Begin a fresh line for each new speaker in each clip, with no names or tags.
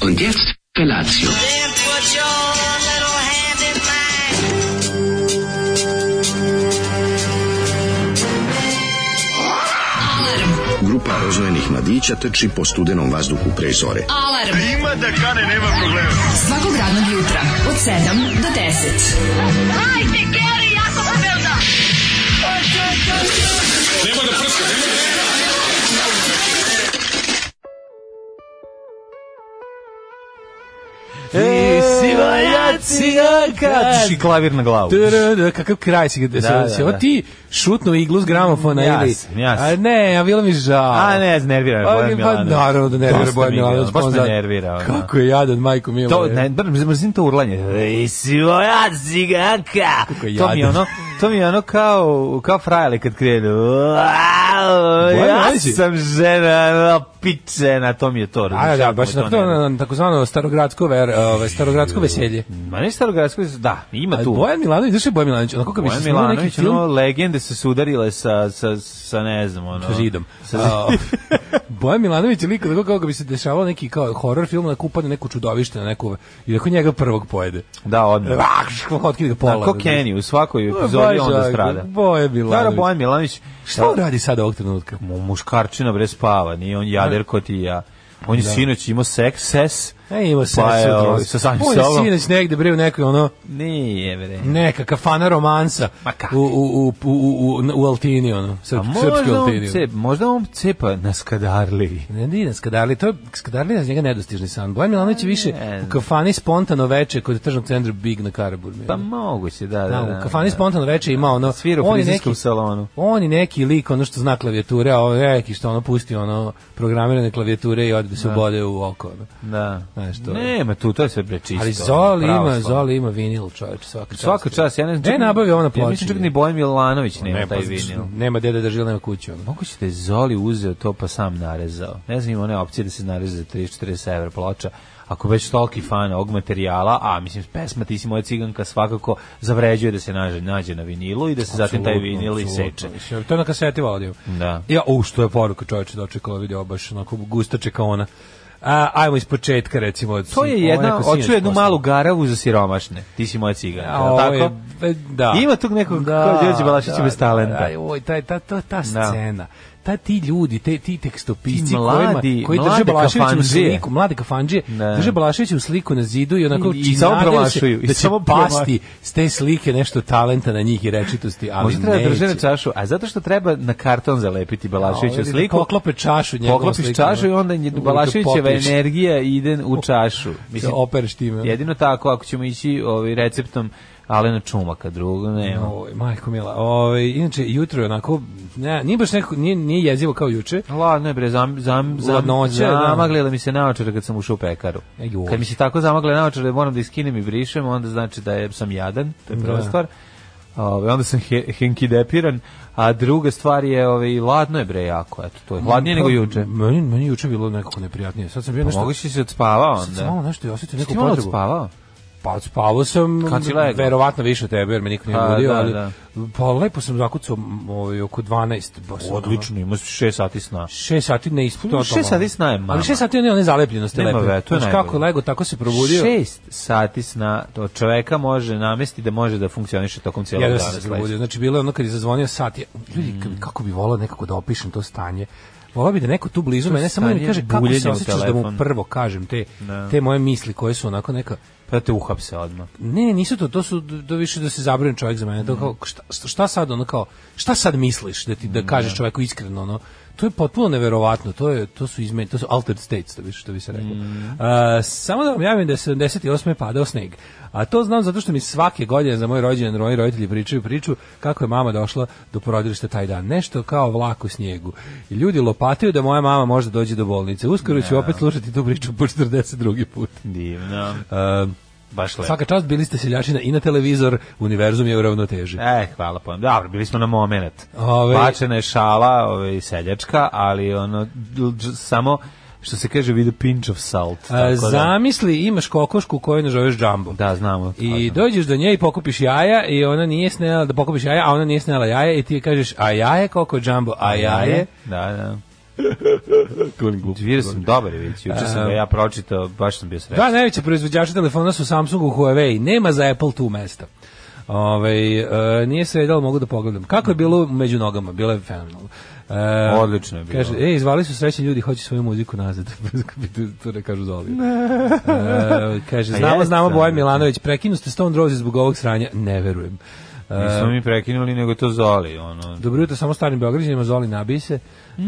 Und jetzt Felatio.
Then put your little hand in mine.
Grupa rozvojenih mladića teči po studenom vazduhu pre zore.
Alarm. Ima da kane, nema problema. Svakog radnog jutra, od 7 do 10.
E,
siva ja ciganka.
Tiš i klavir na glavu.
Trrr, kakav kraj si, da,
Da, da,
se, ovo
da.
ti šutno iglu s gramofona
Ja
ili...
sam, ja sam.
A ne, a bilo mi žao.
A ne, znervira je
Pa,
Bojan Milanović.
Pa naravno da nervira
Dosta
Bojan
mi je,
Milanović.
baš me
sponzor.
nervira, ono.
Kako je jadan, majko Milo.
To, ne, bar mrzim to urlanje. E, siva ja ciganka.
je
To mi je
jadan.
ono, to mi je ono kao, kao frajale kad krenu. Ja
Milanović je-
sam žena, pičena, to mi je to.
A,
razumiješ,
da,
jako
baš
me
na to,
nervira.
na, na takozvano starogradsko, ver, ovaj, starogradsko veselje.
Ma ne starogradsko, da, ima
A
tu.
Bojan Milanović, znaš je Bojan Milanović? Onako kad bi se
Bojan
snimao neki
Milanović,
film...
ono, legende se sudarile sa, sa, sa ne znam, ono...
sa zidom.
Sa
A,
zidom.
Bojan Milanović je lik onako kao kad bi se dešavao neki kao horor film na kupanje neko čudovište na neku i tako njega prvog pojede.
da, odmah.
Vah, otkine ga pola.
Na ko Kenny, u svakoj
To je
epizodi
baš
onda
jako,
strada.
Bojan Milanović.
Stara Bojan Milanović.
Šta on radi sad ovog trenutka?
Mu muškarčina bre spava, nije on jader ko ti i ja. On
Da.
je sinoć imao seks, ses.
E, ima se
Pa je,
sutra.
ovaj, sa samim
On je
sobom.
sinoć negde bre u nekoj ono
Nije bre.
neka kafana romansa
Ma kakvi.
u, u, u, u, u, u Altini ono,
A
srp, srpskoj
Pa možda on,
Altini.
cep, možda on cepa na skadarli.
Ne, ne, ne, Skadarli, to je Skadarli je za njega nedostižni san. Bojan Milanović je više
Ne.
u kafani spontano veče kod tržnog centra Big na Karaburmi.
Pa moguće, da, da.
Da,
da,
u kafani
da.
spontano veče ima ono
Svira u
on je
frizerskom
neki-
salonu.
On je neki lik ono što zna klavijature, a on je neki što ono pusti ono programirane klavijature i odbe se ubode u oko. Ono.
Da.
Znaš, to je.
Nema tu, to je sve bre čisto.
Ali Zoli
pravo
ima,
stvar.
Zoli ima vinil, čoveče, svaka čast.
Svaka čast, ja ne znam.
Ne nabavi ono ploče.
Ja mislim čak ni Bojan Milanović nema
Ne,
taj
pa,
vinil.
Nema deda da žila, nema kuću. Ono.
Moguće da je Zoli uzeo to pa sam narezao. Ne znam, ima one opcije da se nareze za 30-40 evra ploča. Ako već toliki fan ovog materijala, a mislim pesma Ti si moja ciganka svakako zavređuje da se nađe, nađe na vinilu i da se zatim taj
Apsolutno,
vinil i
apsolutno.
seče.
Mislim, To je na kaseti audio.
Da.
Ja, u, što je poruka čoveče dočekala video, baš onako gusta čekaona. A, ajmo iz početka, recimo. Od,
To je
ovo
jedna,
neko sinoć
hoću jednu
poslao.
malu garavu za siromašne. Ti si moja ciganka,
A,
jel
ovo je-
tako?
e, da.
Ima tog nekog kao Đorđe Balašić bez talenta. Da.
Da, oj, taj, ta, ta, ta scena. Ta ti ljudi, te, ti tekstopisci
Ti mladi-
kojima, koji
mlade
drže Balaševića u
kafandžije.
sliku, mlade kafanđije,
Da.
drže Balaševića u sliku na zidu i onako
I- i samo
nadaju se
promašuju, i
da će
samo promašuju.
pasti s te slike nešto talenta na njih i rečitosti, ali
Možda treba da
neće. Da,
drže na čašu, a zato što treba na karton zalepiti Balaševiću
Ovi
sliku.
Poklope čašu njegovu
Poklopiš
sliku,
čašu i
ono.
onda nje-
Uvijek
Balaševićeva
popiš.
energija ide u čašu. Mislim,
opereš da time.
Jedino tako, ako ćemo ići ovaj, receptom Alena Čumaka, drugo ne.
Oj, Ovaj, majko mila. Ovaj inače jutro je onako ne, nije baš nekako nije, nije jezivo kao juče.
Ladno je bre, zam, zam, zam,
Ladnoća, da.
zamaglila mi se naočare kad sam ušao u pekaru.
E, joj.
Kad mi se tako zamagle naočare, moram da iskinem i brišem, onda znači da je, sam jadan, to je prva
Da.
stvar. Ove, onda sam he, henkidepiran, a druga stvar je, ove, ladno je bre jako, eto, to je
Mm,
hladnije nego juče.
Meni meni juče bilo nekako neprijatnije. Sad sam bio nešto
Moguće Pa si se odspavao
sad sam
onda.
malo nešto i osetio
Jesi
neku
Ti malo
potrebu.
odspavao?
Pa spavao sam
Kad si legao?
verovatno više od tebe jer me niko
A,
nije budio,
da,
ali
da.
pa lepo sam zakucao m, ovaj oko 12 baš ono,
Odlično, imao si 6 sati sna.
6 sati ne
U,
ispuno.
šest sati sna je mama.
Ali 6 sati ne one zalepljenosti
Nema
lepe.
veze, to je
Znaš
najbolje.
kako lego tako se probudio.
6 sati sna, to čoveka može namesti da može da funkcioniše tokom cijelog
Jedva
dana.
sam se
sledećeg.
probudio. Znači, bilo je ono kad je zazvonio sat. Ja,
Mm.
ljudi, k- kako bi volao nekako da opišem to stanje. Volao bi da neko tu blizu mene samo da mi
stanje
kaže kako
buljenja
se
u
osjećaš da mu
telefon. Da.
prvo kažem te, te moje misli koje su onako neka...
Pa te uhapse odmah.
Ne, nisu to, to su d- to više da se zabrine čovjek za mene. To kao, šta, šta sad ono kao, šta sad misliš da ti da kažeš čovjeku iskreno ono? To je potpuno neverovatno, to je to su izme, to su altered states, to bi što bi se reklo. A, samo da vam javim da je 78. je padao sneg. A to znam zato što mi svake godine za moj rođendan moji roditelji pričaju priču kako je mama došla do porodilišta taj dan. Nešto kao vlak u snijegu. I ljudi lopataju da moja mama možda dođe do bolnice. Uskoro ću opet slušati tu priču po 42. put.
Mm. Divno.
A,
Baš lepo.
Svaka čast bili ste seljačina i na televizor, univerzum je u ravnoteži.
E, hvala pa. Dobro, bili smo na moment.
Ove-
Bačena je šala, ovaj seljačka, ali ono dž- dž- samo što se kaže with a pinch of salt. tako
A,
da-
E, zamisli, imaš kokošku koju nazoveš džambom.
Da, znamo.
I dođeš do nje i pokupiš jaja i ona nije snela da pokupiš jaja, a ona nije snela jaja i ti je kažeš a jaje koliko je džambo, a jaje.
Da, da. Vidio sam dobar je već, juče sam ga ja pročitao, baš sam bio srećan.
Da, najveći proizvođači telefona su Samsung u Huawei. Nema za Apple tu mesta. Ove, e, nije se ali mogu da pogledam. Kako je bilo među nogama? Bilo je fenomenalno. E,
Odlično je bilo.
Kaže, e, izvali su srećni ljudi, hoće svoju muziku nazad. to ne kažu Zoli. E, kaže,
A
znamo,
jeste,
znamo Bojan
da.
Milanović, prekinu ste Stone Roses zbog ovog sranja. Ne verujem. E,
Nismo mi prekinuli, nego to zoli, ono.
Dobro jutro samo starim Beograđanima, Zoli nabij se. E,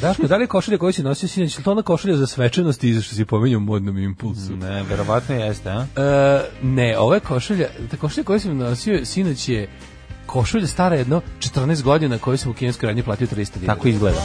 Daško, da li je košulja koju si nosio sinoć, je li to ona košulja za svečanost i za što si pominjao u modnom impulsu?
Ne, verovatno jeste, a?
E, ne, ova je košulja, ta košulja koju sam nosio sinoć je košulja stara jedno 14 godina koju sam u kineskoj radnji platio 300 dinara.
Tako izgleda.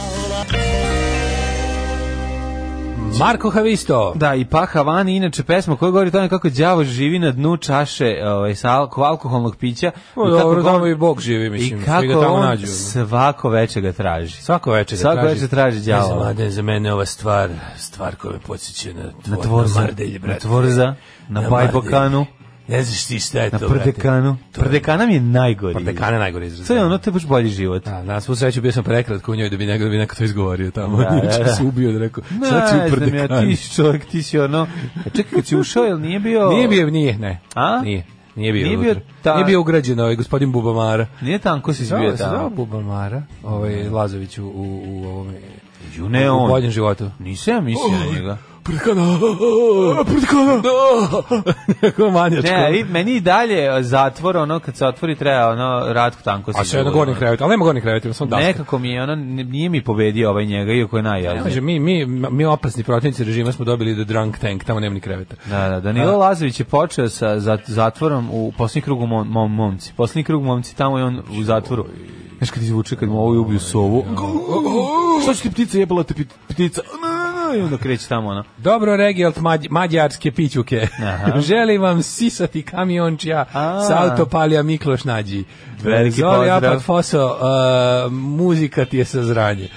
Marko Havisto.
Da, i pa Havani, inače pesma koja govori o tome kako đavo živi na dnu čaše ovaj, sa alko- alkoholnog pića.
O,
i kako
dobro,
ga on-
tamo i Bog živi, mislim,
I
svi
kako
ga tamo
on
nađu.
svako veče ga traži.
Svako večer
Svako večer traži đavo.
Ne znam, mladen, za mene ova stvar, stvar koja me podsjeća na, tvor,
Na tvorza,
na Mardelje,
na
brate.
tvorza, na bajbokanu,
Ne znaš ti šta je
na
to, brate.
prdekanu.
To je-
Prdekana da. mi je najgori.
Prdekana je najgori izraz.
To je ono, to je baš bolji život.
Da, na svu sreću bio sam prekratko u njoj da bi neko, da bi neko to izgovorio tamo.
Da,
Da,
da, da.
se ubio da rekao,
Ne,
sad ću u
znam ja,
prdekan.
ti si čovjek, ti si ono... E, Čekaj, kad si ušao, jel nije bio...
Nije bio, nije, ne.
A?
Nije. Nije bio.
Nije
Nije
bio
bio,
ta-
nije bio ugrađen ovaj gospodin Bubamara.
Nije tanko si
Zvao
izbio da.
se zvao
tamo.
Bubamara, ovaj Lazović u, u, u ovome...
Ju, ne
u
on.
boljem životu.
Nisam ja mislio na njega.
Prkana! Prkana! Kako manjačko.
Ne, vid, meni i dalje zatvor, ono, kad se otvori treba, ono, Ratko Tanko si
A sve jedno gornji krevet, ali nema gornji krevet, ima samo daska.
Nekako mi je, ono, n- nije mi pobedio ovaj njega, iako je
Ne
najjazniji.
može, mi, mi, mi opasni protivnici režima smo dobili do drunk tank, tamo nema ni kreveta.
Da, da, Danilo Lazović je počeo sa zat- zatvorom u posljednji krug u mom, mom, momci. Posljednji krug momci, tamo je on u zatvoru. Znaš kad izvuče, kad mu ovo ubiju sovu. Šta će ti ptica, jebala te pit- ptica. Na, na, na, I onda kreće tamo, ono.
Dobro, Regialt mađ, mađarske pićuke.
Aha.
Želim vam sisati kamiončija
A.
sa autopalija Mikloš Nađi.
Veliki
Zoli
pozdrav.
Apat Foso, uh, muzika ti je sa zranje.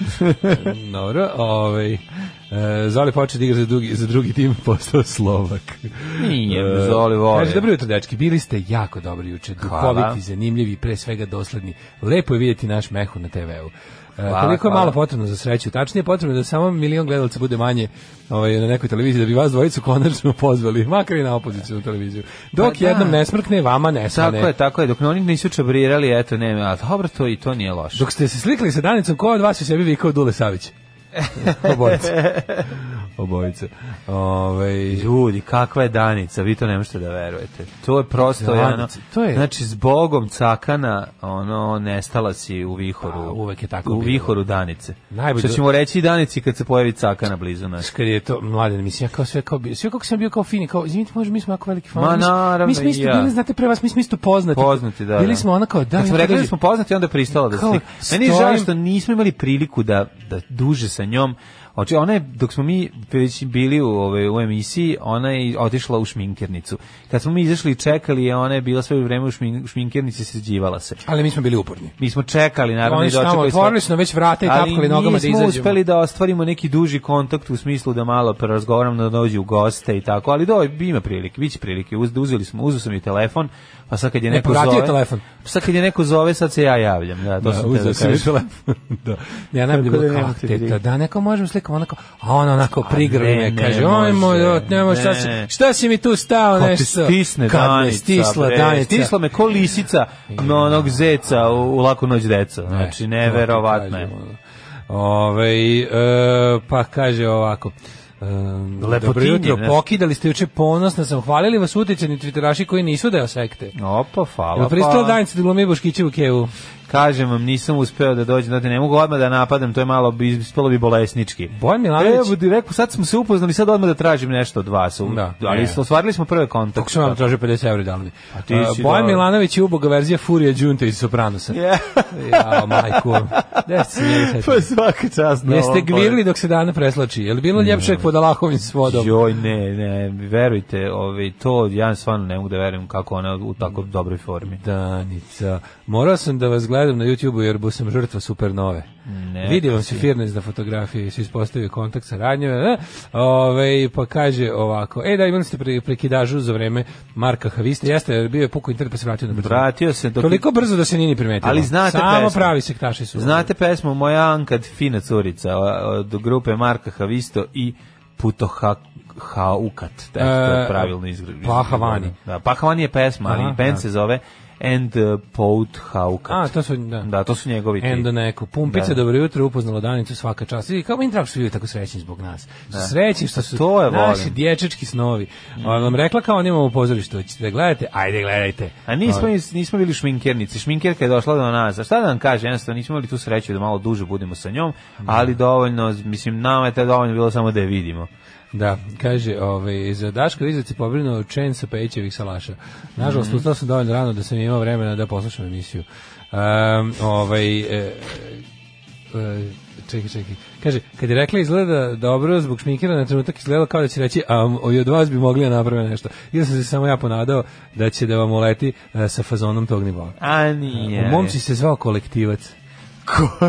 Dobro, ovaj... Uh, Zoli počeo da igra za drugi, za drugi tim, postao Slovak.
Nije,
E,
Zoli voli.
Kaže, dobro jutro, dečki, bili ste jako dobri juče,
Hvala.
duhoviti, zanimljivi i pre svega dosledni. Lepo je vidjeti naš mehu na TV-u. E,
Hvala,
koliko je
hvala.
malo potrebno za sreću. Tačnije je potrebno da samo milion gledalaca bude manje ovaj, na nekoj televiziji, da bi vas dvojicu konačno pozvali, makar i na opozicijnu televiziju. Dok
Pa da.
jednom ne smrkne, vama ne
Tako
smrne.
je, tako je. Dok oni nisu čabrirali, eto, ne, a dobro, to i to nije loše.
Dok ste se slikali sa Danicom, ko od vas je sebi vikao Dule Savić? Obojice. Obojice. Ove,
Ljudi, kakva je Danica, vi to ne možete da verujete. To je prosto
Danica,
jedno,
to je-
znači zbogom cakana, ono, nestala si u vihoru.
Pa, uvek je tako
U
bilo.
vihoru Danice.
Najbolje-
Što ćemo reći i Danici kad se pojavi cakana blizu nas.
kad je to mladen mislim ja kao sve kao bi sve kako sam bio kao fini kao izvinite može mi smo jako veliki fan
Ma,
mi smo-
naravno,
mi smo
i
isto
ja.
bili znate pre vas mi smo isto poznati
Poznati, da. da.
bili smo ona kao da
Kad smo
mi
rekli da
dođe-
smo poznati, onda je pristala da
Kao,
slika. Meni je žao
stojim-
što nismo imali priliku da, da duže sa njom. Oči, ona je, dok smo mi već bili u, ovaj, u emisiji, ona je otišla u šminkernicu. Kad smo mi izašli i čekali je, ona je bila sve vreme u, šmin, u šminkernici, sređivala se.
ali mi smo bili uporni
Mi smo čekali, naravno,
Oni
i
su tamo
dočekali smo-
otvorili su nam već vrata i
Ali
tapkali nogama da
nismo
izađemo.
uspeli da ostvarimo neki duži kontakt u smislu da malo porazgovaramo, da dođu u goste i tako, ali do, ima prilike, bit će prilike. Uz, uzeli smo, uzeo sam i telefon, pa sad kad je
Ne,
neko
E, povratio je
zove...
telefon.
Sad kad je neko zove, sad se ja javljam. Da, to
Da,
sam te da
uzeo sam i
kažem.
telefon. da. Ja najbolje
Tako da
bilo kao
nemate brigu.
teta, da neko možemo slikam onako, a ona onako prigrli
ne,
me,
ne
kaže, oj moj,
može,
ot, nemoj, šta
ne.
si, šta si mi tu stao
Kad te
nešto?
stisne
Kad me
Danica,
stisla
bre,
Danica.
Stisla me ko lisica na onog zeca u, u laku noć
E,
deca. Znači, neverovatno je.
da. Ove, e, pa kaže ovako, Um,
Lepotinje,
dobro jutro,
znaš.
pokidali ste juče ponosno sam, hvalili vas uticani twitteraši koji nisu deo sekte.
Opa, hvala.
Jel pristala
pa.
Danica da glumi Boškićevu kevu?
Kažem vam, nisam uspeo da dođem, znate, ne mogu odmah da napadam, to je malo, bi- ispalo bi bolesnički.
Bojan Milanović,
Evo ti rekao, sad smo se upoznali, sad odmah da tražim nešto od vas. U-
Da.
ali
Ne.
ostvarili smo prve kontakte.
Kako sam vam tražio 50 evri dali mi?
da. Pa ti
A,
si
Bojan
dao.
Milanović je uboga verzija Furija Đunte iz Sopranosa.
Ja.
ja, majko. Da ste se njega setili?
Pa svaka čast na
Jeste
ovom
gvirili dok se dana preslači. Je li bilo ljepše pod Allahovim
polju.
svodom?
Joj, ne, ne, verujte, ovaj, to ja stvarno ne mogu da verujem kako ona u tako dobroj formi.
Danica, morao sam da vas gledam na YouTubeu jer bo sam žrtva supernove.
Ne,
Vidio vam
kako
se
si.
Firnes na fotografiji, se ispostavio kontakt sa radnjom. eh, Ovaj pa kaže ovako: "Ej, da imali ste pre, prekidažu za vreme Marka Haviste. Jeste, bio je puko internet pa se vratio na brzinu."
Vratio se dok-
Toliko brzo da se nije ni primetilo.
Ali znate
Samo
pesmu.
pravi sektaši su.
Znate pesmu Moja Ankad fina curica o- od grupe Marka Havisto i Puto Ha Haukat, to je
E,
pravilno izgled.
Pahavani.
Da, Pahavani je pesma, ali
Aha,
band
da.
se zove And uh, Pout Haukat.
A, to su da.
Da, to su njegovi ti.
Endo neko. Pumpica,
Da.
dobro jutro, upoznalo Danicu svaka čast. I kao mi tako su bili tako srećni zbog nas. Da. Srećni što su
Pa To je
naši
volim.
dječački snovi. Ona vam rekla kao onima u pozorištu, hoćete da gledate? Ajde, gledajte.
A nismo, nismo bili šminkernici. Šminkerka je došla do nas. A šta da vam kažem, jednostavno nismo imali tu sreću da malo duže budemo sa njom,
Da.
ali dovoljno, mislim, nama je to dovoljno bilo samo da je vidimo.
Da, kaže, ovaj, za Daška Vizac je pobrinuo Čen sa Pejićevih salaša. Nažalost, ustao sam dovoljno rano da sam imao vremena da poslušam emisiju. Um, ovaj, e, e, čekaj, čekaj. Kaže, kad je rekla izgleda dobro zbog šminkera, na trenutak izgledalo kao da će reći, a m, i od vas bi mogli da naprave nešto. Ili sam se samo ja ponadao da će da vam uleti e, sa fazonom tog nivoa.
A nije.
U momci se zvao kolektivac.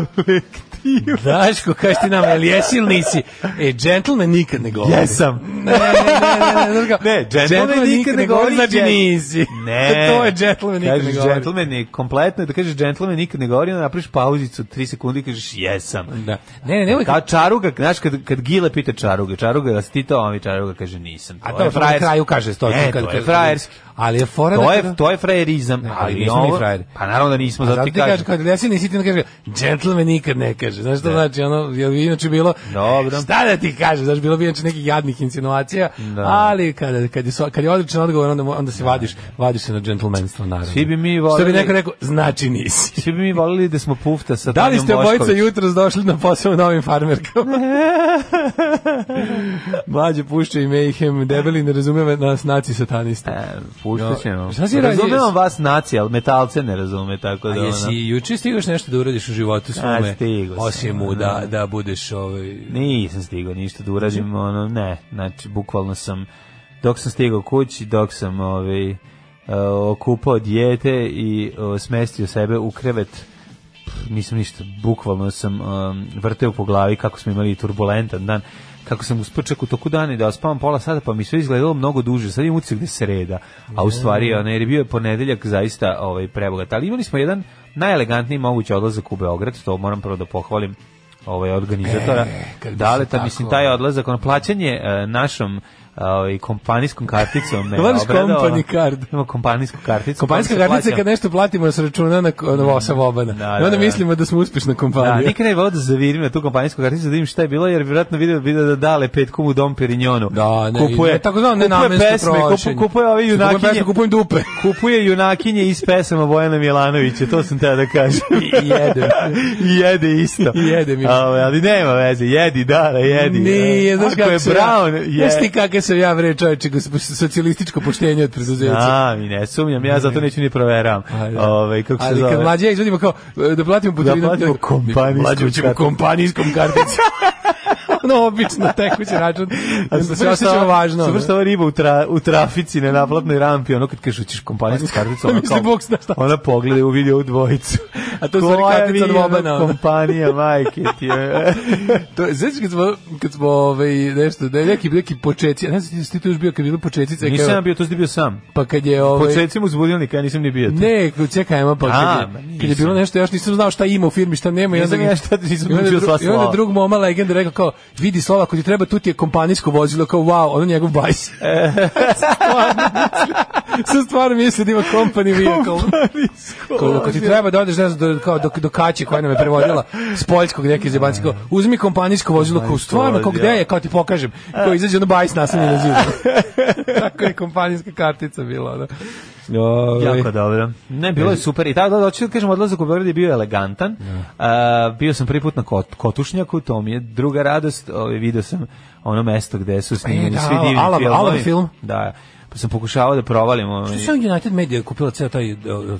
kolektiv.
Daško, kaži ti nama, jel jesi ili nisi? E, gentleman nikad ne govori.
Jesam.
Ne, ne, ne, ne, ne, druga.
Ne, džentlmen nikad ne govori,
znači
džent-
nisi.
Ne.
to je džentlmen nikad ne
Kažeš
govori.
džentlmen je kompletno, da kažeš džentlmen nikad ne govori, onda napraviš pauzicu 3 sekunde i kažeš jesam.
Da. Ne, ne, ne, uvijek.
Kao čaruga, znaš, kad, kad Gile pita čaruga, čaruga, da si ti to, a mi čaruga kaže nisam.
A to na
frajerski.
kraju kaže to.
Ne,
kad-
to je
kad-
frajerski.
Ali je fora
To
da
je,
kada-
to je frajerizam,
Ne, ali
ali
nismo mi
ovo...
frajeri.
Pa naravno da nismo,
A
zato
zato
ti
ti kaže,
kažem.
kad jesi nisi ti ne kaže, džentlmen nikad ne kaže. Znaš što znači, ono, jel bi inače bilo,
Dobro.
šta da ti kaže, znaš, bilo bi inače nekih jadnih insinuacija,
Da.
ali kada, kad, je, sva- kad je odličan odgovor, onda, mo- onda se vadiš, vadiš se na džentlmenstvo, naravno.
Svi bi mi
Što
volili-
bi neko rekao, znači nisi.
Svi bi mi volili da smo pufta sa
Da li
Tanjom
ste obojica
Bošković.
jutros došli na posao u novim farmerkama? Mlađe pušće i Mayhem, debeli ne razume nas naci satanista. Da,
E, puštat ćemo.
Jo, šta si radi-
Razumevam vas nacija, ali metalce ne razume, tako
A
da...
jesi
ono-
juče stigaš nešto da uradiš u životu svome?
stigao sam,
Osim u da, da budeš ovaj...
Nisam stigao ništa da uradim, ono, ne, znači, bukvalno sam, dok sam stigao kući, dok sam, ovaj, e, okupao dijete i o, smestio sebe u krevet, pff, nisam ništa, bukvalno sam um, vrteo po glavi kako smo imali turbulentan dan, kako sam uspeo čak u toku dana i da ospavam pola sata, pa mi sve izgledalo mnogo duže, sad imam utisak da je sreda, a u stvari, ono, jer je bio je ponedeljak zaista ovaj, prebogat, ali imali smo jedan najelegantniji mogući odlazak u Beograd, to moram prvo da pohvalim ovaj organizatora.
E, kad bi se
Daleta,
tako-
mislim, taj odlazak, ono, plaćanje e, našom ovaj kompanijskom karticom. me
Voliš
obradovalo.
company card?
Imamo kompanijsku karticu.
Kompanijska
kojom se
kartica je
plaćam.
kad nešto platimo s računa na, na Vosa Vobana.
Da,
I
da,
onda
da.
mislimo da smo uspešna
Da,
kompanija.
nikad ne bi volao da zavirim na tu kompanijsku karticu da vidim šta je bilo, jer vjerojatno video, video da dale petkom u Dom Perignonu.
Da, ne,
kupuje,
ne, tako znam,
kupuje
nenamensko
pesme, kupuje,
trošenje.
kupuje ove
Kupujem
junakinje,
pesme, kupujem dupe.
kupuje junakinje iz pesama Bojana Milanovića, to sam teo da kažem.
I jedem.
I jede isto.
I jede mi.
Ovaj, ali nema veze, jedi, dale, jedi.
Nije, znaš
Ako
kako
je
sam ja-
Brown, je.
Znaš ti kako sam ja vre čovječe, socijalističko poštenje od preduzeća.
A, mi ne sumnjam, ja zato neću ni proveravam.
Pa da.
Ovaj kako se
Ali
zove?
kad mlađe ja izvodimo kao e, da platimo putovinu.
platimo
nego-
kompanijskom
Mlađe ćemo
karticom.
kompanijskom karticom. ono obično tekući račun. Da se osjećamo važno.
Super
ono.
što ova riba u, tra, u trafici na naplatnoj rampi, ono kad kažeš ćeš kompanijsku karticu, ona,
Misli, Bog zna šta.
ona pogleda u video u dvojicu.
A to je u stvari
Koja
kartica od
vi, ono,
Bobana, ono.
Kompanija, majke ti. e. je.
To je znači kad smo kad smo ovaj nešto da je neki neki počeci, ja ne znam jesi ti tu još bio kad je bilo početice,
Nisam ja
kao,
bio, to si ti bio sam.
pa kad je
Pod
ovaj
secima uz budilnika, ja nisam ni bio. tu.
Ne, čekaj, ma pa
A,
kad
ma
je,
nisam.
kad je bilo nešto, ja još nisam znao šta ima u firmi, šta nema. i
Nisam
onda
ja
mi-
šta- nisam
i onda
naučio
dru-
sva
I onda
slova.
drug moma legenda rekao kao, vidi slova, ako ti treba, tu ti je kompanijsko vozilo, kao wow, ono njegov bajs.
E.
Stvarno misli- Sam stvarno mislio da ima company vehicle. Kao, ako ti treba da odeš, ne znam, do, kao, do, do kaće koja nam je prevodila s poljskog neke zebanci, kao, uzmi kompanijsko vozilo, kao, stvarno, kao, gde je, kao ti pokažem, kao, izađe ono bajs nasadnje na zidu. Tako je kompanijska kartica bila, da. Ovaj,
Jako dobro. Ne, bilo je super. I tako da, hoću da kažem, odlazak u Beograd je bio elegantan.
Da.
A, bio sam prvi put na kot, Kotušnjaku, to mi je druga radost. Ovaj video sam ono mesto gde su snimljeni
da,
svi divni
Alan-
filmovi.
Alan film.
Da, pa sam pokušavao da provalim. Ovaj,
Što je United Media kupila ceo taj,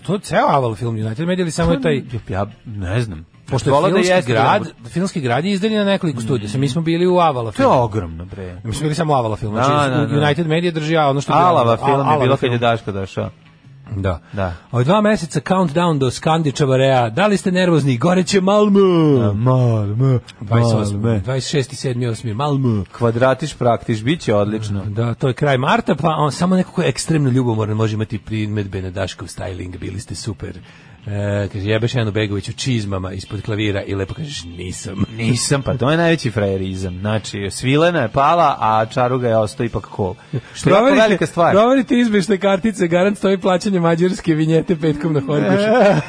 to je ceo Aval film United Media ili samo je taj,
Ja ne znam.
pošto
Volao da
je filmski
jeste
grad,
jedan-
da, filmski grad je izdeljen na nekoliko studija, so, mi smo bili u Avala
Mm. To je
filmu.
ogromno, bre.
Mi smo bili samo u Avala filmu,
Da,
znači
da, da.
United Media drži a ono što je bio-
Alava
Al-
film je
Alava
bilo kad je
film.
Daško došao.
Da.
Da.
Od dva meseca countdown do Skandića Varea. Da li ste nervozni? Goreće Malmö.
Da. Malme,
28. 26. 7. 8. Malmö.
Kvadratiš praktiš, bit će odlično.
Da, to je kraj marta, pa on samo neko ko je ekstremno ljubomoran može imati primedbe na Daškov styling, bili ste super. E, kaže, jebeš Janu Begoviću čizmama ispod klavira i lepo kažeš nisam.
Nisam, pa to je najveći frajerizam. Znači, svilena je pala, a čaruga je ostao ipak kol. Što je jako velika stvar.
Proverite izbešne kartice, garant stoji plaćanje mađarske vinjete petkom na Horgošu.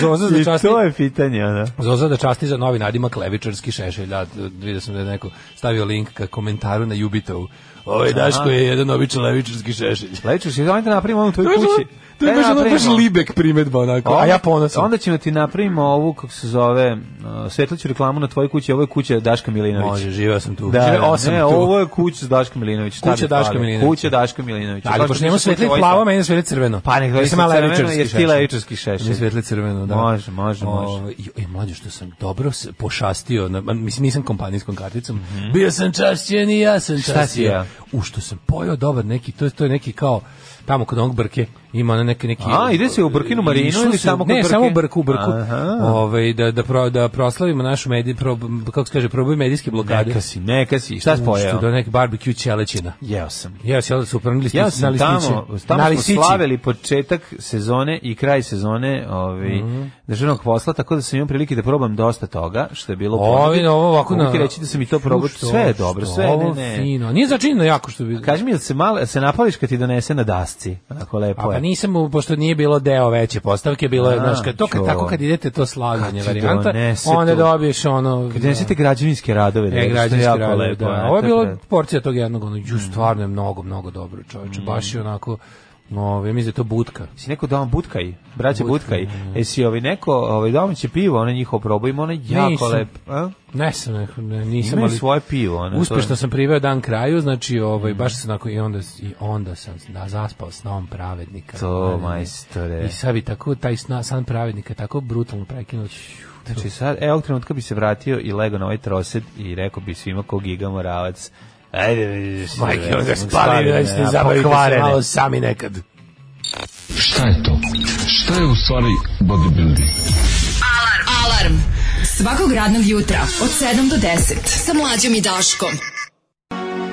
Zoza za
I
časti,
to je pitanje, da.
Zoza da časti za novi nadimak levičarski šešelj. Ja, vidio sam da je neko stavio link ka komentaru na Jubitovu. Ovo je Daško je jedan običan levičarski šešelj.
Leću se, onda napravimo onu tvoju kući.
To je
Daj
baš ono baš
napravimo.
libek primedba onako.
Onda-
A ja ponosim.
Onda ćemo ti napravimo ovu, kako se zove, uh, svetliću reklamu na tvojoj kući, ovo je kuća Daška Milinovića.
Može, živeo sam tu.
Da,
živeo
da,
osam
ne,
tu.
ovo je kuća s Daškom Milinovićem. šta
Kuća
mi
Daška
fali?
Milinovića.
Kuća Daška Milinovića.
Ali
Zašto
pošto njemu
nisu
svetli
kuće
plavo,
Vojsa?
meni je svetli crveno.
ovaj Pa nek
Ja sam malo
svetli crveno,
levičarski
jer ti
šešelj.
levičarski šešelj.
Meni je svetli crveno, da.
Može, može, može.
Ovaj, joj, mlađe, što sam dobro se pošastio, na, ma, mislim, nisam kompanijskom karticom. Bio sam čašćen i ja sam
Mhm. Šta si
čašćen.
ja?
U, što sam pojao dobar neki, to, je- to je neki kao, tamo kod onog Brke, ima onaj neki neki
A, ide se u Brkinu marinu
Išli
ili
su-
samo kod
ne,
Brke?
samo u Brku, u Brku.
Aha.
Ovaj da da pro, da proslavimo našu medij prob, kako se kaže, proboj medijske blokade.
Neka si, neka si. Šta si
Što
pojeo?
da neki barbecue ćelećina.
Jeo sam.
Ja sam super, na listići.
Ja sam
na
tamo,
listići.
tamo
Na
smo
listići.
slavili početak sezone i kraj sezone ovaj,
Mhm.
državnog posla, tako da sam imao prilike da probam dosta toga, što je bilo u
Ovi,
ponudi.
ovo ovako
Mogu
na-
ti reći da sam i to probao,
Što,
sve je dobro,
što,
sve, ne,
ovo
ne.
Fino. Nije začinjeno jako što bi...
Kaži mi, jel se, malo, se napališ kad ti donese na dasci? Onako lepo
A pa
je.
nisam, mu, pošto nije bilo deo veće postavke, bilo je,
A,
znaš, kad, to kad,
čo.
tako kad idete to slavljanje
Kad ti
varijanta,
donese
onda
to.
dobiješ ono...
Kad donesete građevinske radove, da,
E,
što je
građanski
jako
rad,
lepo,
da.
ne,
Ovo je
to
bilo
pre-
porcija tog jednog, ono, ju,
Mm.
stvarno je mnogo, mnogo dobro, čovječe, baš je onako, no, ja mislim da je to budka.
Si neko doma butkaj, braća butkaj.
da,
E si ovi neko, ovaj domaće pivo, ono njihovo probojimo, ono je jako
Nisam.
lepo. a?
Ne sam, ne, ne, nisam,
Imaju
ali...
svoje pivo, ono. to je-
Uspešno sam priveo dan kraju, znači ovaj baš sam onako i onda i onda sam da zaspao snom pravednika.
To,
Ne, ne,
majstore.
I sad bi tako taj sna, san pravednika tako brutalno prekinut.
Znači sad, evo ovog trenutka bi se vratio i lego na ovaj trosed i rekao bi svima ko giga moravac. Ajde, vidiš.
Majke,
evo,
onda
smo
spali,
spaljene,
da ste
a,
zabavite se
pokvarene.
malo sami nekad.
Šta je to? Šta je u stvari bodybuilding?
Alarm. Svakog radnog jutra od 7 do 10 sa mlađom i Daškom.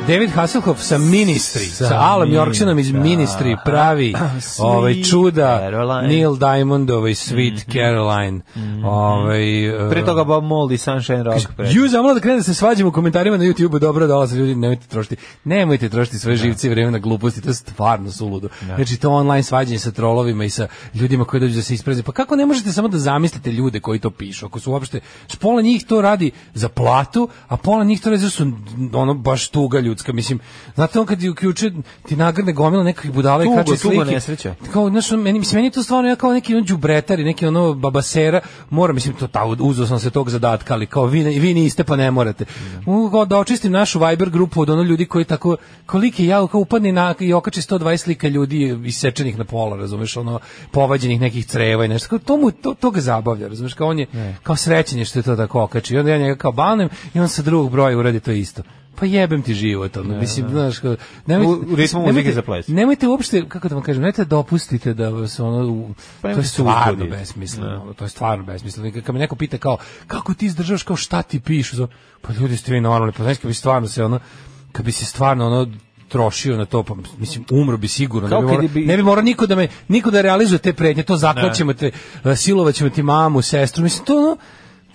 David Hasselhoff sa Ministry, sa,
Sa
Alem
Ministry,
Jorksenom iz
da.
Ministry pravi
Sweet
ovaj čuda
Caroline. Mhm,
Neil Diamond, ovaj Sweet Caroline. Ovaj,
Pre
eh,
toga Bob Mold i Sunshine Rock. Pre.
Ju, zamalo da krene da se svađamo u komentarima na YouTubeu, dobro, dolaze ljudi, nemojte trošiti. Nemojte trošiti
Da.
svoje živce i vreme na gluposti, to je stvarno suludo. Znači to online svađanje sa trolovima i sa ljudima koji dođu da se ispreze. Pa kako ne možete samo da zamislite ljude koji to pišu, ako su uopšte znači, pola njih to radi za platu, a pola njih to radi zato su ono baš tuga ljudska, mislim. Znate on kad je uključio ti nagrne gomila nekakvih budala i
Tugo,
kači
tugo,
slike.
nesreća.
Pa Kao, znaš, ono, meni, mislim, meni je to stvarno ja kao neki on đubretar i neki ono babasera, mora, mislim, to, ta, uzeo sam se tog zadatka, ali kao vi, ne- vi niste pa ne morate. Mogu kao da očistim našu Viber grupu od ono ljudi koji tako, koliki ja, kao upadne na, i okači 120 slika ljudi isečenih na pola, razumeš, ono, povađenih nekih creva i nešto, kao, to mu, to, to ga zabavlja, razumeš, kao on je, kao srećen je što je to tako okači, i onda ja njega kao banujem i on sa drugog broja uradi to isto. Pa jebem ti život, ono, mislim, znaš, kao, nemojte,
Da, U- u ritmu muzike
nemojte-
za ples.
nemojte uopšte, kako da vam kažem, nemojte da dopustite da vas ono, u-
Pa
to je
nemojte Da. se
stvarno
uzbuditi.
besmisleno, ono, to je stvarno besmisleno. I Kad me neko pita kao, kako ti izdržavaš, kao šta ti pišu, Znam, pa ljudi ste vi normalni, pa znaš, kad bi stvarno se ono, kad bi se stvarno ono, trošio na to, pa mislim, umro bi sigurno, ne
Kao
bi,
kad
morao,
bi-
ne bi morao niko da me, niko da realizuje te prednje, to zaklaćemo te, e, silovaćemo ti mamu, sestru, mislim, to ono,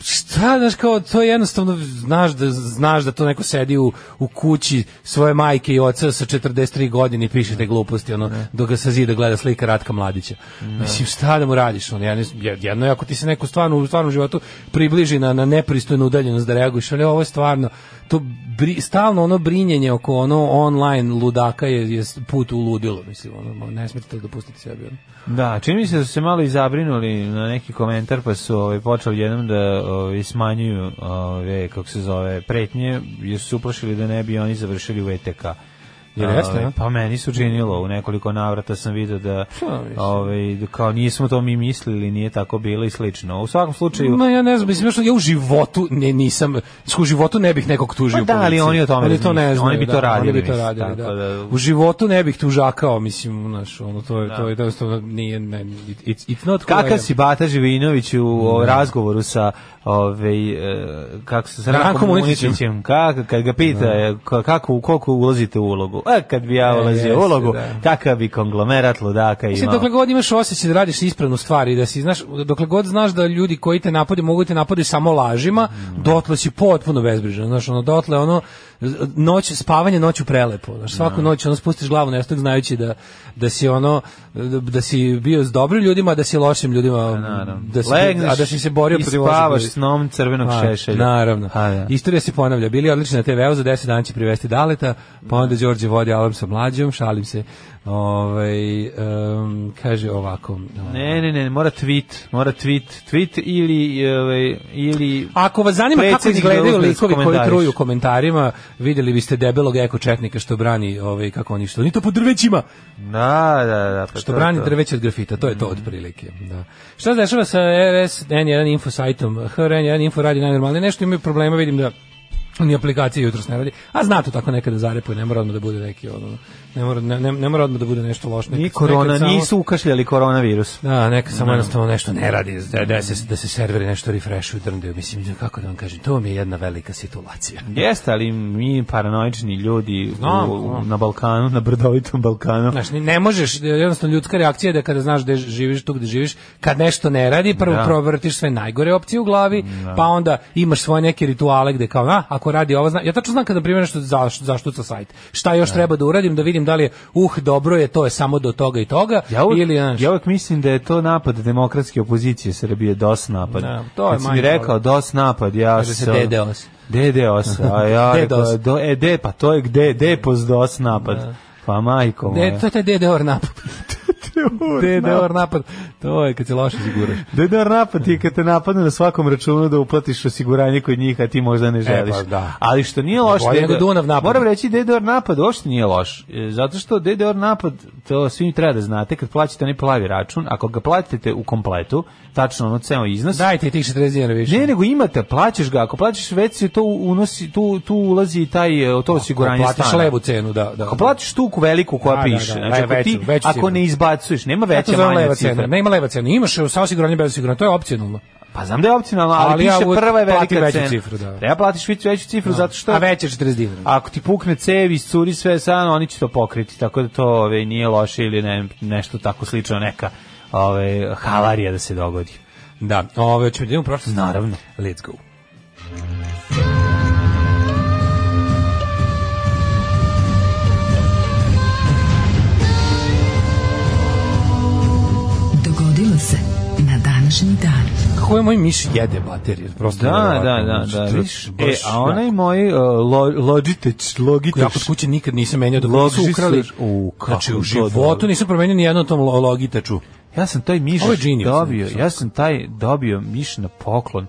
šta, znaš, kao, to je jednostavno, znaš da, znaš da to neko sedi u, u kući svoje majke i oca sa 43 godine i piše te gluposti, ono, dok ga sa zida gleda slika Ratka Mladića. Mislim, šta da mu radiš, ono, ja ne, znam, jed- jedno je ako ti se neko stvarno u stvarnom životu približi na, na nepristojnu udaljenost da reaguješ, ali ovo je stvarno, to bri, stalno ono brinjenje oko ono online ludaka je, je put u ludilo, mislim, ono, ne smete to dopustiti sebi, ono.
Da, čini mi se da su se malo i zabrinuli na neki komentar, pa su ovaj, počeli jednom da ovaj, smanjuju, ovaj, kako se zove, pretnje, jer su se uplašili da ne bi oni završili u ETK.
Jel jeste,
Ovaj,
a?
pa meni su činilo, u nekoliko navrata sam vidio da,
Šta mislim?
ovaj, da kao nismo to mi mislili, nije tako bilo i slično. U svakom slučaju,
Ma ja ne znam, mislim, što ja u životu ne, nisam, u životu ne bih nekog tužio
Pa
u
da, ali
policiji.
oni o tome
ali to ne
razmišljaju.
znaju,
Oni bi to
da,
radili,
Oni bi to
mislim,
radili, da.
tako da-
U životu ne bih tužakao, mislim, znaš, ono, to je, to je, jednostavno nije, ne, it- it's, it's not who I
Da. Kakav
am. Mm.
si Bata Živinović u o, razgovoru sa ovaj e, kako se sa
Rankom
Rankom
Unicićem.
Unicićem, kako kad ga pita e, ka- kako u koliko ulazite u ulogu. E kad bi ja
E,
ulazio u
jeste,
ulogu,
da.
kakav bi konglomerat ludaka imao.
Mislim, dokle god imaš osjećaj da radiš ispravnu stvar i da si, znaš, dokle god znaš da ljudi koji te napade mogu da te napadaju samo lažima, dotle si potpuno bezbrižan, znaš, ono, dotle, ono, noć, spavanje noću prelepo, znaš,
Da.
svaku noć, ono, spustiš glavu nestog znajući da, da si, ono, da si bio s dobrim ljudima, a da si lošim ljudima,
Pa Naravno.
da si,
Legneš
a da si se borio
i
protiv loših
spavaš
ljudi.
s snom crvenog
A,
šešelja.
Pa, Naravno.
A, Pa, da.
Istorija se ponavlja. Bili odlični na TV-u, za 10 dana će privesti Daleta, pa
Mm.
onda Đorđe vodi alarm sa mlađom, šalim se. Ovaj em, kaže ovako.
Ne, ne, ne, mora tweet, mora tweet, tweet ili ovaj ili
Ako vas zanima kako
Predsjednik da
izgledaju
uzme da
likovi koji
skomentariš.
truju komentarima, videli biste debelog eko četnika što brani, ovaj kako oni što, oni to po drvećima.
da, da, da, pa
Što
to je
brani
to. Mhm.
drveće od grafita, to je to otprilike. Da. Šta se dešava sa RS N1 info sajtom? HRN1 info radi najnormalnije, nešto imaju problema, vidim da ni aplikacija jutros ne radi. A zna to tako nekada zarepuje, ne mora odmah da bude neki ono, ne mora, ne, ne, ne mora odmah da bude nešto loše.
Ni
Nekad-
korona,
nekad samo-
nisu ukašljali koronavirus.
Da, neka samo jednostavno nešto ne radi, da, da, se, da se serveri nešto refreshuju, drndaju. Mislim, kako da vam kažem, to mi je jedna velika situacija.
Jeste, ali mi paranoični ljudi
Znam,
u, u-
znam.
na Balkanu, na brdovitom Balkanu.
Znaš, ni- ne možeš, jednostavno ljudska reakcija je da kada znaš gde živiš, tu gde živiš, kad nešto ne radi, prvo
Da.
provrtiš sve najgore opcije u glavi, pa onda imaš svoje neke rituale gde kao, a, ako radi ovo, zna, ja tačno znam kada primjer nešto zaš, zaštuca sajt. Šta još treba da uradim, da vidim da li je, uh, dobro je, to je samo do toga i toga,
Ja uvek,
ili, znaš,
ja uvek mislim da je to napad demokratske opozicije Srbije, DOS napad.
Da, to je
Kad si mi
manjkavo.
rekao DOS napad, ja
Kaže se
ono-
DDoS.
DDoS, a ja
DDoS.
rekao, do, e, de, pa to je gde, de pos DOS napad. Pa majko moja.
De, to je taj DDR napad. DDR napad. To je kad se loše ziguraš.
DDoS napad je kad te napadne na svakom računu da uplatiš osiguranje kod njih, a ti možda ne želiš.
pa da.
Ali što nije loš,
Bolje nego
DDoS
Dunav napad.
moram reći DDoS napad uopšte nije loš. E, Zato što DDoS napad, to svim treba da znate, kad plaćate onaj plavi račun, ako ga platite u kompletu, tačno ono ceo iznos,
Dajte i tih 40 dinara više.
Ne, nego imate, plaćaš ga, ako plaćaš već se to unosi, tu, tu ulazi i taj, e, to osiguranje
Platiš
stana.
lebu cenu, da. da.
Ako platiš tu veliku koja
Da, da, da,
piše,
da,
znači
da,
ako,
veću,
ti,
veću
ako
cifru.
ne izbacuješ, nema
Ja to
veće
zovem leva
manje
cena.
cifre.
Ne ima leva cena. Imaš sa osiguranje bez osiguranja, to je opcionalno.
Pa znam da je opcionalno, ali,
Ali ja
piše
uvek
prva je
platim
velika
veću
cena.
cifru, da.
Treba platiš veću, veću cifru zato što
A veće je 40 dinara.
ako ti pukne cev i curi sve sano, oni će to pokriti, tako da to ove, nije loše ili ne, nešto tako slično, neka ove, havarija da se dogodi.
Da, ove ćemo da idemo u prošlost.
Naravno.
Let's go.
Dogodilo se na današnji dan.
Kako je moj miš jede baterije? Prosto
Da, da,
neverovatno.
da,
Znači,
da.
to je
E,
baš
a onaj moj uh, lo, logiteć,
jako- Ja kod
logiteć,
kuće nikad nisam menjao dok
Logis
nisu ukrali.
su- u, kako da-
znači, u
to
životu
dobro.
nisam promenio ni jednu tom lo- logiteču.
Ja sam taj miš
Ovo je genius,
dobio,
znači.
ja sam taj dobio miš na poklon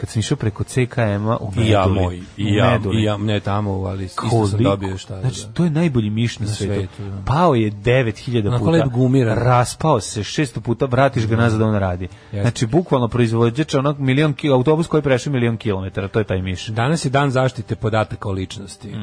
kad sam išao preko CKM-a u Medulin.
I ja moj, i
u
ja,
Medulin.
i ja, ne tamo, ali isto sam
Koliko?
dobio šta.
Znači,
da.
to je najbolji miš na, svetu.
svetu, da.
Pao je 9000
Onako
puta.
lep gumiran.
Raspao se 600 puta, vratiš ga nazad da on radi. Znači, bukvalno proizvođač onog milion ki, autobus koji je prešao milion kilometara, to je taj miš.
Danas je dan zaštite podataka o ličnosti.
Mhm.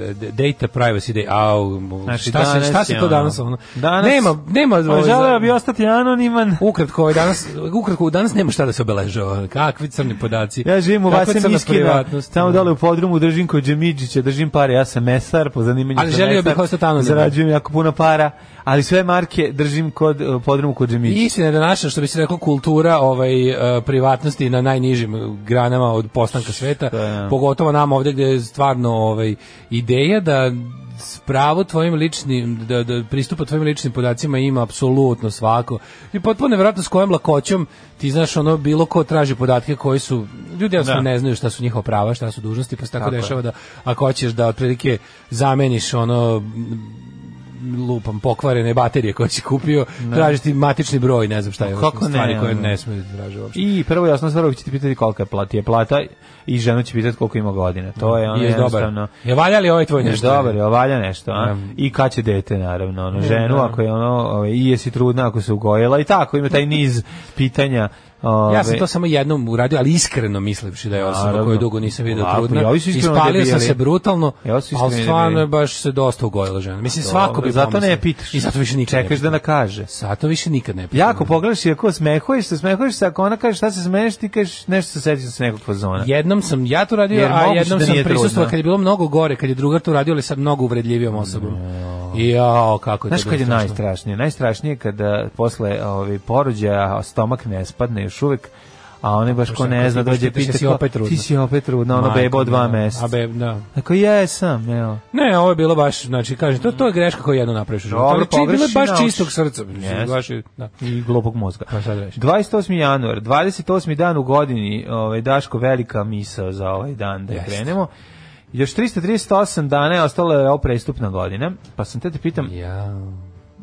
E, d- data privacy day. Au,
Znači,
šta, se,
danas
šta se
je
to
ono-
danas? Ono?
Danas-
nema, nema... ovaj
Pa želeo bi ostati anoniman.
Ukratko, ovaj danas, ukratko, danas nema šta da se obeležava. Kakvi crni podaci.
Ja živim u
kakva
Vasem
crna
Miskina,
privatnost. Da.
tamo dole u podrumu držim kod Đemiđića, držim pare, ja sam mesar, po zanimanju
Ali
sam
želio bih
mesar,
ostati anoniman.
Zarađujem jako puno para, ali sve marke držim kod eh, podrumu kod
I
Đemiđića.
istina je da naša, što bi se reklo, kultura ovaj, e, privatnosti na najnižim granama od postanka sveta,
je.
pogotovo nam ovde gde je stvarno ovaj, ideja da s pravo tvojim ličnim, da, da pristupa tvojim ličnim podacima ima apsolutno svako. I potpuno nevjerojatno s kojom lakoćom ti znaš ono bilo ko traži podatke koji su, ljudi jednostavno
Da.
ne znaju šta su njihova prava, šta su dužnosti, pa se tako,
Tako je.
dešava da ako hoćeš da otprilike zameniš ono lupam pokvarene baterije koje si kupio, tražiš ti matični broj, ne znam šta je,
Pa Kako ne,
stvari koje
ono.
ne smije da traže uopšte.
I prvo jasno stvar, uvijek će ti pitati kolika je plata, je plata i žena će pitati koliko ima godina. To je ono
I je dobar.
jednostavno...
Je valja li ovaj tvoj nešto?
Dobar, je, valja nešto, a?
Mm.
I kad će dete, naravno, ono, ženu,
da.
ako je ono, ovaj, i jesi trudna ako se ugojila, i tako, ima taj niz pitanja. ovaj. Ove,
Ja sam to samo jednom uradio, ali iskreno mislivši da je osoba
Naravno.
koju dugo nisam video
Lako,
trudna.
i ovi su iskreno
Ispalio sam
debili.
se brutalno,
I ovi su
ali
iskreni
stvarno
debili.
je baš se dosta ugojila žena. Mislim, svako bi
Zato
pomislio.
ne pitaš.
I zato više nikad ne
Čekaš da
pitam.
nakaže.
Zato više nikad ne pitam.
Jako pogledaš i ako smehuješ se, smehuješ se, ako ona kaže šta se smeješ, ti kažeš nešto se sećaš sa nekog fazona.
Jednom sam ja to radio,
Jer
a
moguće
jednom
da
sam
nije
prisustvovao
trudna.
kad je bilo mnogo gore, kad je drugar to radio, ali sa mnogo uvredljivijom osobom. I jao, kako je to
Znaš kad
bilo
je
strašno.
najstrašnije? Najstrašnije je kada posle ovaj, porođaja stomak ne spadne još uvek, a one baš ko ne zna
Ti baš
dođe
pitaš,
pita
jesi
kao,
opet trudna?
ti si opet trudna, ono
Majko
bebo od dva
moja.
meseca.
A be, da.
Ako jesam, evo.
Ne, ovo je bilo baš, znači, kažem, to, to je greška koju jedno napraviš u životu.
Dobro,
Ali či- bilo je
pogreši,
baš
nauči.
čistog srca. mislim,
Jeste.
baš je- da.
i glupog mozga.
Pa sad reći.
28. januar, 28. dan u godini, ovaj Daško velika misao za ovaj dan da je
Jeste.
krenemo. Još 338 dana je ostala je ovo prestupna godina, pa sam te te pitam,
Ja.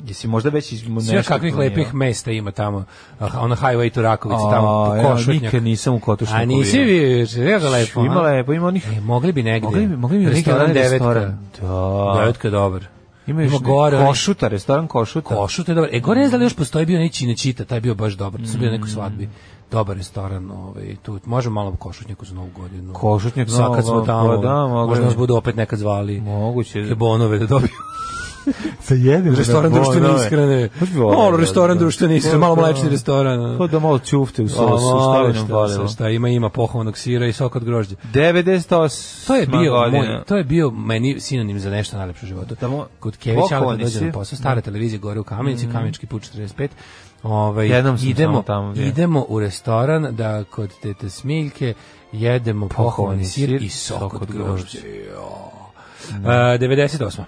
jesi možda već iz nešto...
Sve kakvih
promijenila?
lepih mesta ima tamo, ah, ona highway to Rakovici,
A,
tamo po
ja
Košutnjak.
nikad nisam u Kotušnjaku
A nisi
bio.
vi, juče, je lepo.
Ima
a?
lepo, ima onih...
E, mogli bi negde.
Mogli bi, mogli bi
Regionalan
restoran,
devetka.
restoran. Da.
Devetka je dobar.
Ima još
Ima gore, onaj-
košuta, restoran košuta.
Košut je dobar. E, gore ne znam da li još postoji bio neći nečita, taj je bio baš dobar, to sam bio
Mm.
na nekoj svadbi. Dobar restoran, ovaj, tu možemo malo u Košutnjaku za Novu godinu.
Košutnjak za
Sad kad
Novu
smo tamo,
godinu, da, mogli
možda
bi.
nas budu opet nekad zvali.
Moguće.
Kebonove da dobiju.
Sa da jedem.
restoran društvene ishrane.
da
Malo restoran društvene ishrane, malo mlečni restoran.
Pa da malo ćufte u
A,
sosu,
malo
šta bi nam
šta,
volimo.
Šta ima, ima pohovanog sira i sok od grožđa.
98.
To je bio
godina.
moj, to je bio meni sinonim za nešto najlepše u životu.
Da mo-
Kod Kevića kad dođe
pokovani
na
si. Da. Mhm.
posao, stara televizija gore u Kamenici, Kamenički put 45. Ovaj
Jednom sam
idemo
samo tamo bio.
idemo u restoran da kod tete Smiljke jedemo pohovani sir, i sok od grožđa. Uh, 98.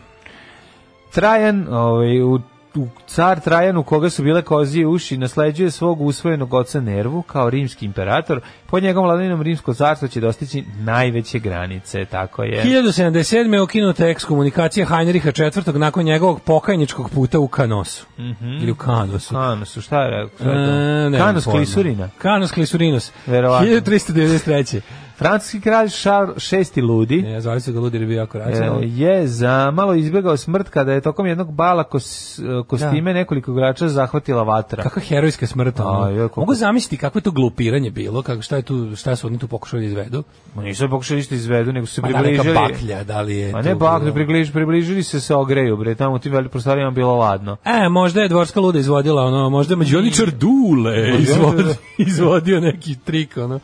Trajan, ovaj, u, u car Trajan u koga su bile kozije uši nasleđuje svog usvojenog oca Nervu kao rimski imperator. Pod njegovom vladavinom rimsko carstvo će dostići najveće granice, tako je.
1077. je ukinuta ekskomunikacija Heinricha IV. nakon njegovog pokajničkog puta u Kanosu.
Mhm.
Ili u Kanosu.
Kanus, šta je rekao? Šta je to?
E, nemam
Kanus
pojma.
da. Klisurina.
Kanus Klisurinos.
Verovatno.
1393.
Francuski kralj Šarl VI Ludi
Ne, zvali su ga Ludir, je bio jako
e,
racionalan.
je za malo izbjegao smrt kada je tokom jednog bala kos, e, kostime nekoliko igrača zahvatila vatra.
Kakva herojska smrt. ono.
A, joj, koliko-
Mogu zamisliti kako je to glupiranje bilo, kako, šta, je tu, šta su oni tu pokušali da izvedu.
Ma nisu pokušali isto izvedu, nego su se
Pa da neka
približili.
baklja, da li je...
Ma
tu
ne bak,
bilo-
približili, približili se se ogreju, bre, tamo u tim velikim prostorijama bilo ladno.
E, možda je dvorska luda izvodila, ono, možda je mađioničar Dule izvodio, izvodio neki trik, ono,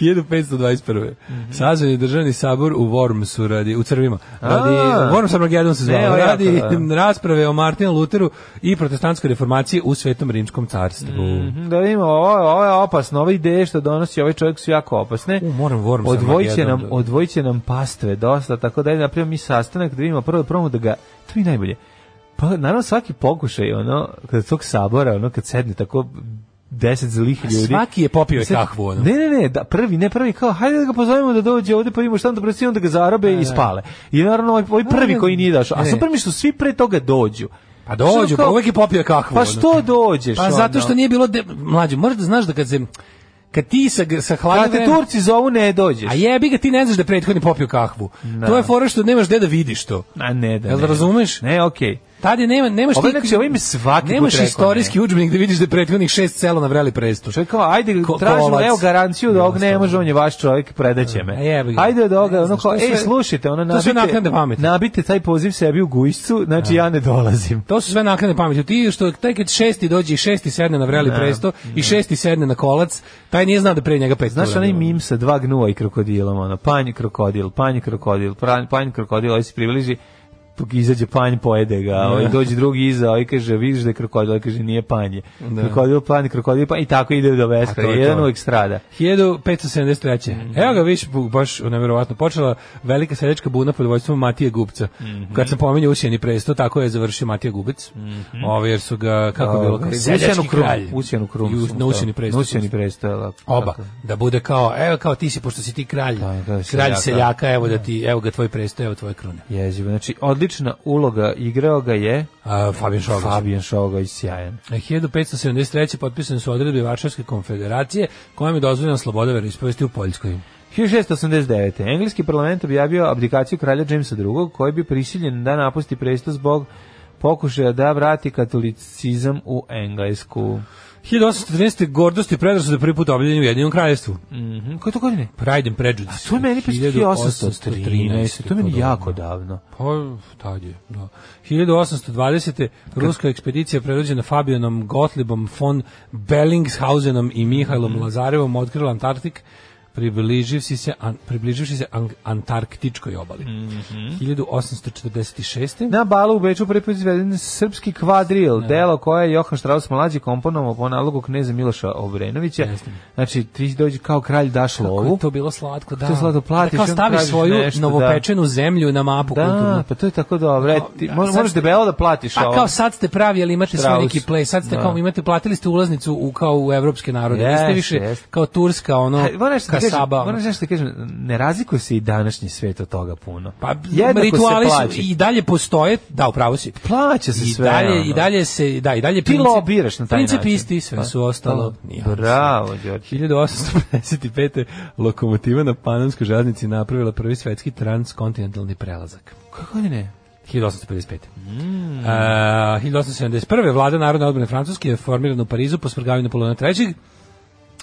1521. Sazvan je državni sabor u Wormsu radi, u Crvima, radi,
Mhm. A.
Worms Armageddon se
Ne,
zvao,
ovo je
radi
jako, da.
rasprave o Martinu Luteru i protestantskoj reformaciji u Svetom rimskom carstvu.
Mhm, Da vidimo, ovo, je- ovo je opasno, ove ideje što donosi ovaj čovjek su jako opasne.
U, moram Worms
Odvojit će
Armageddon
nam,
da-
odvojit će nam pastve dosta, tako da je napravimo mi sastanak da vidimo prvo promo da ga, to mi je najbolje. Pa naravno svaki pokušaj, ono, kad tog sabora, ono, kad sedne tako deset zlih ljudi.
Pa Svaki je popio je
Sad-
kahvu, ono.
Ne, ne, ne, da, prvi, ne prvi, kao, hajde da ga pozovemo da dođe ovde, pa imamo štanda presi, onda ga zarobe i spale. I naravno, ovaj, ovaj
E. Ne,
prvi
ne,
koji nije došao.
ne,
A
ne.
sad prvi što svi pre toga dođu.
Pa dođu,
Što
pa
kao-
uvek je popio kahvu.
Pa
ono.
što dođeš?
Pa zato što
ono?
nije bilo, de... mlađo, moraš da znaš da kad se... Kad ti sa, sa hladne
Kad Da te
vremena-
Turci zovu, ne dođeš.
A jebi ga, ti ne znaš da je prethodni popio kahvu. To je fora što nemaš gde da vidiš to.
A ne, da
Jel
ne.
razumeš?
Ne, okej.
Tad je nema, nemaš
Ovo je, znači, ovo im je svaki put
nemaš
rekao,
istorijski udžbenik da vidiš da je prethodnih šest sela na vreli prestu.
Čovjek kao, ajde,
Ko-
tražimo,
kolac.
evo garanciju da ovog ne
Jednostavno. Da.
može, on je vaš čovjek, predaće
A
me.
jebi ga.
Ajde od ovoga,
Ne
ono
znam,
kao,
to je
ej,
sve-
slušajte, ono,
to sve naknadne
nabite,
pameti. Da.
nabite taj poziv sebi u gujscu, znači ja ne dolazim.
To su sve naknadne pameti. Ti što taj kad šesti dođe i šesti sedne na vreli presto i šesti sedne na kolac, taj nije znao da pre njega pet.
Znaš
stura
onaj
bilo.
mim sa dva gnua i krokodilom, ono, panj krokodil, panj krokodil, pran- panj krokodil, ovaj se približi, tu izađe panj, pojede ga,
Da.
ovaj dođe drugi iza, ovaj kaže, vidiš da je krokodil, ovaj kaže, nije panje. Krokodil, panj, krokodil, panj, i tako ide do
Da. to
veska,
je
jedan
to.
uvijek strada.
1573.
Mhm.
Evo ga viš baš neverovatno počela velika seljačka buna pod vojstvom Matije Gubca.
Mhm.
Kad sam pominjao Usijeni presto, tako je završio Matija Gubec. Ovaj jer su ga kako je bilo
Ovaj,
seljački
Usjenu Mhm. krum,
kralj.
Usjenu krum.
I u-
su mu
na Usijeni
stavili.
presto.
Na Usjeni presto, jel tako?
Oba,
Tako.
da bude kao, evo kao ti si, pošto si ti kralj,
da,
kralj
seljaka. Da.
seljaka, evo da ti, evo ga tvoj presto, evo tvoje krune.
Jezivo, znači odlična uloga, igrao ga je
A, Fabian Šogović.
Fabian Šogović, sjajan.
1573. potpisane su odredbe Varšavske konfederacije kojom je dozvoljena sloboda veroispovesti u Poljskoj.
1689. Engleski parlament objavio abdikaciju kralja Jamesa II, koji bi prisiljen da napusti presto zbog pokušaja da vrati katolicizam u Englesku.
1813. gordost i predrasude prvi put objavljeni u Jedinom kraljevstvu.
Mhm, Koje to godine?
Pride and Prejudice.
A to je meni pa 1813, to je meni
Podobno.
jako davno.
Pa, tad je, da. 1820. ruska ekspedicija predvođena Fabijanom Gotlibom von Bellingshausenom i Mihajlom
Mhm.
Lazarevom otkrila Antarktik približivši se, an, približivši se an, antarktičkoj obali.
Mhm.
1846.
Na balu u Beču prvi put izveden srpski kvadril,
Da.
delo koje je Johan Strauss mlađi komponovao po nalogu kneza Miloša Obrenovića.
Jeste.
Znači, ti dođi kao kralj daš
Kako
lovu.
je to bilo slatko, da.
To je slatko, platiš,
Da kao
onda
staviš
tražiš
svoju
nešto, da.
novopečenu zemlju na mapu kulturnu.
Da, pa to je tako dobro. E, ti,
A
mo-
sad
moraš
ste-
debelo da platiš ovo.
A kao sad ste pravi, ali imate svoj
Strauss.
neki play, sad ste
Da.
kao imate platili ste ulaznicu u kao u evropske narode.
Jeste,
Niste više
jeste.
kao turska ono
Ha, moram nešto da kažem,
kasaba. ono.
moram nešto da kažem, ne razlikuje se i današnji svet od toga puno.
Pa
Jednako
rituali
se
su
plaća.
i dalje postoje, da, upravo si.
Plaća se
I
sve,
dalje
ono.
i dalje se da i dalje
Ti lobiraš na taj
princip
način.
isti sve
Pa,
su ostalo.
da.
Nije,
Bravo, Đorđe.
1855. lokomotiva na Panamskoj žadnici napravila prvi svetski transkontinentalni prelazak.
Koje godine?
1855. Mm. Uh, 1871. vlada Narodne odbrane Francuske je formirana u Parizu po svrgavanju Napoleona III.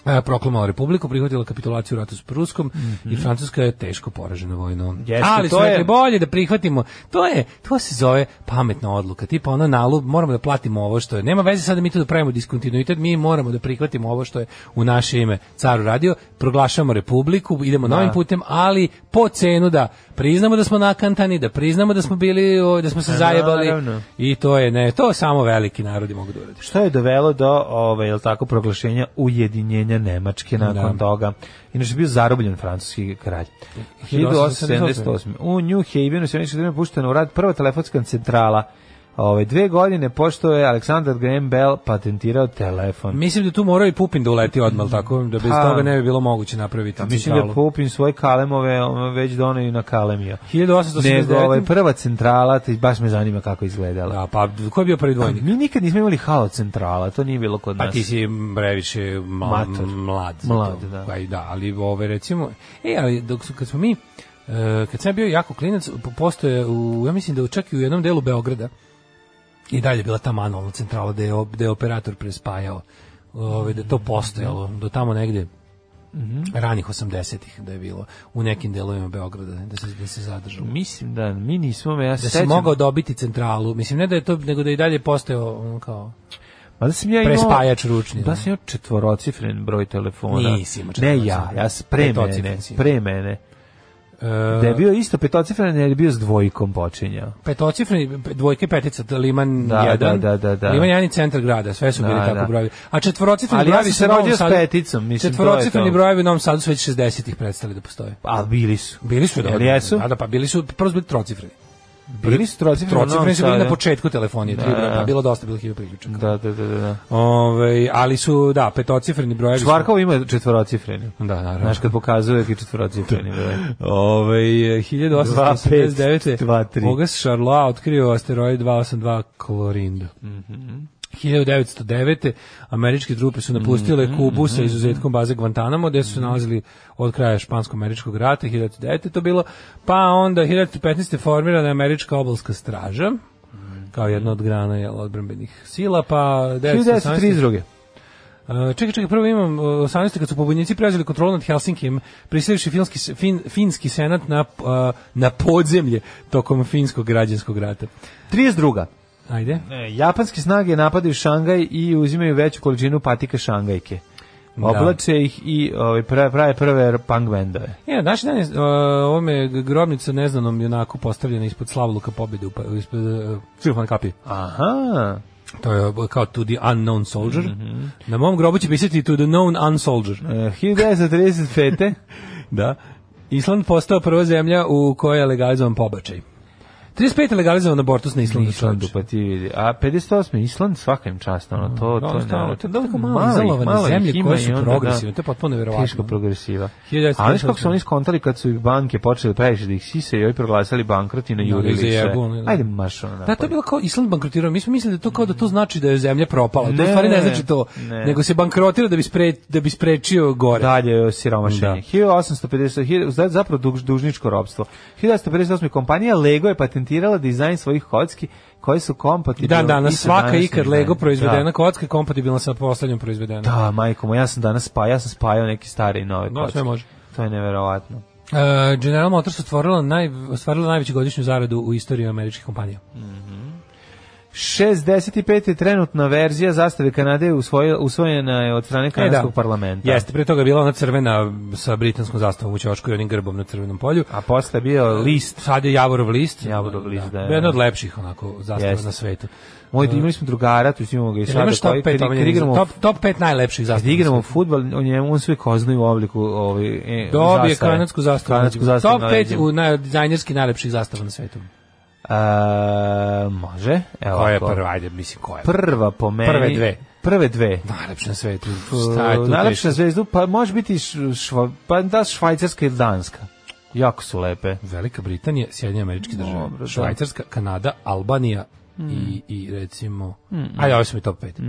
E, proklamovala republiku, prihvatila kapitulaciju u ratu s Pruskom i Francuska je teško poražena vojno.
Mhm. Jeste,
Ali su
to je-
rekli bolje da prihvatimo. To je, to se zove pametna odluka. Tipa ono nalog, moramo da platimo ovo što je. Nema veze sad da mi tu da pravimo diskontinuitet, mi moramo da prihvatimo ovo što je u naše ime car uradio. Proglašavamo republiku, idemo
Da.
novim putem, ali po cenu da priznamo da smo nakantani, da priznamo da smo bili, o, da smo se
Pa,
zajebali.
naravno.
I to je ne, to samo veliki narodi mogu da urade.
Što je dovelo do ovaj jel tako proglašenja ujedinjenja Nemačke nakon
Da.
toga. Inače je bio zarobljen francuski kralj. 1878. U New Havenu se neće vreme puštena u rad prva telefonska centrala. Ove dve godine pošto je Alexander Graham Bell patentirao telefon.
Mislim da tu morao i Pupin da uleti odmah, tako da bez
Pa.
toga ne bi bilo moguće napraviti
A mislim da
centralu.
Pupin svoje kalemove ono, već donio na kalemio.
1889.
Nego ovaj, prva centrala, ti baš me zanima kako je izgledala.
Da, pa ko je bio prvi
Pa,
dvojnik?
mi nikad nismo imali halo centrala, to nije bilo kod
Pa
nas.
ti si previše ma,
Mator.
mlad. za
Mlad,
to.
da.
Pa i da, ali ove recimo, e, ali dok su, kad smo mi, e, kad sam ja bio jako klinac, po- postoje, u, ja mislim da u- čak i u jednom delu Beograda, i dalje je bila ta manualna centrala da je, op- da je operator prespajao, ove, da je to postojalo, do tamo negde
Mhm.
ranih 80-ih da je bilo u nekim delovima Beograda da se, da se zadržalo.
Mislim da mi nismo, ja se
Da si
sećam-
mogao dobiti centralu. Mislim, ne da je to, nego da je i dalje postojao ono kao
Ma da sam ja imao...
prespajač ručni.
Da
ono.
sam imao četvorocifren broj telefona.
Nisi imao
Ne
četvorocifren.
ja, ja s pre
Petocifren
mene,
si imao.
pre mene.
E,
Da je bio isto petocifren, jer je bio s dvojkom počinjao.
petocifreni, pe- dvojke petica, to Liman
Da,
1,
da, da, da, da.
Liman 1 i centar grada, sve su bili
Da,
tako
da.
brojevi. A četvorocifreni
Ali ja
brojevi
sam
su
se
u Novom
rodio s
Sadu-
peticom, mislim, to je
Četvorocifreni
to.
brojevi u Novom Sadu su već 60-ih prestali da postoje.
A bili su.
Bili su da.
Jel jesu?
Da, da, pa bili su, prvo su bili trocifreni.
Bili su trocifreni. u Novom
Trocifreni su bili
Sadu.
na početku telefonije, tri
Da,
broja,
da.
pa bilo dosta, bilo hiljada priključaka.
Da, da, da, da. da.
Ovaj, ali su, da, petocifreni brojevi su...
Čvarkovo ima četvorocifreni.
Da, naravno. Da.
Znaš kad pokazuje uvijek i četvorocifreni broj.
Ove, 1889.
2-5-2-3.
Bogas Charlois otkrio asteroid 282 Klorindo. 1909. američke trupe su napustile Kubu sa izuzetkom baze Guantanamo, gde su se nalazili od kraja Špansko-američkog rata, 1909. to bilo, pa onda 1915. formirana je američka obalska straža, kao jedna od grana jel, odbranbenih sila, pa 1918.
1932.
Uh, čekaj, čekaj, prvo imam uh, 18. kad su pobunjenici preuzeli kontrolu nad Helsinkijem, prisilivši finski, s- fin, finski senat na, uh, na podzemlje tokom finskog građanskog rata.
32.
Ajde.
E, Japanske snage napadaju Šangaj i uzimaju veću količinu patika Šangajke.
Da.
Oblače ih i ovaj, prave, prave prve punk bendove.
Ja, naš dan je, uh, ovome grobnica neznanom junaku postavljena ispod Slavluka pobjede, u pa- ispod uh, Silvan Kapi.
Aha.
To je uh, kao to the unknown soldier. Na mom grobu će pisati to the known unsoldier.
E, 1935.
Da. Island postao prva zemlja u kojoj je legalizovan pobačaj. 35 je legalizovan abortus na Islandu.
Islandu,
čoveče.
pa ti vidi. A 58. Island, svaka im čast, ono, to,
Da,
to,
ono, stvarno,
ne,
to je toliko malo
ih-
izolovane
ih
zemlje
ima
koje su
i onda, da.
progresivne, to je potpuno neverovatno.
Teško progresiva.
1938.
A znaš kako su oni skontali kad su ih banke počeli previše da ih sise i ovi proglasili bankrot i najurili
Da,
se.
zajebu, ono, da.
Ajde, maš ono. pa
Da, to je bilo kao Island bankrotirao. Mi smo mislili da to kao da to znači da je zemlja propala. to u
Ne,
stvari ne znači to,
ne.
nego se bankrotira da bi spre, da bi sprečio gore.
dalje siromašenje.
Da.
1850 hi- za- zapravo duž, dužničko robstvo. 1858 kompanija Lego je patentirala dizajn svojih kocki koje su
I
kompatibilne.
dan danas
i sa
svaka
današnjim
ikad Lego
danima.
proizvedena
Da.
kocka je kompatibilna sa poslednjom proizvedenom.
Da, majko moja, ja sam danas spajao, ja sam spajao neke stare i nove
Da,
kocke.
sve može.
To je neverovatno.
E, General Motors otvorila naj, ostvarila najveću godišnju zaradu u istoriji američkih kompanija.
65. je trenutna verzija zastave Kanade usvojila, usvojena je od strane kanadskog parlamenta.
E da. Jeste, pre toga je bila ona crvena sa britanskom zastavom u Ćošku i onim grbom na crvenom polju.
A posle je bio list.
Sad je Javorov list.
Javorov list, da, da.
Jedna od lepših onako zastava
Jeste.
na svetu.
Moj,
Da.
imali smo drugara, tu imamo ga i
Jel
sada
imaš top
koji,
5
kad, kad igramo
top, top 5 najlepših
Kad
zastava? na
igramo
svetu?
fudbal, on je on sve kozni u obliku ovaj e,
Dobije
zastave.
kanadsku zastavu.
Kanadsku
na leđima.
zastavu.
Top 5 u naj, dizajnerski najlepših zastava na svetu.
E, može. Evo.
Koja je
ovako.
prva? Ajde, mislim, koja je prva?
Prva po meni.
Prve dve.
Prve dve.
Najlepša na svetu. Šta je tu
Najlepša
teško?
zvezdu, pa može biti š- šva, pa da švajcarska ili danska. Jako su lepe.
Velika Britanija, Sjedinje američke države,
Dobro, da. Hmm.
Švajcarska, Kanada, Albanija i, i recimo... Ajde, ovo su mi top 5.
Ne,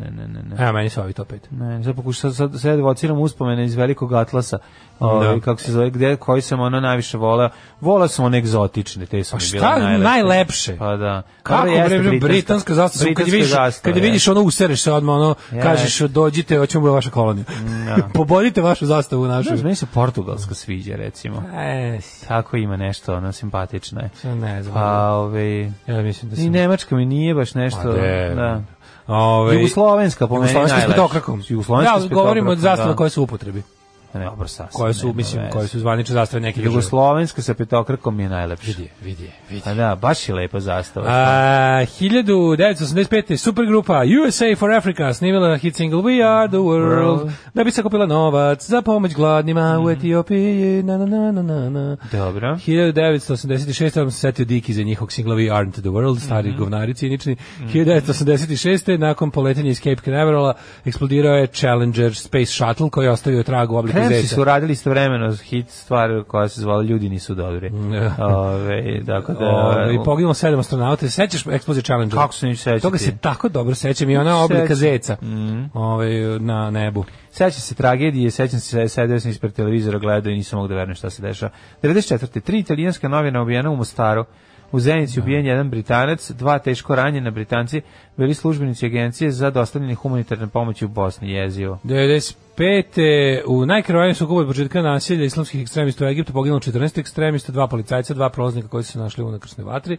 ne, ne, ne, ne.
Evo, meni su ovi top 5.
Ne, sad pokušam, sad, sad, sad evociram uspomene iz velikog atlasa, ovaj,
Da.
kako se zove, gde, koji sam ono najviše voleo. Voleo sam one egzotične, te su
Pa
mi bile
šta
najlepše.
najlepše?
Pa da.
Kako
Dobro,
bre,
jeste,
britanska, britanska zastava, kad
britanska
je vidiš, kad je
je.
vidiš ono usereš se odmah, ono
Jeste.
kažeš dođite, hoćemo u vaša kolonija. Da. Pobodite vašu zastavu našu.
Znaš, meni se portugalska sviđa, recimo.
E,
Tako ima nešto, ono, simpatično je.
sad ne znam.
Pa, ove,
ja mislim da
i
sam...
nemačka mi nije baš nešto,
Pa de.
da.
Ove,
Jugoslovenska po meni
Pa Jugoslovenska s
najlepša.
petokrakom.
Jugoslovenska
da,
s
ali govorimo od
petokrakom,
zastava
da.
koje su u upotrebi.
Ne, dobro, sasvim,
Koje su,
nema
mislim,
veze.
koje su zvanične zastave neke države.
Jugoslovenska sa petokrakom je najlepša.
Vidi je, vidi je, vidi je.
Pa da, baš je lepa zastava.
A, 1985. supergrupa USA for Africa snimila hit single We Are the World da bi sakupila novac za pomoć gladnima u Etiopiji. Na, na, na, na, na, na.
Dobro.
1986. vam se setio Diki za njihovog singla We Aren't the World, stari govnari cinični. 1986. nakon poletenja iz Cape Canaverala eksplodirao je Challenger Space Shuttle koji je ostavio trag u obliku
Kremsi
zeca.
su radili istovremeno hit stvar koja se zvala Ljudi nisu dobri.
Ne.
Ove, dakle, da,
Da. Ove, Ovaj, I poginulo sedam astronauta. Sećaš eksplozije Challenger?
Kako se neću sećati?
Toga se tako dobro sećam i ona oblika
Sećam. Mhm.
zeca ovaj, na nebu.
Sećam se tragedije, sećam se, sedeo sam ispred televizora, gledao i nisam mogu da verujem šta se dešava. 94. Tri italijanska novina ubijena u Mostaru. U Zenici ubijen jedan Britanac, dva teško ranjena Britanci, bili službenici agencije za dostavljanje humanitarne pomoći u Bosni jezivo.
95. u najkrvavijim sukobu od početka nasilja islamskih ekstremista u Egiptu poginulo 14 ekstremista, dva policajca, dva prolaznika koji su se našli u nakrsnoj vatri.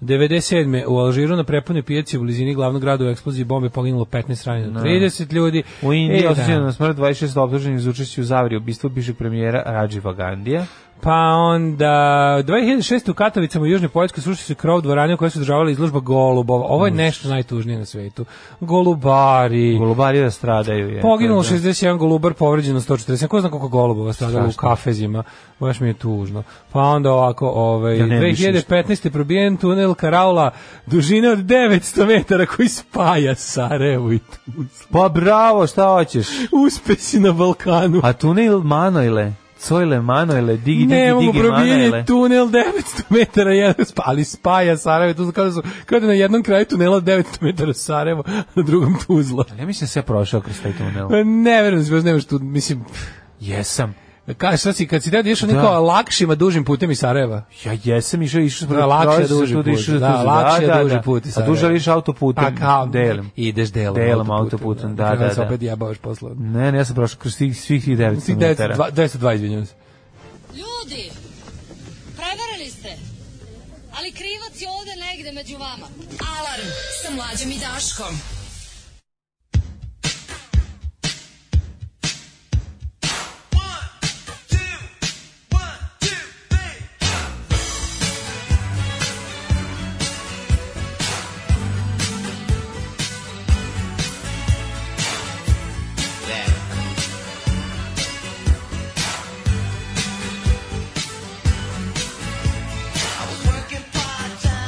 97. u Alžiru na prepunoj pijaci u blizini glavnog grada u eksploziji bombe poginulo 15 ranjeno 30 ljudi.
U Indiji
E,
e,
da.
osuđeno na smrt 26 optuženih za učešće u zaviri ubistvu bivšeg premijera Rajiva Gandija.
Pa onda 2006. u Katovicama u Južnoj Poljskoj srušio se krov dvorane u kojoj su državala izložba golubova. Ovo je nešto najtužnije na svetu. Golubari.
Golubari da stradaju. Je,
Poginulo
To je da.
61 golubar, povređeno 140. Ko zna koliko golubova stradalo u
Strašno.
kafezima. Baš mi je tužno. Pa onda ovako, ovaj,
Ja ne bi
2015. probijen tunel Karaula dužine od 900 metara koji spaja Sarajevo i Tuzlu.
Pa bravo, šta hoćeš?
Uspesi na Balkanu.
A tunel Manojle, Cojle Manojle, digi,
Ne
digi,
mogu
digi, Manojle.
probijenje tunel 900 metara, jedan spa- ali spaja Sarajevo i Tuzlu. Kao da, su, kao da je na jednom kraju tunela 900 metara Sarajevo, na drugom Tuzla.
Ja mislim da sam ja prošao kroz taj tunel.
Ne verujem, da se baš nemaš tu, mislim,
Jesam.
Ka, šta si, kad si deo išao neko
Da.
lakšima dužim putem iz Sarajeva?
Ja jesam išao, išao sam.
Da, lakše je duži
Išao sam
put.
išao sam
Da,
tuzi.
lakše je Pa duži put iz
A duže
Sarajeva.
liš autoputem? Delim.
Ideš delom.
Delom autoputem, da,
Na kraju
da,
se
da.
opet jebavaš posle.
Ne, ne, ja sam prošao kroz svih, svih tih 900
Svih
metara.
902, 902, izvinjam se.
Ljudi, prevarili ste. Ali krivac je ovde negde među vama. Alarm sa mlađom i Daškom.
I was working part
uh,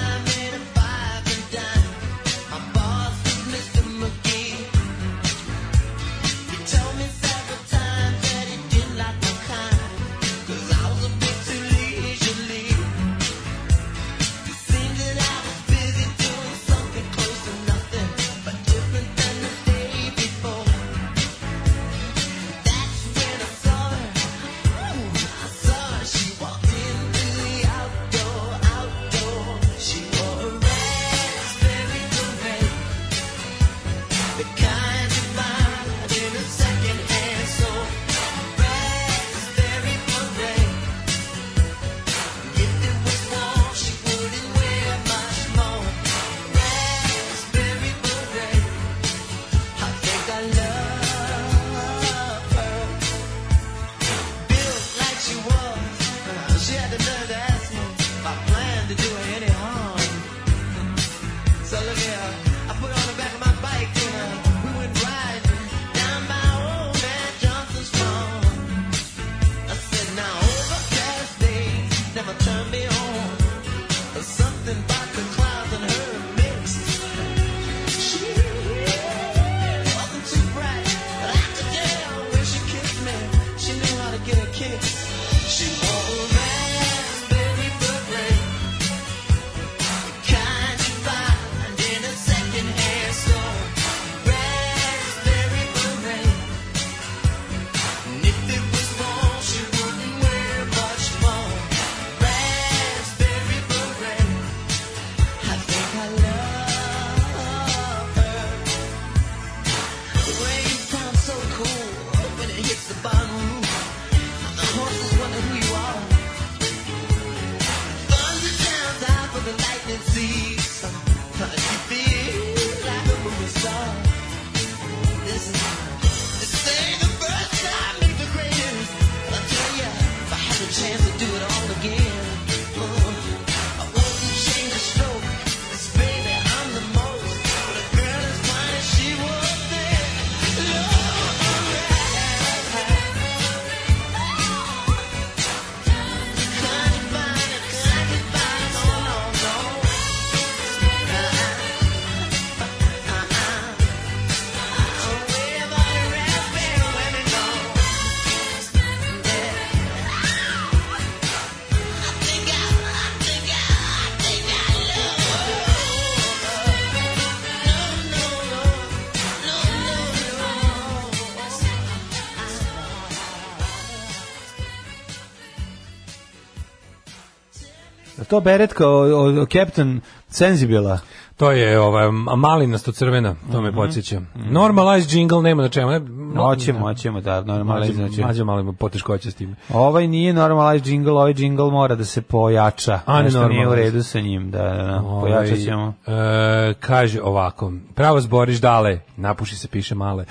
to beretka o, o, o Captain Sensibila?
To je ova malinasto crvena, to
Mhm.
me podsjeća. Normalized jingle nema na čemu. ne? No,
Hoćemo, hoćemo, da, normalno znači.
Mađo malo ima poteškoće s time.
Ovaj nije normalized jingle, ovaj jingle mora da se pojača.
A, ne
Nešto nije u
normalized.
redu sa njim, da, da, da.
Ovaj,
Pojačat ćemo.
E, kaže ovako, pravo zboriš dale, napuši se piše male.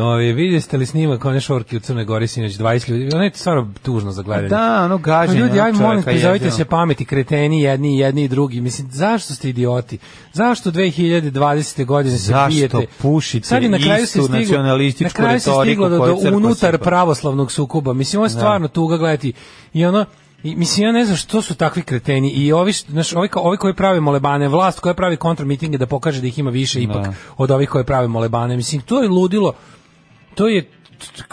Ovi, vidjeli ste li snimak one šorki u Crnoj Gori sinoć 20 ljudi, ono je stvarno tužno za gledanje.
Da, ono
Pa
gaženje.
ljudi,
ono
aj molim,
čoveka
prizovite
jezivo.
se pameti, kreteni jedni i jedni i drugi. Mislim, zašto ste idioti? Zašto 2020. godine se
Zašto
bijete?
pušite
Sad je na kraju se
istu
stiglo,
nacionalističku
na kraju se
retoriku
stiglo do,
koju
do
crkva Da.
unutar
sipa.
pravoslavnog sukoba. Mislim, ovo je stvarno tuga gledati. I ono, I, mislim, ja ne znam što su takvi kreteni i ovi, š- znaš, ovi, ko- ovi koji prave molebane, vlast koja pravi kontramitinge da pokaže da ih ima više ipak od ovih koji prave molebane. Mislim, to je ludilo to je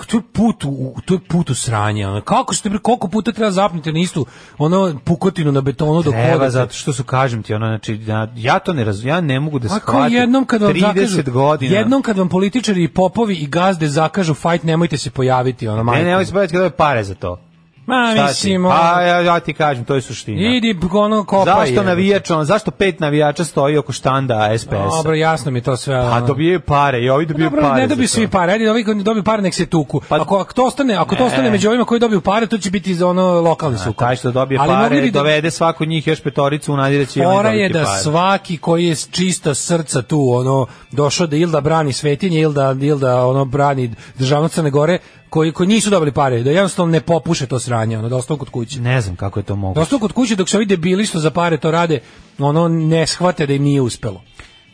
to je put u, to je put u sranje. ono. Kako ste bre, koliko puta treba zapnuti na istu ono pukotinu na betonu dok
Treba,
hodate?
zato što su, kažem ti, ono, znači, ja, ja to ne razum, ja ne mogu da
Ako
shvatim.
Pa jednom kad vam
30
zakažu,
godina.
jednom kad vam političari i popovi i gazde zakažu fight, nemojte se pojaviti, ono
Ne,
majko.
ne, ovo se kada je pare za to.
Ma
Šta ti?
mislim,
Pa,
ono,
ja, ja ti kažem, to je suština.
idi ono kopaj.
zašto
jebote.
navijač, on, zašto pet navijača stoji oko štanda SPS-a?
Dobro, jasno mi je to sve.
A
ono.
Pa,
Pa
dobijaju pare, i ovi dobijaju
Dobro,
pare.
ne
za
dobiju
to.
svi pare, ajde, ovi koji ne dobiju pare nek se tuku.
Pa-
ako, ako to ostane, ako to ostane među ovima koji dobiju pare, to će biti za ono lokalni
A
sukob.
taj što dobije
Ali mogli
pare,
bi da-
dovede svako od njih još petoricu u nadi da će i oni
Fora je
dobiti
da
pare.
svaki koji je s čista srca tu, ono, došao da ili da brani svetinje, ili da, ili da ono, brani državno Crne Gore, koji, koji nisu dobili pare, da jednostavno ne popuše to sranje, ono, da ostanu kod kuće.
Ne znam kako je to
Da
moguće.
ostanu kod kuće dok se ovi debili što za pare to rade, ono, ne shvate da im nije uspelo.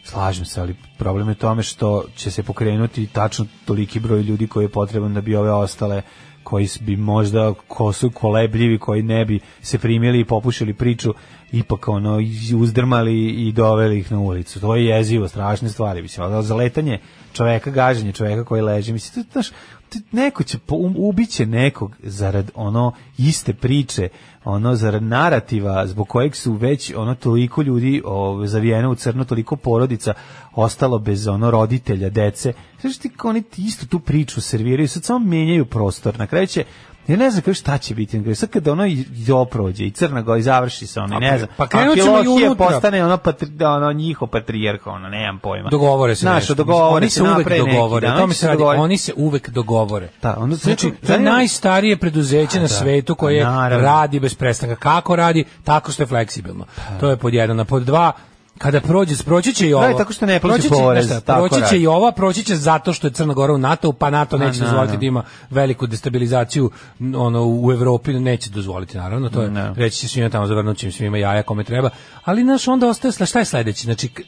Slažem se, ali problem je u tome što će se pokrenuti tačno toliki broj ljudi koji je potreban da bi ove ostale koji s- bi možda ko su kolebljivi, koji ne bi se primili i popušili priču, ipak ono iz- uzdrmali i doveli ih na ulicu. To je jezivo, strašne stvari. Mislim, ali zaletanje čoveka, gaženje čoveka koji leži, mislim, to, znaš, ti- neko će, po- um- ubiće nekog zarad ono iste priče, ono zarad narativa zbog kojeg su već ono toliko ljudi ove, zavijeno u crno, toliko porodica ostalo bez ono roditelja, dece. Znaš ti, kao oni ti istu tu priču serviraju, sad samo menjaju prostor. Na kraju će Ja ne znam kako šta će biti, na kraju. sad kada ono i, i oprođe i Crna Gora i završi se ono, i
A pa-
ne znam.
pa krenut ćemo i
Amfilohije
unutra.
postane ono, patri, ono njihov patrijarh, ono, nemam pojma.
Dogovore se
Znaš,
nešto.
dogovore
oni se uvek
naprave neki
dogovore.
dan,
o tome
oni će
se radi.
dogovoriti.
Oni se uvek dogovore.
Da, onda se-
znači, to je
Zanima-
najstarije preduzeće na svetu koje
da. Pa, naravno.
radi bez prestanka. Kako radi? Tako što je fleksibilno.
Pa.
To je pod jedan. A pod dva, kada prođe, proći će i ovo.
Radi tako što ne plaća
Proći će- znaš
porez,
šta,
tako
Proći će
radi.
i ova, proći će zato što je Crna Gora u NATO, pa NATO neće dozvoliti
naravno.
da ima veliku destabilizaciju n- ono, u Evropi, neće dozvoliti naravno, to je,
Ne.
reći će svima tamo zavrnut će im svima jaja kome treba, ali naš onda ostaje, sla- šta je sledeće, znači k-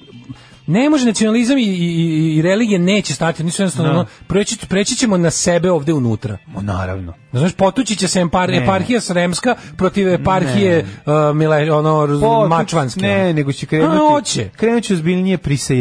ne može nacionalizam i, i, i- i religije neće stati, nisu jednostavno,
Da.
ono, preći, preći ćemo na sebe ovde unutra.
Ma, Naravno.
Znaš, potući će se empar, eparhija Sremska protiv eparhije uh, Mile, ono, raz-
Po,
Mačvanske.
Ne, nego će krenuti.
A, hoće.
Krenut će ozbiljnije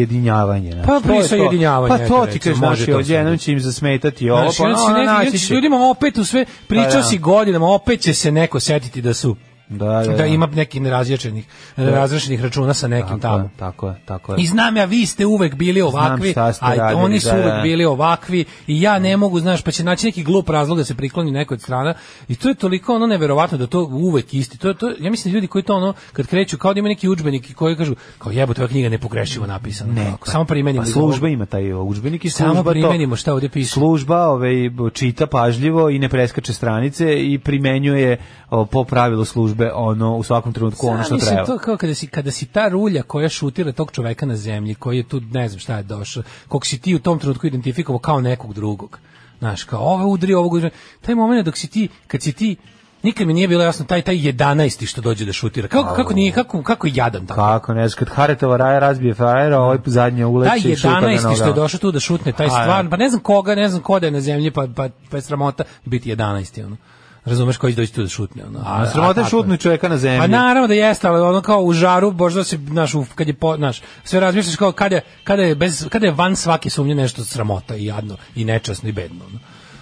prisajedinjavanje. znaš,
Pa,
to je to.
prisajedinjavanje,
Pa to
eto,
ti
recimo,
kažeš,
može
naši
to
odjednom će im zasmetati ovo.
Znaš,
pa
i onda si
ono,
neki- i onda
naći
ćeš
će.
ljudima opet u sve, pričao
da.
si godinama, opet će se neko setiti da su
Da, da, da.
ima nekih nerazjačenih, nerazrešenih računa sa nekim
Tako
tamo.
je, tako je, tako je.
I znam ja, vi ste uvek bili ovakvi,
šta ste
a
radili,
oni su
da,
uvek
da.
bili ovakvi i ja ne mogu, znaš, pa će naći neki glup razlog da se prikloni nekoj od strana i to je toliko ono neverovatno da to uvek isti. To, je- to, ja mislim da ljudi koji to ono, kad kreću, kao da ima neki udžbenik koji kažu, kao jebote, ova knjiga nepogrešivo napisana. Ne,
pa-
samo primenimo.
Pa
iz ovog.
služba ima taj udžbenik i
Samo
služba to-
primenimo šta ovdje piše.
Služba ovaj, b- čita pažljivo i ne preskače stranice i primenjuje o, po pravilu službe ono u svakom trenutku ono što
Zamisli
treba.
Da, to kao kada si, kada si ta rulja koja šutira tog čoveka na zemlji, koji je tu, ne znam šta je došao, kog si ti u tom trenutku identifikovao kao nekog drugog. Znaš, kao ovo udri, ovog udri. Taj moment dok si ti, kad si ti, nikad mi nije bilo jasno taj taj 11 što dođe da šutira. Kako kako nije kako kako je jadan tako.
Kako, ne znam, kad Haretova raja razbije frajera, ovaj zadnje
Taj
uleće i šuta na
11 što je
nogama.
došao tu da šutne taj
A, da.
stvarno, pa ne znam koga, ne znam ko da je na zemlji, pa pa pa je sramota biti 11 ono. Razumeš koji će doći tu da šutne ono. A,
Sramota
a
je
tako je.
šutnu čovjeka na zemlji.
Pa naravno da jeste, ali ono kao u žaru, možda se naš kad je po, naš sve razmišljaš kao kada kada je bez kada je van svake sumnje nešto sramota i jadno i nečasno i bedno. ono.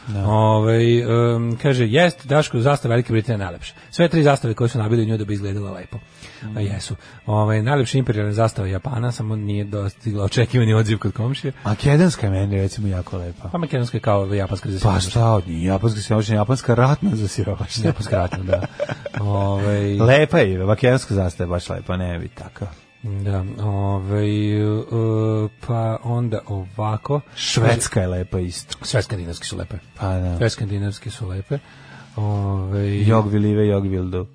Da.
Ovaj, em, kaže, jest, Daško, zastava Velike Britanije je najlepša. Sve tri zastave koje su nabili u nju da bi izgledala lepo.
Mm.
A jesu. Ovaj, najlepša imperialna zastava Japana, samo nije dostigla očekivani odziv kod komšije.
Makedonska je meni recimo jako lepa.
Pa makedonska je kao japanska za
Pa šta od njih, japanska siromašnja, japanska ratna za siromašnja.
Japanska ratna, da. Ovaj,
Lepa je, makedonska zastava je baš lepa, ne bi tako.
Da, ovaj, e, pa onda ovako.
Švedska je lepa isto.
Pa Sve skandinavski su lepe.
Pa da.
Sve skandinavski su lepe. Ovaj,
Jog vilive, jog vildu.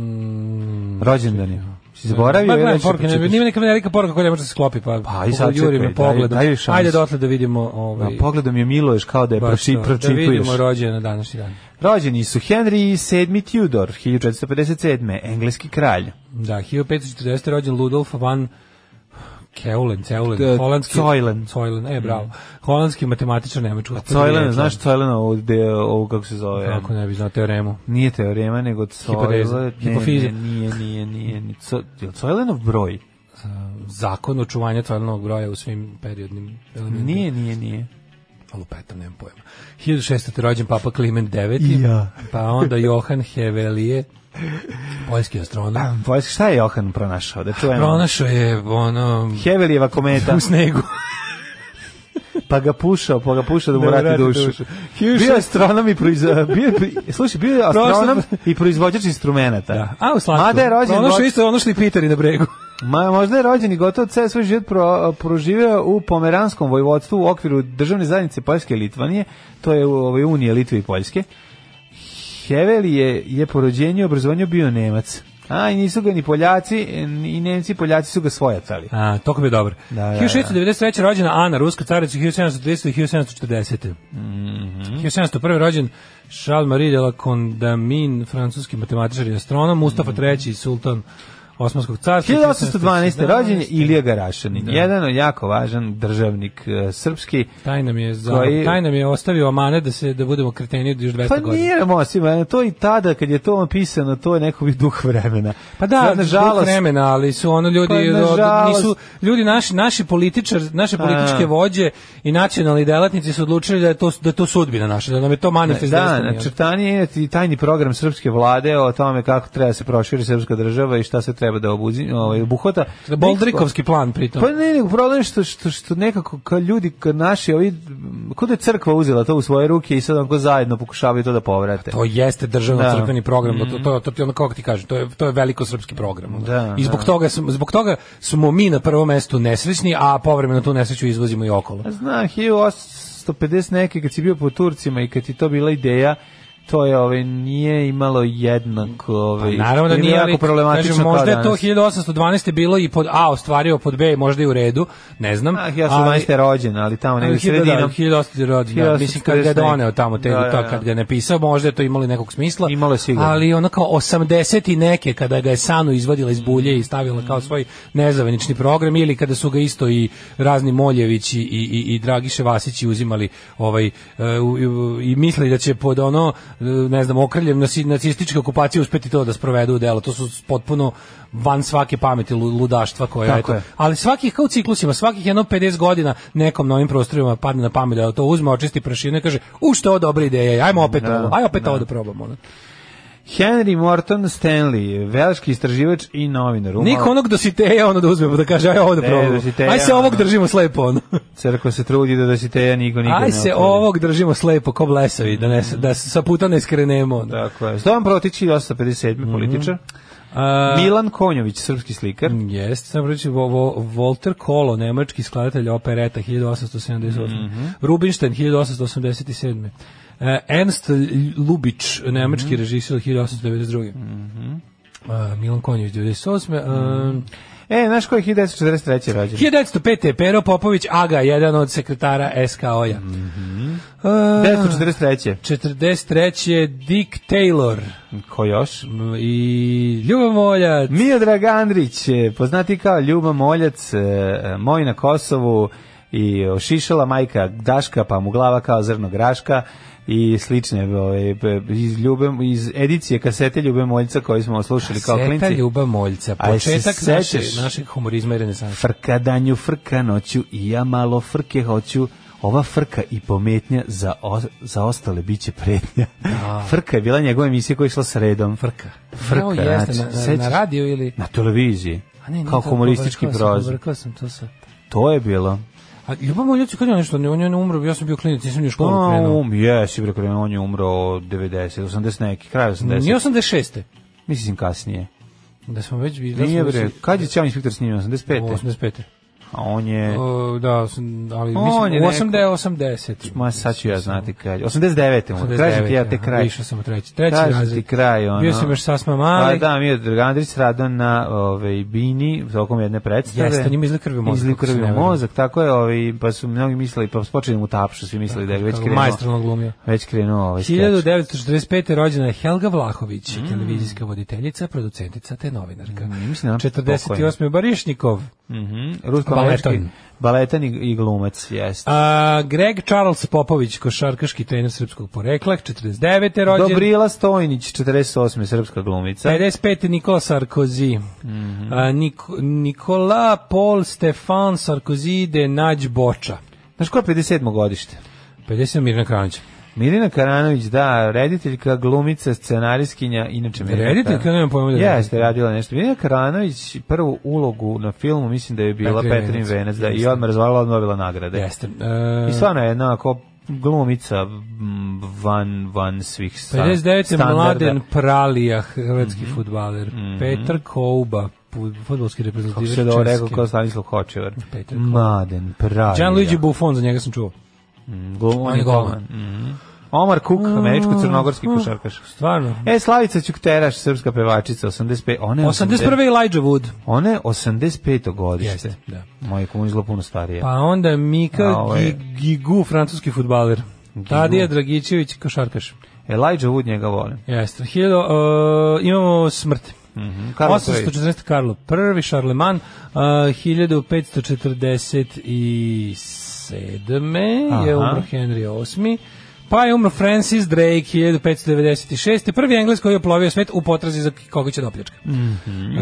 mm,
Rođendan je. Si
Ma,
zaboravio?
gledam
ili ćeš
poruke, ne,
pročitaš?
nema neka velika poruka koja ne može da se sklopi, pa,
Pa, i sad
juri
čekaj,
me pogledom.
daj- daj joj šans.
Ajde dotle da vidimo ovaj,
Na pogledom je Miloš kao da je
baš
proči,
to, da
pročituješ.
vidimo rođena na današnji dan.
Rođeni su Henry VII Tudor, 1457. Engleski kralj.
Da, 1540. rođen Ludolf van Keulen,
Da,
Ceulen, holandski...
Ceulen.
Ceulen, e, bravo. Holandski matematičar Nemačko.
Cojlen, znaš Cojlen ovde, ovo kako se zove?
Kako ne bi znao teoremu.
Nije teorema, nego Cojlen.
Hipoteza, hipofiza.
Nije, nije, nije. nije. Co, je Cojlenov broj?
Zakon očuvanja Ceulenog broja u svim periodnim elementima.
Nije, nije, nije.
Lupetam, nemam pojma. 1600. rođen Papa Kliment IX.
I ja.
Pa onda Johan Hevelije, poljski astronom.
Vojsk, šta je Johan pronašao? Da čujemo.
Pronašao je ono...
Hevelijeva kometa,
U snegu.
pa ga pušao, pa ga pušao da mu
Da mu
vrati
vrati
dušu.
dušu.
Bio je astronom i proizvođač, bio je, pri- slušaj, bio je astronom i proizvođač instrumenta.
Da. A, u slatku.
Mada je rođen
Pronašao
go-
je isto ono što i Piteri na bregu.
Ma, možda je rođen i gotovo ceo svoj život pro, proživeo u pomeranskom vojvodstvu u okviru državne zajednice Poljske i Litvanije, to je u- ovaj, Unije Litve i Poljske. Hevel je, je po rođenju i obrazovanju bio Nemac. A, i nisu ga ni Poljaci, i Nemci i Poljaci su ga svojatali.
A, toliko bi je dobar.
Da, da, da.
1693. rođena Ana, ruska carica 1730. i 1740. Mhm. 1701. rođen Charles Marie de la Condamine, francuski matematičar i astronom, Mustafa III. sultan Osmanskog carstva.
1812. rođen
1717.
je Ilija Garašanin,
Da.
jedan od jako važan državnik e, srpski.
Taj nam je, za,
Koji-
taj nam je ostavio amane da se da budemo kreteni od još 200
Pa
godina.
nije Mosima, to i tada kad je to pisano, to je neko bi duh vremena.
Pa da,
Sad,
nažalost, vremena, ali su ono ljudi,
Pa, nažalost.
nisu, ljudi naši, naši političar, naše političke
A.
vođe i nacionalni delatnici su odlučili da je to, da je to sudbina naša, da nam je to manifest
Da,
destiny,
načrtanje je i tajni program srpske vlade o tome kako treba da se proširi srpska država i šta se treba da obuzi, ovaj, obuhvata.
ono. Da, Boldrikovski plan pritom.
Pa ne, nego problem je što, što, što nekako ka ljudi, ka naši, ovi, kod je crkva uzela to u svoje ruke i sad onako zajedno pokušavaju to da
Pa
povrate.
To jeste državno
Da.
crkveni program, to to to ti ono kako ti kažem, to je to je veliko srpski program. ono.
Da,
I zbog toga smo zbog toga smo mi na prvom mestu nesrećni, a povremeno tu nesreću izvozimo i okolo.
Ja Znam, 1850 neke kad si bio po Turcima i kad ti to bila ideja, to je ovaj nije imalo jednako ovaj
Naravno da
bilo
nije,
jako
ali
problematično
kažem, možda
kao
je to
danas.
1812. bilo i pod A ostvario, pod B možda i u redu, ne znam.
Ah, ja sam
ali-
12. rođen, ali tamo negdje
Ali hiljada-
sredinom.
da, 1800 rođendan.
1840
Mislim, kad ga je doneo tamo, te,
Da, da,
to,
da.
kad ga je napisao, možda je to imalo i nekog smisla.
Imalo je sigurno.
Ali ono kao 80 i neke, kada ga je Sanu izvadila iz bulje i stavila kao svoj nezavenični program, ili kada su ga isto i razni Moljevići i, i, i Dragiše Vasići uzimali ovaj, e, u- u- i mislili da će pod ono, e, ne znam, okreljem naci- nacističke okupacije uspeti to da sprovedu u delo. To su potpuno van svake pameti lu- ludaštva koje
Tako
eto,
je.
ali svakih kao u ciklusima, svakih jedno 50 godina nekom novim prostorima padne na pamet da to uzme, očisti prašinu i kaže, u što je ovo dobra ideja, ajmo opet
Da,
ovo, aj opet
da.
ovo da probamo. ono.
Henry Morton Stanley, velški istraživač i novinar. Umro-
Niko onog dositeja ono da uzmemo, da kaže, aj ovo da
Ne,
probamo.
Dositeja,
Aj se ovog
ono.
držimo slepo, ono.
Crkva se trudi da dositeja niko nikad
Aj
ne
se
otvori.
ovog držimo slepo, ko blesavi, da, ne, da se sa puta ne skrenemo. Da. ono.
Dakle, Stojan Protić, 1857. političar.
Mhm. A, Mm.
Milan Konjović, srpski slikar.
Jeste, sam reći vo, vo, Volter Kolo, nemački skladatelj opereta 1878. Rubinstein 1887. E, Ernst Lubić, nemački režisir 1892. E, Milan Konjević 98. E,
E, znaš ko je 1943. rođen?
1905. je Pero Popović Aga, jedan od sekretara SKO-ja. Mm
1943.
43. je Dick Taylor
Ko još?
m, i Ljubomolja
Miodrag Andrić, eh, poznati kao Ljuba Moljac, eh, moj na Kosovu i ošišala majka Daška, pa mu glava kao zrno graška i slične ovaj, b- iz, Ljube, iz edicije kasete Ljube Moljca koju smo slušali kao
Seta
klinci.
Ljuba Moljca,
A jesi
početak
se
naše,
sećaš?
našeg humorizma i renesansa.
Frka danju, frka noću i ja malo frke hoću Ova frka i pometnja za, o, za ostale biće pretnja.
Da.
frka je bila njegova emisija koja je išla sredom. Frka. Frka,
Jao, jeste,
znači,
na, na,
sećaš-
na radio ili...
Na televiziji.
A ne, nije
kao
to,
humoristički
pobrkao sam,
prozor.
Pobrkao sam to sa...
To je bilo.
A Ljubav Moljac je kad je on nešto, on je- on je umro, ja sam bio klinac, nisam ni u školu
Pa,
krenuo.
um, jesi, bre, krenuo, on je umro 90, 80 neki, kraj 80.
Nije 86.
Mislim kasnije.
Da smo već bili... da
Nije
smo
bre,
već-
kad je Ćao inspektor snimio? 85.
85.
A on je...
O, da, sam- ali
On je
mislim,
neko-
u 8 da je 80.
Ma sad ću ja znati kad. 89. mu. Kažem ti ja te kraj.
Išao sam u treći, treći
Kažem
razred.
ti kraj, ono.
Bio sam još sasma
Pa
mali.
da, mi je Dragandrić radio na ovaj, Bini, tokom jedne predstave.
Jeste, on njima izli krvi mozak,
Izli
ako se
krvi
ne varam.
mozak, tako je, ovaj, pa su mnogi mislili, pa su počeli mu tapšu, svi mislili da je već
Kako
krenuo.
Majstorno glumio.
Već krenuo ovaj skeč.
1945. rođena je Helga Vlahović, televizijska voditeljica, producentica te novinarka.
Mm. mislim da je ona
48. Barišnikov.
Mhm, Rusko-američki
Baletan.
baletan i, i glumac, jeste.
A, Greg Charles Popović, košarkaški trener srpskog porekla, 49. rođen.
Dobrila Stojnić, 48. srpska
E-
glumica.
55. Nikola Sarkozy.
Mhm.
A, Nik- Nikola Paul Stefan Sarkozy de Nađ Boča.
Znaš ko je 57. godište?
57. Mirna Kranić.
Mirina Karanović, da, rediteljka, glumica, scenarijskinja, inače Mirina
Rediteljka,
Karanović.
nemam pojma da je
Jeste, radila nešto. Mirina Karanović prvu ulogu na filmu, mislim da je bila
Petrin
Petrin
Venac.
Venac, da, i
Jeste.
odmah razvalila, odmah dobila nagrade.
Jeste. E,
I stvarno je jedna ako glumica m, van, van svih sta-
59.
standarda. Mhm.
Mladen Pralija, hrvatski futbaler. Petar Kouba, pu- fudbalski
Kako
reprezentativac
se da ovo rekao
Češke.
kao Stanislav Hočevar.
Petar Kovač.
Mladen, pravi.
Gianluigi Buffon, za njega sam čuo.
Glum, on je golman. Mhm. Omar Kuk, američko-crnogorski košarkaš.
Stvarno.
E, Slavica Ćukteraš, srpska pevačica, 85.
E,
Ona je
81. Elijah Wood.
Ona je 85. godište.
Jeste, da.
Moj kum izgleda puno starije.
Pa onda Mika
A, ovo je-
Gi- Gigu, francuski futbaler. Tadija Dragićević, košarkaš.
Elijah Wood njega volim.
Jeste. Hiljado, e, imamo smrt.
Mhm. Karlo III.
814. Karlo I, Šarleman, uh, 1547. je
Aha.
umro Henry VIII. Pa je umro Francis Drake 1596. Prvi Englez koji je plovio svet u potrazi za koga će dopljačka. Mm
Mhm.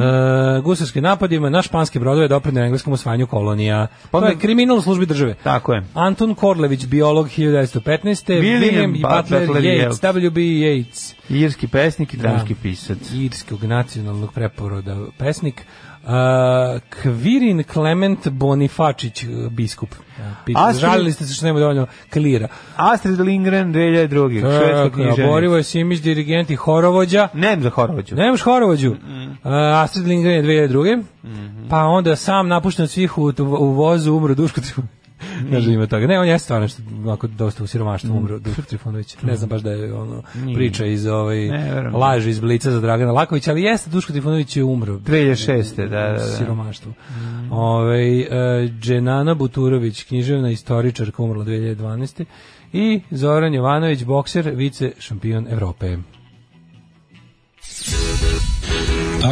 gusarski napadima na španske brodove doprinio engleskom osvajanju kolonija.
Pa
to je
onda-
kriminal u službi države.
Tako je.
Anton Korlević, biolog 1915.
William
William Butler,
Butler
Yeats, E W.B. Yeats
Irski pesnik i
Da.
dramski pisac.
irskog nacionalnog preporoda pesnik uh, Kvirin Klement Bonifačić uh, biskup. Ja,
Astrid-
Žalili ste se što nema dovoljno klira.
Astrid Lindgren 2002. Švedska
Tako je,
književnica.
Borivo je Simić, dirigent i horovođa.
Nem za Horvaću.
Nemaš horovođu. Uh, Astrid Lindgren je 2002.
Mm-hmm.
Pa onda sam napušten od svih u, u vozu umro Duško Trifunović.
Mm.
Ne znam ima toga. Ne, on je stvarno što, ovako dosta u siromaštvu umro Duško Trifunović. Ne znam baš da je ono priča iz ovaj
Ne, verujem.
laži iz Blica za Dragana Lakovića, ali jeste Duško Trifunović je umro
2006. Da,
u
da, da.
siromaštvu. Ovaj, e, Dženana Buturović, književna istoričarka, umrla 2012. I Zoran Jovanović, bokser, vice šampion Evrope.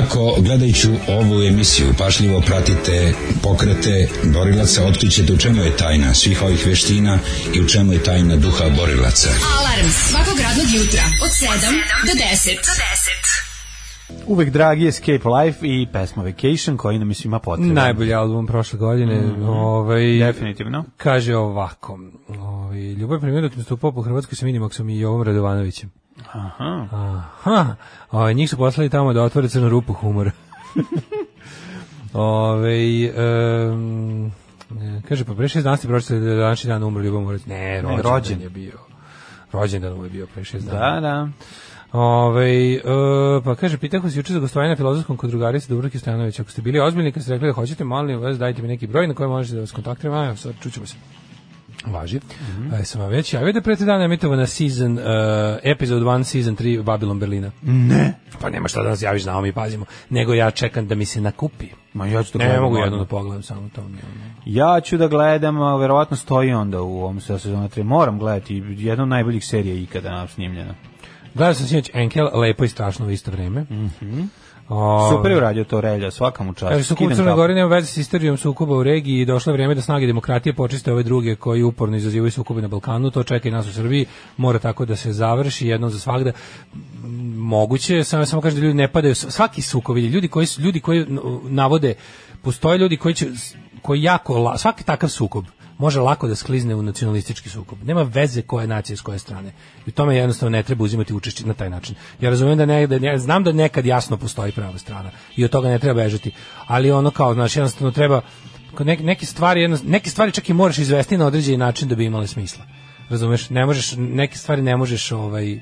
Ako gledajući ovu emisiju pašljivo pratite pokrete borilaca, otkrićete u čemu je tajna svih ovih veština i u čemu je tajna duha borilaca.
Alarm svakog radnog jutra od 7 do 10.
Uvek dragi Escape Life i pesma Vacation koji nam je svima potrebna.
Najbolji album prošle godine. Ovaj,
Mhm. Definitivno.
Kaže ovako, ovaj, ljubav primjer dok nastupao po Hrvatskoj se vidim ako sam i Jovom Radovanovićem.
Aha.
Aha, ovaj, njih su poslali tamo da otvore crnu rupu humora. Ove, em, e, kaže, pa pre šest dana ste pročitali da je današnji dan umro Ljubav Morac. Ne, rođen,
rođen.
je bio. Rođendan mu je bio pre šest dana.
Da, da.
Ove, e, pa kaže, pitahu se juče za gostovanje na filozofskom kod drugarice Dubrovke Stojanović. Ako ste bili ozbiljni kad ste rekli da hoćete, molim vas, dajte mi neki broj na koji možete da vas kontaktiram. Ajmo, sad čućemo se. Važi.
Mhm.
Mm -hmm. sam vam već javio da je pre tri dana emitovana season, uh, episode 1, season 3 Babylon Berlina. Ne. Pa nema šta da nas javiš, znamo mi pazimo. Nego ja čekam da mi se nakupi.
Ma ja ću da
Ne
gledam
mogu
odmah.
jedno da pogledam samo to. mi je ono.
Ja ću da gledam, a verovatno stoji onda u ovom sezonu 3. Moram gledati jednu od najboljih serija ikada nam snimljena.
Gledao sam sinoć Enkel, lepo i strašno u isto vreme. Ovaj, Mm
Mhm. Super je uradio to Relja, svaka mu čast.
da. Kaže, sukob u
Skidam
Crnoj
kapu.
Gori nema veze s istorijom sukoba u regiji i došlo je vreme da snage demokratije počiste ove druge koji uporno izazivaju sukobe na Balkanu, to čeka i nas u Srbiji, mora tako da se završi jednom za svagda. M, Moguće, je, samo samo kažem da ljudi ne padaju, svaki sukob, ide, ljudi koji, su- ljudi koji n- navode, postoje ljudi koji će, koji jako, la- svaki takav sukob može lako da sklizne u nacionalistički sukob. Nema veze koja je nacija s koje strane. I u tome jednostavno ne treba uzimati učešće na taj način. Ja razumijem da ne, da ne- znam da nekad jasno postoji prava strana i od toga ne treba bežati. Ali ono kao, znaš, jednostavno treba kod nek, neke stvari jedno, neke stvari čak i moraš izvesti na određeni način da bi imale smisla. Razumeš? Ne možeš neke stvari ne možeš ovaj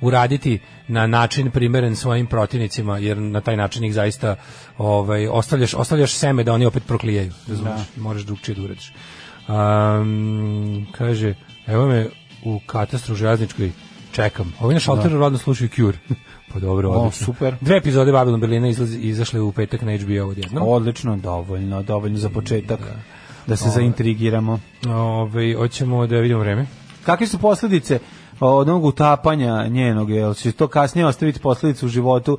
uraditi na način primeren svojim protivnicima jer na taj način ih zaista ovaj ostavljaš ostavljaš seme da oni opet proklijaju razumeš moraš drugčije da uradiš um, kaže evo me u katastru železničkoj čekam ovaj na šalteru da. rodno slušaju Cure pa dobro
O,
odlično
super.
dve epizode Babylon Berlina izlazi, izašle u petak na HBO odjednom
Odlično, dovoljno, dovoljno za početak. Da,
Ovaj.
se zaintrigiramo.
Ove, hoćemo da vidimo vreme.
Kakve su posledice o, od onog utapanja njenog? Jel će to kasnije ostaviti posledicu u životu?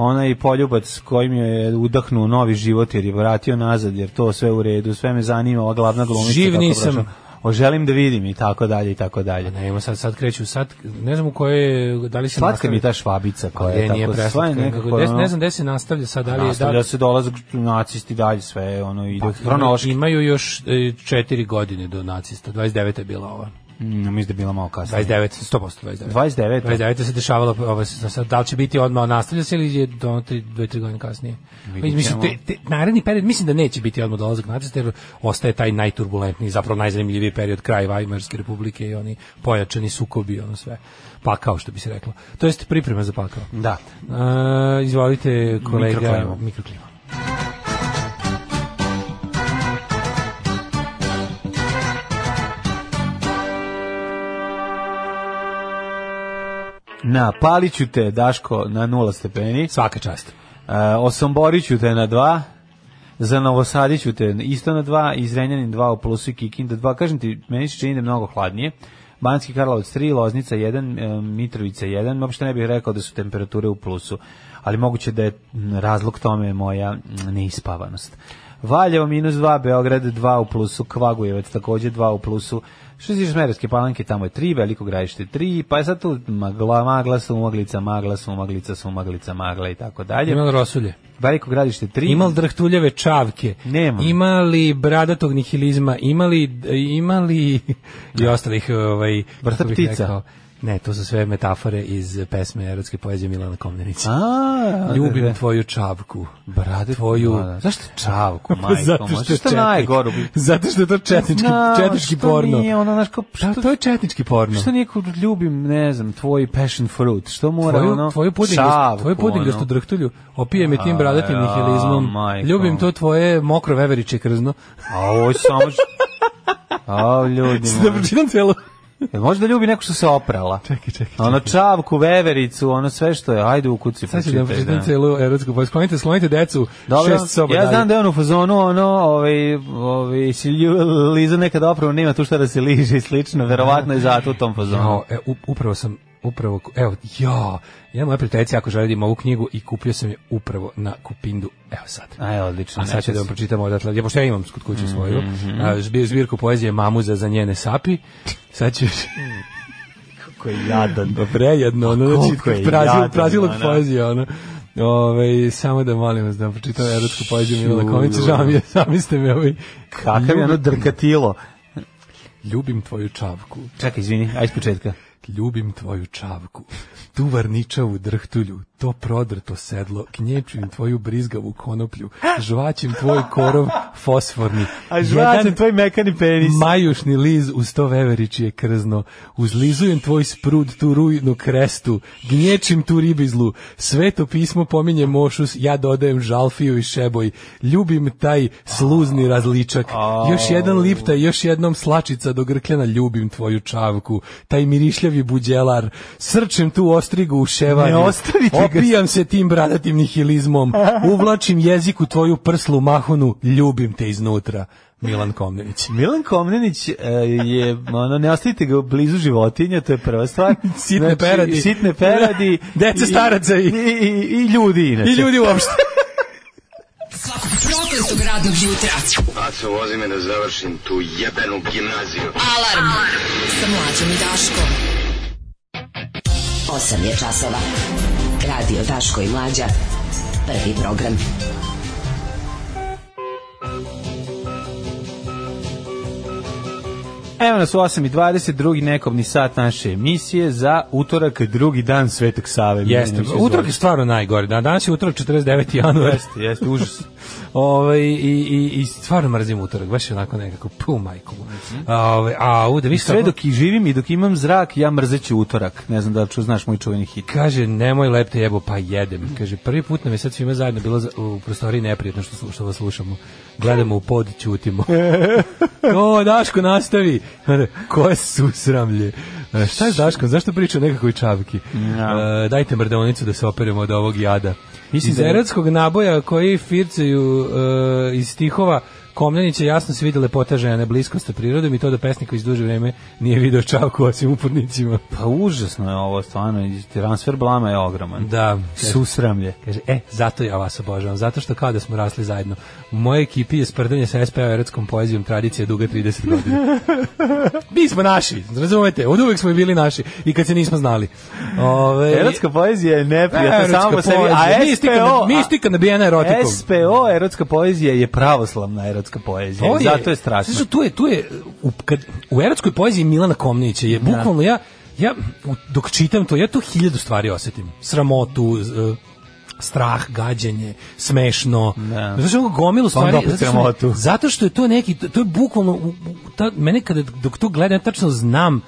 onaj poljubac kojim je udahnuo novi život jer je vratio nazad jer to sve u redu, sve me zanima ova glavna glumica.
Živ
kako
nisam.
prošla. O, želim da vidim i tako dalje i tako dalje.
Ne, ima sad, sad kreću, sad, ne znam u koje, je, da li se
Slatka mi je
nastavlja.
ta švabica koja je
Ne,
tako
nije
sva je
preslatka.
nekako,
Nekako, des,
ono,
ne znam gde se nastavlja sad, da li je...
nastavlja
Da,
se dolazak nacisti dalje sve ono ide
Pa,
hronološki.
imaju još e, četiri godine do nacista, 29. je bila ova.
Mm, mislim da je bila malo kasnije. Da.
29, 100%, 29.
29.
29. se dešavala, ova, se- sad, da li će biti odmah nastavlja se ili je do 2-3 godine kasnije?
Vidit
Mislim,
ćemo.
te, te, naredni period, mislim da neće biti odmah dolazak nacista, jer ostaje taj najturbulentniji, zapravo najzanimljiviji period, kraj Weimarske republike i oni pojačani sukobi i ono sve. Pakao, što bi se reklo. To jest priprema za pakao.
Da.
A, izvolite, kolega.
Mikroklima.
Mikroklima.
Na, paliću te, Daško, na nula stepeni.
Svaka čast.
E, Osomboriću te na dva. Za Novosadiću te isto na dva. I Zrenjanin dva u plusu i Kikinda dva. Kažem ti, meni se čini da je mnogo hladnije. Banski Karlovac 3, Loznica 1, e, Mitrovica 1, uopšte ne bih rekao da su temperature u plusu, ali moguće da je m, razlog tome moja m, neispavanost. Valjevo minus 2, Beograd 2 u plusu, Kvagujevac takođe 2 u plusu, što se tiče Smederevske palanke, tamo je 3, Veliko grajište 3, pa je sad tu magla, magla, sumaglica, magla, sumaglica, sumaglica, magla i tako dalje.
Imali rosulje.
Veliko gradište 3.
Imali drhtuljeve čavke.
Nemam.
Imali bradatog nihilizma. Imali, imali i ostalih, ovaj,
Vrsta
kako bih
ptica.
rekao. Ne, to su sve metafore iz pesme erotske poezije Milana Komnenića.
A,
Ljubim
da, da.
tvoju čavku, brate tvoju.
tvoju- Zašto čavku, majko?
Zato
moja?
što je
Šta
četnik.
najgoru?
Zato što je to četnički,
Na,
četnički
što
porno.
Nije ono, znaš, kao,
Da,
što,
to je četnički porno.
što nije kod ljubim, ne znam, tvoj passion fruit, što mora
tvoju,
ono,
tvoju puding,
čavku,
tvoju puding što
ono.
drhtulju, opije mi tim bradatim
A,
nihilizmom,
majko.
ljubim to tvoje mokro veveriče krzno.
A ovo je samo... š- A, ljudi
Da
moji.
pročitam celo.
E, Možda ljubi neko što se oprala.
Čekaj, čekaj, čekaj.
Ono čavku, vevericu, ono sve što je. Ajde u kuci
Sad ću da vam
pročitaj,
pročitam celu erotsku poeziju. Sklonite, sklonite decu
Dobro,
šest soba
ja
dalje.
znam da je on u fazonu, ono, ovaj, ovaj, si lju- liza nekada opravo, nema tu šta da se liže i slično, verovatno je zato u tom fazonu.
Jao, e, u- upravo sam upravo, evo, ja, jedna moja prijateljica ako želim ovu knjigu i kupio sam je upravo na Kupindu, evo sad.
Aj, odlično.
A sad ću
neće
da vam
se. Mhm,
pročitam odatle, ja, pošto ja imam kod kuće svoju, a, zbir, zbirku poezije Mamuza za njene sapi, sad ću,
Kako je jadan.
prejedno, ono, znači,
Pa koliko je
prazil,
jadno, da.
prazilog
ono.
poezije, ono. Ove, samo da molim vas da vam pročitam erotsku poeziju Milana Komića, žao mi je, sami ste me ovaj...
Kakav je ono drkatilo.
Ljubim tvoju čavku,
Čekaj, izvini, aj iz početka.
ljubim tvoju čavku, tu varničavu drhtulju, to prodrto sedlo, knječujem tvoju brizgavu konoplju, žvaćem tvoj korov fosforni.
A žvaćem
Jedan
tvoj mekani penis.
Majušni liz uz to veveričije krzno, uzlizujem tvoj sprud tu rujnu krestu, gnječim tu ribizlu, sveto pismo pominje mošus, ja dodajem žalfiju i šeboj, ljubim taj sluzni različak, još jedan lipta i još jednom slačica do grkljana, ljubim tvoju čavku, taj mirišljavi buđelar, srčem tu ostrigu u ševanju,
Ne ostavite ga.
opijam se tim bradatim nihilizmom, uvlačim jezik u tvoju prslu mahunu, ljubim te iznutra. Milan Komnenić.
Milan Komnenić e, je, ono, ne ostavite ga blizu životinja, to je prva stvar.
Sitne peradi.
Znači, Sitne peradi.
Dece
i-
staraca i-
I, i, i ljudi, inače.
I ljudi uopšte.
Svakog prokletog radnog jutra.
Aco, vozi me da završim tu jebenu gimnaziju.
Alarm. Sa mlađom i Daškom.
8 je časova. Radio Daško i Mlađa. Prvi program.
Evo nas u 8.20, drugi nekobni sat naše emisije za utorak, drugi dan Svetog Save.
Jeste,
Miljanić,
utorak je stvarno najgore. Dan. Danas je utorak 49. januar.
Jeste, jeste, užas.
Ovaj i, i, i stvarno mrzim utorak, baš je onako nekako, pu majku. Ovaj a u da vi
Sve dok Mhm. i živim i dok imam zrak, ja mrzeću utorak. Ne znam da li ču, znaš moj čuveni hit.
Kaže, nemoj lepte jebo, pa jedem. Kaže, prvi put nam je sad svima zajedno bilo za- u prostoriji neprijatno što, slu- što vas slušamo. Gledamo u pod, ćutimo. o, Daško, nastavi. Onda, Ko je susramlje? E, Šta je s Daškom? Zašto priča o nekakvoj čavki?
Ja.
E, dajte mrdavnicu da se operemo od ovog jada.
Mislim
iz
da je-
erotskog naboja koji fircaju e, iz stihova Komljanića jasno se vidi lepota žene, bliskost sa prirodom i to da pesnik već duže vreme nije video čavku osim upornicima.
Pa užasno je ovo, stvarno, i transfer blama je ogroman.
Da,
Susramlje.
Kaže, e, zato ja vas obožavam, zato što kao da smo rasli zajedno. U mojoj ekipi je sprdanje sa SPO erotskom poezijom tradicija duga 30 godina. Mi smo naši, razumete, od uvek smo i bili naši i kad se nismo znali. Ove, e,
Erotska poezija je neprijatna
erotska
samo po sebi,
poezija.
a
Mi stika na-
SPO...
mi stika nabijena erotikom.
SPO, erotska poezija, je pravoslavna erotska poezija.
To
Zato je strašno.
Znaš, tu je, tu je, u, kad, u erotskoj poeziji Milana Komnića je
Da.
bukvalno ja, ja u- dok čitam to, ja to hiljadu stvari osetim. Sramotu, z- e, strah, gađenje, smešno.
Da.
Znaš, ono gomilu
Pa onda
stvari.
opet
zato, što
sramotu.
me, zato što je to neki, to, to je bukvalno, u- u- ta, mene kada, dok to gledam, ja tačno znam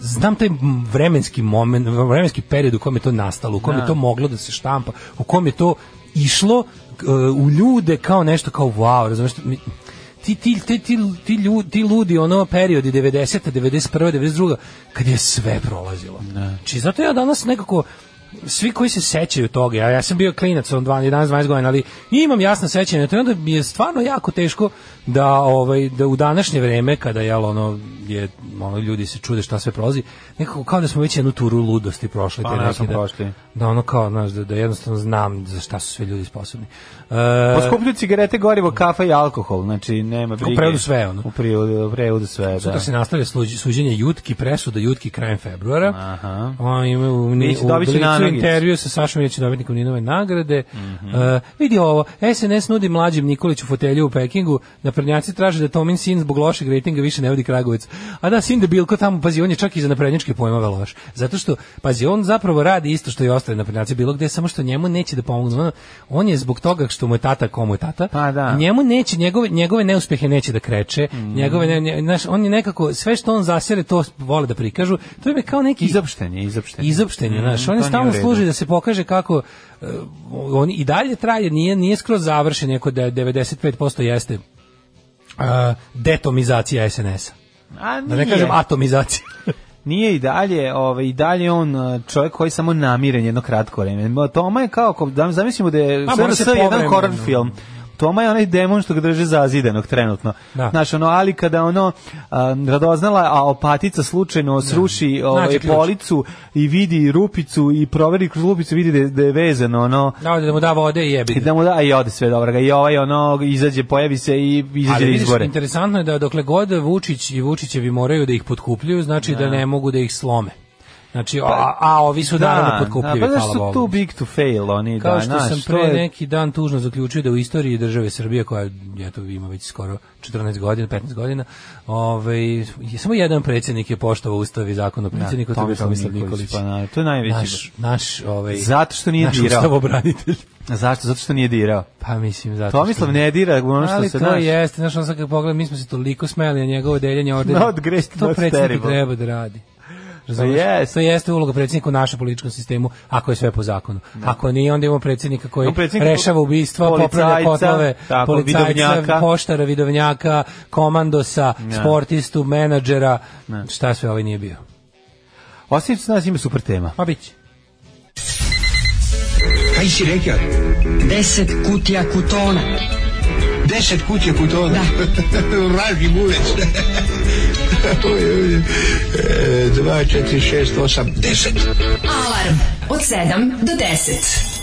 znam taj vremenski moment, vremenski period u kom je to nastalo, u kom je to moglo da se štampa, u kom je to išlo e, u ljude kao nešto kao wow, razumeš? Mi- Ti, ti, ti, ti, ti, ljudi, ti ludi ono periodi 90. 91. 92. kad je sve prolazilo.
Da.
Znači, zato ja danas nekako svi koji se sećaju toga, ja, ja sam bio klinac on 12, 11, 12 godina, ali imam jasno sećanje, to je onda mi je stvarno jako teško da ovaj da u današnje vreme kada je ono je ono ljudi se čude šta sve prolazi, nekako kao da smo već jednu turu ludosti prošli
Pa,
te
ne,
neke,
smo
da,
prošli.
da ono kao znaš da, da jednostavno znam za šta su sve ljudi sposobni. E,
Poskupljuju Pa cigarete, gorivo, kafa i alkohol, znači nema brige.
prevodu sve, ono.
U prevodu, u prevodu sve, da.
Sutra se nastavlja sluđ- suđenje Jutki, presuda Jutki krajem februara.
Aha.
On ima u, ni,
Biće-
u
dobit će
Blicu
nanogicu.
intervju sa Sašom Jeći dobitnikom Ninove nagrade.
Mhm.
E, vidi ovo, SNS nudi mlađim Nikoliću fotelju u Pekingu, naprednjaci traže da Tomin sin zbog lošeg rejtinga više ne vodi Kragujevac. A da, sin debilko tamo, pazi, on je čak i za naprednjačke pojmove loš. Zato što, pazi, on zapravo radi isto što i ostali naprednjaci bilo gde, samo što njemu neće da pomognu. On- On je zbog toga što mu je tata komu je tata,
Pa da.
njemu njemu neće njegove njegove neuspehe neće da kreče. Njegove ne, ne, znaš, on je nekako sve što on zasere to vole da prikažu. To je kao neki
Izopštenje, izopštenje.
izopštenje, znaš,
Mm,
on je
to
stalno
nije u redu.
služi da se pokaže kako e, on i dalje traje, nije nije skroz završen, iako da je 95% jeste e, detomizacija SNS-a.
A nije.
Da ne kažem atomizacija.
Nije i dalje, ovaj i dalje on eh, čovjek koji je samo namiren jedno kratko vreme. Ma, Toma je kao ko- da zamislimo da je
Pa,
sve
mora
na
se
sve jedan
povremeno.
horror film. Toma je onaj demon što ga drže zazidanog trenutno.
Da.
Znaš, ono, ali kada ono um, radoznala, a opatica slučajno sruši ovaj,
Da. ključ.
policu i vidi rupicu i proveri kroz rupicu vidi da, je- da je vezano, ono,
Da, ovde da mu da vode i jebi.
I
ga.
da mu da, i ode sve dobro ga. I ovaj ono, izađe, pojavi se i izađe
Ali
na
vidiš,
izbore.
interesantno je da dokle god Vučić i Vučićevi moraju da ih potkupljuju, znači da ne mogu da ih slome. Znači, a, a ovi su naravno potkupljivi,
Pa, da, pa
hvala
znaš su
Bogu.
too big to fail, oni
Kao
da,
što
znaš,
sam
to
pre
je-
neki dan tužno zaključio da u istoriji države Srbije, koja eto, ima već skoro 14 godina, 15 godina, ovaj, je samo jedan predsjednik je poštovao ustav i zakon o predsjedniku, to je bio
Da, Tomislav
Tomislav
Nikolić,
Nikolić.
pa na- to je najveći
Naš, naš, ovaj,
Zato što nije
naš
dirao.
ustavobranitelj.
Zašto? Zato što nije dirao.
Pa mislim, zato što-
Tomislav ne dira ono što
ali
se
to
znaš.
jeste, znaš, on sad kad pogledam, mi smo se toliko smeli na njegovo deljenje ordena.
Not great,
to
not
predsjednik
terrible. Pa
treba da radi. Razumeš?
jest.
To jeste uloga predsjednika u našem političkom sistemu, ako je sve po zakonu. Ako nije, onda imamo predsjednika koji
Da. Imamo predsjednika
rešava ubistva, popravlja
policajca,
kotlove,
tako, vidovnjaka. Da.
policajca, poštara, vidovnjaka, komandosa, sportistu, menadžera, šta sve ovaj nije bio.
Osim što da nas ima super tema.
Ma bit će.
Kaj si rekao?
10 kutija kutona.
Deset kutija kutona. Vraži bulec. Oj, oj. E, Dva, četiri, šest, osam, deset.
Alarm od 7 do 10.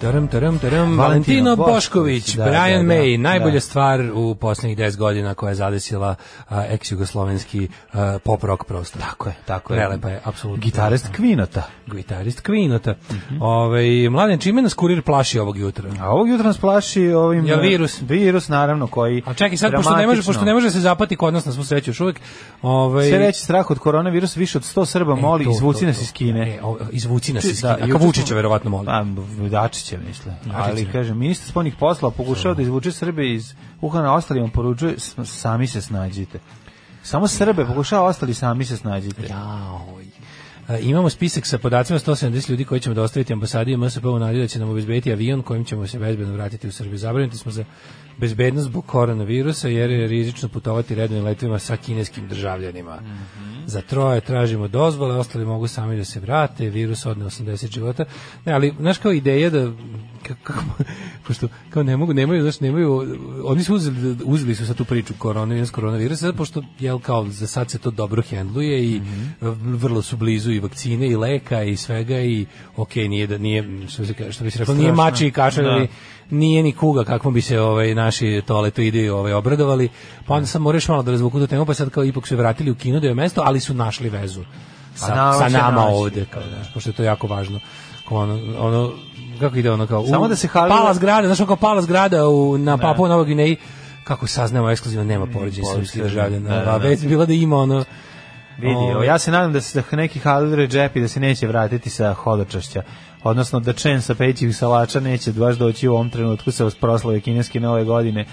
Taram, taram, taram.
Valentino
Valentino
Bošković,
Bošković,
da,
Brian
da, da,
May,
da.
najbolja stvar u poslednjih 10 godina koja je zadesila a, ex-jugoslovenski a, pop rock prostor.
Tako je, tako je.
Prelepa je, apsolutno. Da.
Gitarist Mhm. Kvinota.
Gitarist Kvinota. Ovaj mladen čime nas kurir plaši ovog jutra.
A ovog jutra nas plaši ovim...
Jel
eh,
virus?
Virus, naravno, koji...
A čekaj sad pošto ne može
dramatično-
pošto ne može da se zapati kod nas na svu sreću još uvek. Ovaj
Sve reći strah od koronavirusa, više od 100 Srba moli,
E, to,
izvuci
to,
nas
to.
iz Kine.
E, o, izvuci nas
Či-
iz
da,
Kine.
juče
Da,
smo-
Vučića verovatno moli.
Pa, Dačiće misle. Ali,
Dačića.
kažem, ministar spoljnih posla pokušao da izvuče Srbe iz Uhana, ostalima poručuje, s- sami se snađite. Samo Srbe pokušava, ostali sami se snađite.
Jaoj. E, Imamo spisak sa podacima 170 ljudi koji ćemo dostaviti ambasadi i MSP u nadi da će nam obezbediti avion kojim ćemo se bezbedno vratiti u Srbiju. Zabrinuti smo za bezbednost zbog koronavirusa jer je rizično putovati redovnim letovima sa kineskim državljanima. Za troje tražimo dozvole, ostali mogu sami da se vrate, virus odne 80 života. Ne, ali znaš kao ideja da ka- kako pošto kao ne mogu nemaju znači nemaju oni su uzeli uzeli su sa tu priču koronavirus koronavirusa zato pošto jel kao za sad se to dobro hendluje i
Mhm.
v- vrlo su blizu i vakcine i leka i svega i okej nije da nije što se kaže što bi se reklo nije
Strašno.
mači i kašalj
Da.
ali nije ni kuga kako bi se ovaj naši toaletoidi ovaj obradovali pa onda sam moraš malo da razvuku tu temu pa sad kao ipak su je vratili u kino da je mesto ali su našli vezu sa,
naravno
sa
Pa će
nama
naći.
ovde kao znaš, pošto je to jako važno kao ono, ono kako ide ono kao
Samo
u-
da se Halil-
pala zgrada znaš ono kao pala zgrada u, na Papu Novoj Gvineji kako saznamo ekskluzivno nema poređenja srpskih državljana
Mm, Da, da,
a
da.
već bi bilo da ima ono
Vidi, evo, ja se nadam da se da neki Halil Redžepi da se neće vratiti sa hodočašća. Odnosno da Čen sa pećih salača neće baš doći u ovom trenutku sa proslave kineske nove godine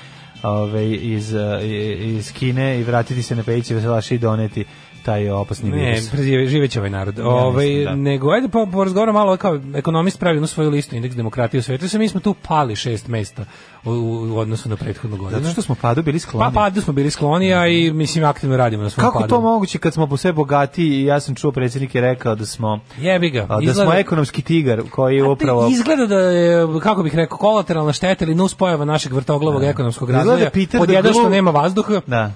ove, iz, eh, iz Kine i vratiti se na pećih salače i doneti taj opasni
Ne,
virus.
prežive- živeće ovaj narod. ovaj,
mislim, da.
Nego, ajde pa porazgovaramo malo, kao ekonomist pravi jednu svoju listu indeks demokratije u svetu. Sve mi smo tu pali šest mesta u, u odnosu na prethodnu godinu.
Zato što smo padu bili
Pa
skloni.
padu smo bili skloni, a i mislim aktivno radimo na svom
Kako
padu.
to moguće kad smo po sve bogati i ja sam čuo predsjednik je rekao da smo
Jebi ga.
a, da smo
izgleda-
ekonomski tigar koji je
Pa,
upravo
Izgleda da je, kako bih rekao, kolateralna šteta ili nuspojava našeg vrtoglavog ekonomskog
Da. Izgleda
razvoja.
Peter
Pod
the
jedan što
Glue-
nema vazduha.
da.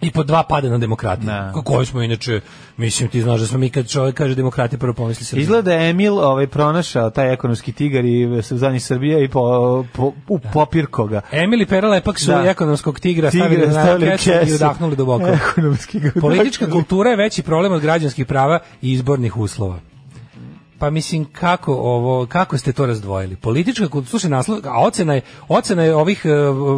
I po dva pada na demokratiju.
Da.
Ko- Koju smo inače, mislim ti znaš da smo mi kad čovjek kaže demokratija prvo pomisli se.
Izgleda je Emil ovaj pronašao taj ekonomski tigar i zadnji Srbija i po, po, u
Da.
popirko ga.
Emili Perela je pak su
Da.
ekonomskog tigra stavili
Tigre
na
stavili u
kesu i
kesu.
udahnuli duboko.
Ekonomski ga
Politička
udahnuli.
kultura je veći problem od građanskih prava i izbornih uslova. Pa mislim kako ovo kako ste to razdvojili? Politička kultura, slušaj naslov, a ocena je ocena je ovih e,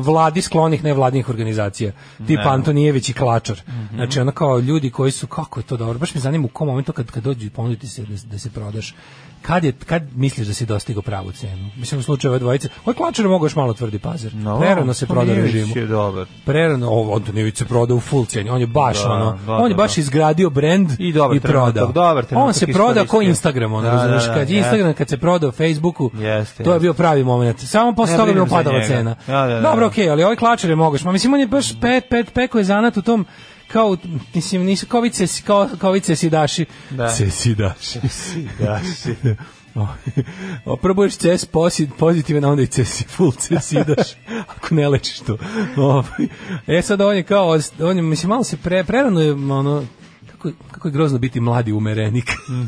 vladi sklonih nevladinih organizacija, tipa Antonijević i Klačar. Znači ono kao ljudi koji su kako je to dobro, baš me zanima u kom momentu kad kad dođu i ponuditi se da, da se prodaš. Kad je kad misliš da si dostigao pravu cenu? Mislim u slučaju ove dvojice, ovaj Klačar mogu još malo tvrdi pazar.
No, pa
Prerano se proda
Antonijević
režimu
je dobar.
prerano ovo Antonijević se prodao u full cijeni. On je baš
Da,
ono,
da,
on je
da,
baš
da.
izgradio brend
I dobar trenutak,
prodao.
dobar trenutak
on se proda ko
iskoristio.
Instagram, on
Da,
razumeš,
da, da,
kad je
jeste.
Instagram kad se prodao Facebooku,
Jeste,
to je
jeste.
bio pravi moment. Samo posle
Ne
toga mi
brinem za
opadala
njega.
cena.
Da, da, da.
Dobro, okej, ali ovaj klačer je mogaš. Ma mislim on je baš pet pet peko je zanat u tom kao mislim nisu kovice kao kovice sidaši.
Da.
Cesidaši.
Da, si.
O, probuješ ces posi- pozitivan, a onda i ces full ces idaš, ako ne lečiš to. Ovaj, E sad on je kao, on je, mislim, malo se pre, prerano je, ono, kako, je- kako je grozno biti mladi umerenik.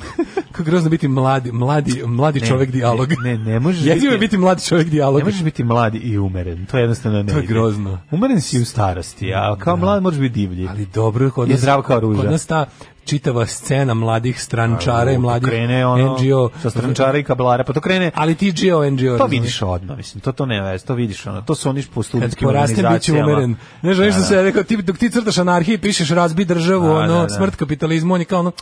kako je grozno biti mladi, mladi, mladi čovek dijalog.
Ne, ne možeš
Jezivo je biti mladi čovek dijalog.
Ne možeš biti mlad i umeren, to jednostavno ne
To je
ide.
grozno.
Umeren si u starosti, a kao mlad možeš biti divlji.
Ali dobro, kod
Je
nas,
zdrav kao ruža.
kod nas ta čitava scena mladih strančara i mladih
krene ono,
NGO.
sa strančara i kablara, pa to krene,
Ali ti NGO, NGO.
to
razumeš?
vidiš odmah, mislim, to to ne vez, to vidiš ono, to su oni po
kad
studentskim
porastem bit ću
organizacijama.
umeren. Ne želiš da se ja rekao, ti, dok ti crtaš anarhije, pišeš razbi državu,
Da,
ono,
da, da.
smrt kapitalizmu, on je kao ono,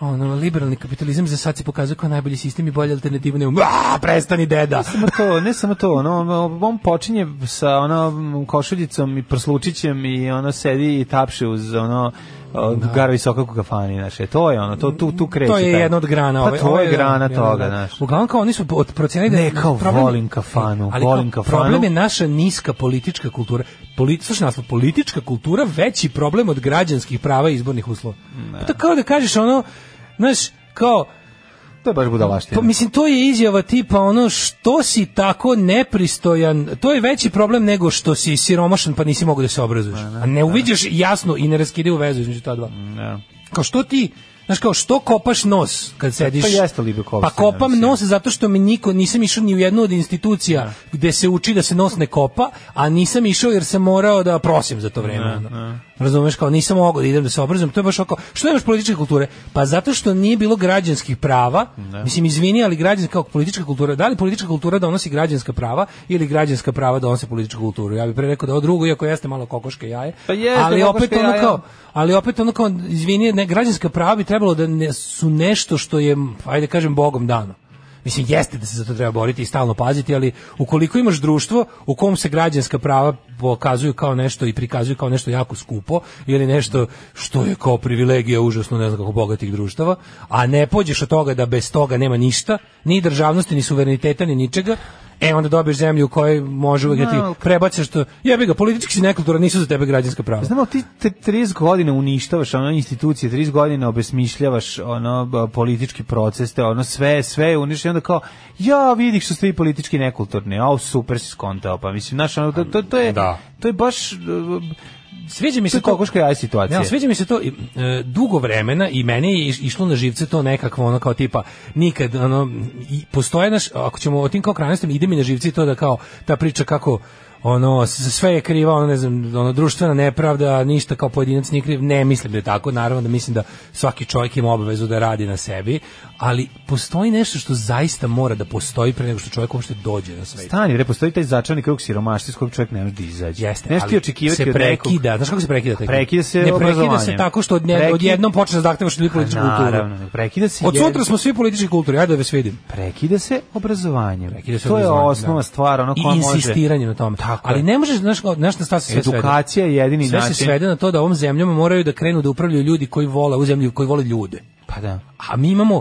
ono, liberalni kapitalizam za sad se pokazuje kao najbolji sistem i bolje alternative nemo. A, prestani deda!
samo to, ne samo to, ono, on- on počinje sa ono košuljicom i prslučićem i ono sedi i tapše uz ono da. gara visoka kafani, znači to je ono, to tu tu kreće.
To je
taj-
jedna od grana.
Pa
ove-
to
ove-
je grana
jedna od
toga, znaš.
Uglavnom kao oni su od- procenili da...
Ne, kao
problem je-
volim kafanu,
ali kao
volim kafanu.
Problem je naša niska politička kultura. Polit, slušaj naslov, politička kultura veći problem od građanskih prava i izbornih uslova. Pa to kao da kažeš ono, znaš, kao,
To je baš budalaština.
Pa mislim to je izjava tipa ono što si tako nepristojan, to je veći problem nego što si siromašan pa nisi mogao da se obrazuješ. A ne uviđaš jasno i neraskidivu vezu između ta dva.
Da.
Kao što ti Znaš kao, što kopaš nos kad sediš?
to Pa jeste libekovstvo,
Pa kopam
ja mislim.
nos zato što mi niko, nisam išao ni u jednu od institucija gde se uči da se nos ne kopa, a nisam išao jer sam morao da prosim za to vreme. ono.
da.
Razumeš kao, nisam mogao da idem da se obrazujem, to je baš oko, što nemaš političke kulture? Pa zato što nije bilo građanskih prava,
Da.
mislim, izvini, ali građanska, kao politička kultura, da li politička kultura donosi građanska prava ili građanska prava donose političku kulturu? Ja bih pre rekao da ovo drugo, iako jeste malo kokoške jaje,
Pa jeste
ali opet
kokoška
ono
jaja.
kao, ali opet ono kao, izvini, ne, građanska prava bi trebalo da ne, su nešto što je, ajde da kažem, bogom dano. Mislim, jeste da se za to treba boriti i stalno paziti, ali ukoliko imaš društvo u kom se građanska prava pokazuju kao nešto i prikazuju kao nešto jako skupo ili nešto što je kao privilegija užasno ne znam kako bogatih društava, a ne pođeš od toga da bez toga nema ništa, ni državnosti, ni suvereniteta, ni ničega, e onda dobiješ zemlju u kojoj može uvek da ti
Ma, ali-
prebaciš što jebi ga, politički si nekultura, nisu za tebe građanska prava.
Znamo, ti te 30 godina uništavaš ono institucije, 30 godina obesmišljavaš ono b- politički proces, te ono sve, sve je uništeno, i onda kao, ja vidi što ste vi politički nekulturni, a super si skontao, pa mislim, znaš, ono, to, to, to je,
Da.
to je baš, e,
Sviđa mi
to
se
je
to
kokoška jaja situacija.
Ne, ali sviđa mi se to i, e, dugo vremena i meni je iš- išlo na živce to nekakvo ono kao tipa nikad ono i postoje naš ako ćemo o tim kao krajnostima ide mi na živce i to da kao ta priča kako ono s- sve je kriva ono ne znam ono društvena nepravda ništa kao pojedinac nije kriv ne mislim da je tako naravno da mislim da svaki čovjek ima obavezu da radi na sebi ali postoji nešto što zaista mora da postoji pre nego što čovjek uopšte dođe na svet
Stani, bre, postoji taj začarani krug siromaštva iz kojeg čovjek ne može da izađe.
Jeste,
Nešto ti
ali
očekivati
se
od nekog-
prekida. Znaš kako se prekida taj krug?
Prekida se
ne prekida se
obrazovanjem.
tako što od, ne,
Prekid-
odjednom počneš da zahtevaš ljudi političku kulturu.
Pa Naravno, prekida se
Od
jer-
sutra smo svi politički kulturi, ajde da vas vidim.
prekida se obrazovanjem.
Prekida se
to je
obrazovanjem,
osnova
da.
stvar, ono
I
koja Pa može.
insistiranje na tome.
Tako
Ali
je.
ne možeš, znaš, kao- znaš na šta se sve svede?
Edukacija je jedini
Sve
način.
se svede na to da ovom zemljom moraju da krenu da upravljaju ljudi koji vole, u zemlju koji vole ljude.
Pa da.
A mi imamo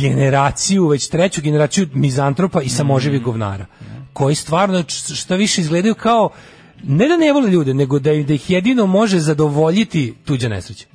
generaciju, već treću generaciju mizantropa i
Mhm.
samoživih govnara, koji stvarno č- šta više izgledaju kao ne da ne vole ljude, nego da, im- da ih jedino može zadovoljiti tuđa nesreća.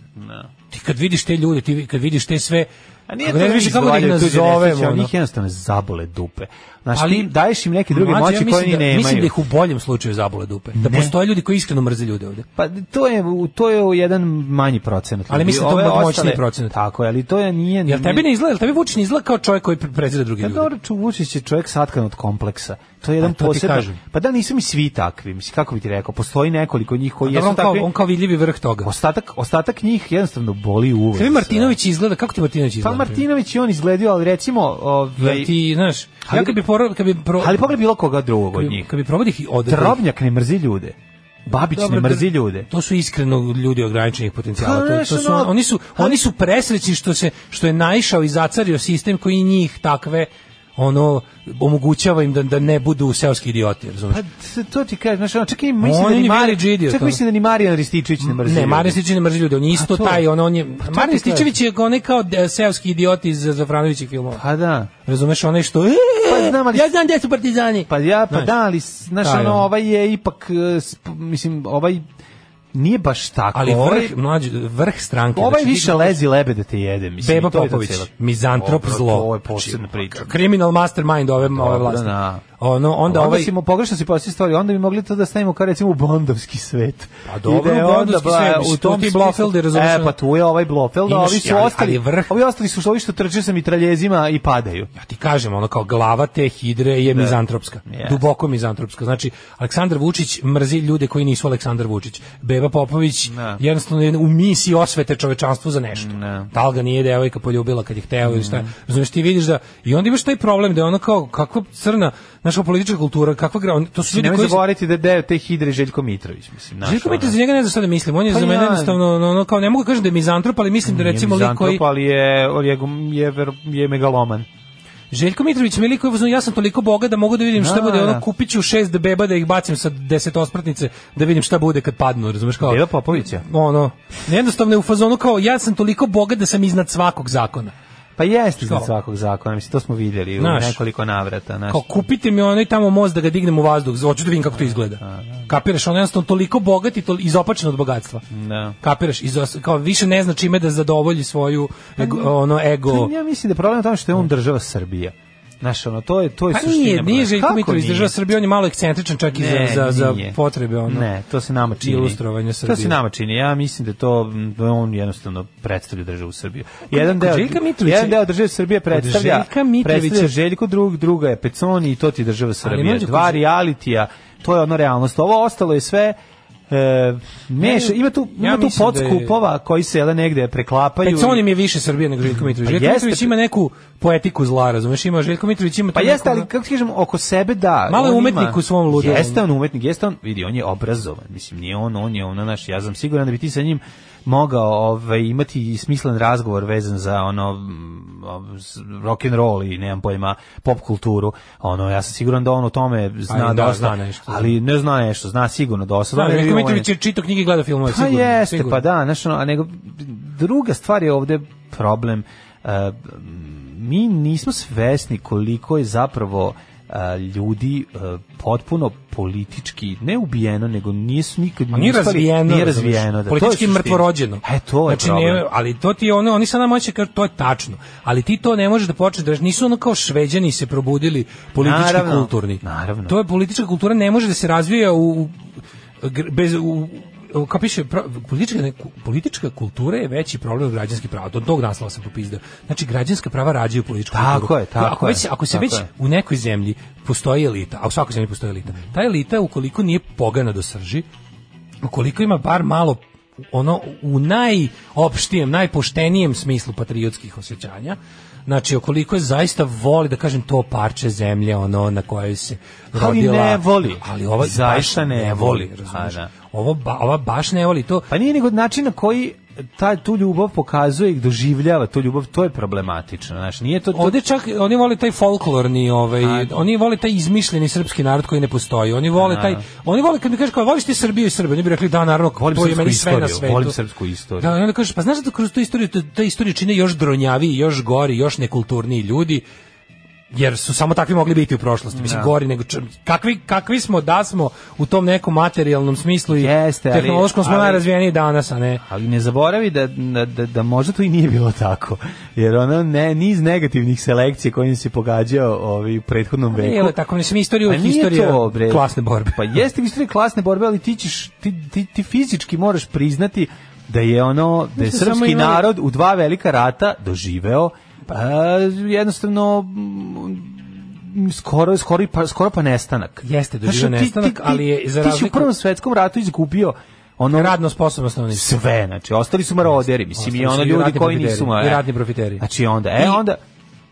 Ti kad vidiš te ljude, ti kad vidiš te sve,
Da. A nije
kako
to
ne znam
više
više kako da ih nazovemo.
Oni
ono.
ih jednostavno zabole dupe. Znaš,
Ali-
ti im daješ im neke druge
Mlađe, ja
moći
mislim
koje oni
da-
nemaju.
Mislim da ih u boljem slučaju zabole dupe. Da
Ne.
postoje ljudi koji iskreno mrze ljude ovde.
Pa to je to je u jedan manji procenat.
Ali
ljudi.
mislim da to
Ove
moćniji
ostale-
procenat.
Tako je, ali to je nije
Jel tebi ne izgleda, jel tebi Vučić ne izgleda kao čovjek koji pre- prezire druge
Ja
ljude?
Pa dobro, ču- Vučić je čovjek satkan od kompleksa. To je jedan
to ti
poseban.
kažem.
Pa da nisu mi svi takvi, mislim kako bi ti rekao, postoji nekoliko njih koji
Dobro,
jesu
on, kao,
takvi.
on kao vidljivi vrh toga.
Ostatak ostatak njih jednostavno boli uvek.
Tebi Martinović izgleda, kako ti Martinović
Pa
izgleda?
Martinović je on izgledio, ali recimo, ovaj
Jel ti, znaš, ja
Ali-
kad bi poro, kad bi pro,
ali pogledaj bilo koga drugog
kad
od
bi,
njih.
kad bi probao da ih odabrao-
Drobnjak ne mrzi ljude. Babić
Dobro,
ne mrzi
dr-
ljude.
To su iskreno ljudi ograničenih
Pa,
potencijala. To,
znaš,
to su,
ono-
oni su oni su presrećni što se što je naišao i zacario sistem koji njih takve ono omogućava im da, da ne budu seoski idioti, razumeš?
Pa t- to ti kažem, znači, ono, čak i mislim
On je
da ni
ni
Mari,
village idiot,
čak
ono.
mislim da ni Marijan Rističević ne mrzi.
Ne,
ljude. Pa
Marijan Stičević ne mrzi ljudi, on je isto
to- pa
taj, on, on je...
to ti
Marijan
kažem.
Stičević je onaj kao de- seoski idiot iz Zafranovićih filmova.
Pa da.
Razumeš, onaj što... "E,
Pa znam, ali-
Ja znam gde su partizani.
Pa ja, pa
Znaš.
da, ali, s- znaš,
Taj,
ono,
ono.
ovaj je ipak, e, sp- mislim, ovaj nije baš tako.
ali
ovaj,
vrh, mlađi, vrh stranke.
ovaj
znači, ti-
više lezi lebe da te jede. Mislim,
Beba
i to je ta
Popović,
cela-
mizantrop
Dobro,
zlo.
To je posebna priča.
Kriminal mastermind ove, ove vlasti.
da.
Ono, onda
Onda,
ovaj...
si mu pogrešno si postavio stvari, onda bi mogli to da stavimo kao recimo u bondovski svet.
Pa dobro,
I da je
u
onda,
bondovski
ba,
svet, mislim, tu ti
smislu-
Blofeldi, razumeš,
E, pa tu je ovaj Blofeld, a
Imaš-
ovi su
ali-
ostali,
ali vrh-
ovi ostali su što- ovi što trče sa mitraljezima i padaju.
ja ti kažem, ono kao glava te hidre je
Da.
mizantropska,
Yes.
duboko mizantropska. Znači, Aleksandar Vučić mrzi ljude koji nisu Aleksandar Vučić. Beba Popović
Da.
jednostavno je u misiji osvete čovečanstvu za nešto.
Da. Mm.
Da li ga nije devojka poljubila kad je hteo ili šta. Znači, ti vidiš da, i onda imaš taj problem da je ono kao, kakva crna, naša politička kultura, kakva gra, on- to su ljudi
Nemoj
koji...
zaboraviti da je deo te hidre Željko Mitrović, mislim, naš.
Željko
ono.
Mitrović za njega ne znam šta da mislim. On je
Pa
za mene
ja-
jednostavno ono, ono, kao ne mogu kažem da je mizantrop, ali mislim da
Nije
recimo lik
mizantrop,
koji
ali je, ali je, je, ver- je megaloman.
Željko Mitrović mi je lik koji je u fazonu, ja sam toliko boga da mogu da vidim
Da,
šta bude
da.
ono kupiću šest beba da ih bacim sa 10 ospratnice da vidim šta bude kad padnu, razumeš kao.
Beba Popovića.
Ono, jednostavno je u fazonu kao ja sam toliko bogat da sam iznad svakog zakona.
Pa jeste iznad
Što?
svakog zakona, mislim, to smo vidjeli u
Znaš.
nekoliko navrata. Naš.
Kao kupite mi onaj tamo most da ga dignem u vazduh, hoću da vidim kako to izgleda. Kapiraš, on je jednostavno toliko bogat i tol, izopačen od bogatstva.
Da.
Kapiraš, izos, kao više ne zna
Pa
čime da zadovolji svoju ego, ono ego.
Ja mislim da je problem u tome što je on država Srbija. Znaš, ono, to je, to je
Pa
suština.
nije, nije
problema.
Željko
Kako
Mitrović
nije?
država Srbije, on je malo ekscentričan čak i
Ne,
za, za, za
nije.
potrebe ono.
Ne, to se nama čini.
Ilustrovanje Srbije.
To se nama čini. Ja mislim da to m, da on jednostavno predstavlja državu Srbiju. Jedan
kod
deo
Željka Mitrovića-
jedan deo države Srbije predstavlja
Željka Mitrovića-
predstavlja Željko drug, druga je Peconi i to ti je država Srbije.
mlađe, kod
Dva
Žel-
realitija, to je ono realnost. Ovo ostalo je sve E, meš, ima tu, ima
Ja
tu
mislim da je-
podskupova koji se jel, negde preklapaju. i-
Peconi mi je više Srbije nego Željko Mitrović.
Pa
Željko
jeste-
Mitrović ima neku poetiku zla, razumeš? Ima Željko Mitrović ima
Pa
tu
jeste,
neku-
ali kako ti kažem, oko sebe da.
Malo je
on
umetnik
ima-
u svom ludilu.
Jeste on umetnik, jeste on, vidi, on je obrazovan. Mislim, nije on, on je ono naš, ja sam siguran da bi ti sa njim mogao ovaj, imati i smislen razgovor vezan za ono mm, ov- s- rock and roll i nemam pojma pop kulturu. Ono ja sam siguran da on o tome zna
Ali da,
dosta,
zna nešto.
ali ne zna nešto, zna sigurno dosta.
Da,
Znam da je
Željko
bio on-
Mitrović je čitao knjige i gledao filmove,
pa
sigurno.
jeste,
sigurno.
pa da, znaš, ono, a nego druga stvar je ovde problem. e, mi nismo svesni koliko je zapravo e, ljudi e, potpuno politički ne ubijeno nego nisu nikad
A nije
uspeli-
razvijeno.
nije
razumeš.
razvijeno da to je
Politički
suština.
mrtvorođeno.
e to je
znači,
problem
ne, ali to ti je ono, oni sad nam hoće kao to je tačno. Ali ti to ne možeš da počneš da nisu ono kao šveđani se probudili politički
Naravno,
kulturni.
naravno.
To je politička kultura ne može da se razvija u, u gr- bez u, u kao piše, pro- politička, ne, ku- politička kultura je veći problem od građanskih prava. Od tog naslova sam popizdao. Znači, građanska prava rađaju političku
Tako
kulturu.
je, tako
ako već,
je,
Ako se
tako
već
je.
u nekoj zemlji postoji elita, a u svakoj zemlji postoji elita, ta elita, ukoliko nije pogana do srži, ukoliko ima bar malo ono u najopštijem, najpoštenijem smislu patriotskih osjećanja, znači ukoliko je zaista voli da kažem to parče zemlje ono na kojoj se
Ali
rodila,
ne voli.
ali ova baš
Zaista ne voli,
razumeš?
a da.
Ovo ba, ova baš ne voli to.
Pa nije nego način na koji ta, tu ljubav pokazuje i doživljava tu ljubav, to je problematično. Znaš, nije to, to
Ovde čak oni vole taj folklorni, ovaj,
da.
oni vole taj izmišljeni srpski narod koji ne postoji. Oni vole taj, oni vole kad mi kažeš kao voliš ti Srbiju i Srbe, oni bi rekli da naravno,
da. Volim
to je
srpsku
meni sve na
istoriju,
svetu.
volim srpsku istoriju.
Da, i onda kažeš pa znaš da kroz tu istoriju ta, ta istorija čine još dronjaviji, još gori, još nekulturniji ljudi jer su samo takvi mogli biti u prošlosti.
Da.
Mislim, gori nego čr- kakvi, kakvi smo da smo u tom nekom materijalnom smislu i
Jeste, ali-
tehnološkom smo
ali-
najrazvijeniji danas, a ne.
Ali ne zaboravi da, da, da, da možda to i nije bilo tako. Jer ono ne, niz negativnih selekcija kojim se pogađao ovaj, u prethodnom veku.
Nije tako, mislim, istorija
A
je
Pa nije
istorija
to, bre.
klasne borbe.
Pa jeste istorija klasne borbe, ali ti, ćeš, ti, ti, ti fizički moraš priznati da je ono da je
smo samo
srpski
imali- Pa-
narod u dva velika rata doživeo a, jednostavno mm, skoro skoro i pa, skoro pa nestanak.
Jeste, doživeo
Znaš, ti-
nestanak,
ti-
ali je za
ti si u
razliku-
prvom svetskom ratu izgubio ono
radno sposobno stanovništvo.
sve, znači ostali su maroderi, mislim i
Ostali su
ono
i
ljudi
ratni
koji
profiteri,
nisu ma-
i
e.
ratni profiteri.
Znači onda, e
I-
onda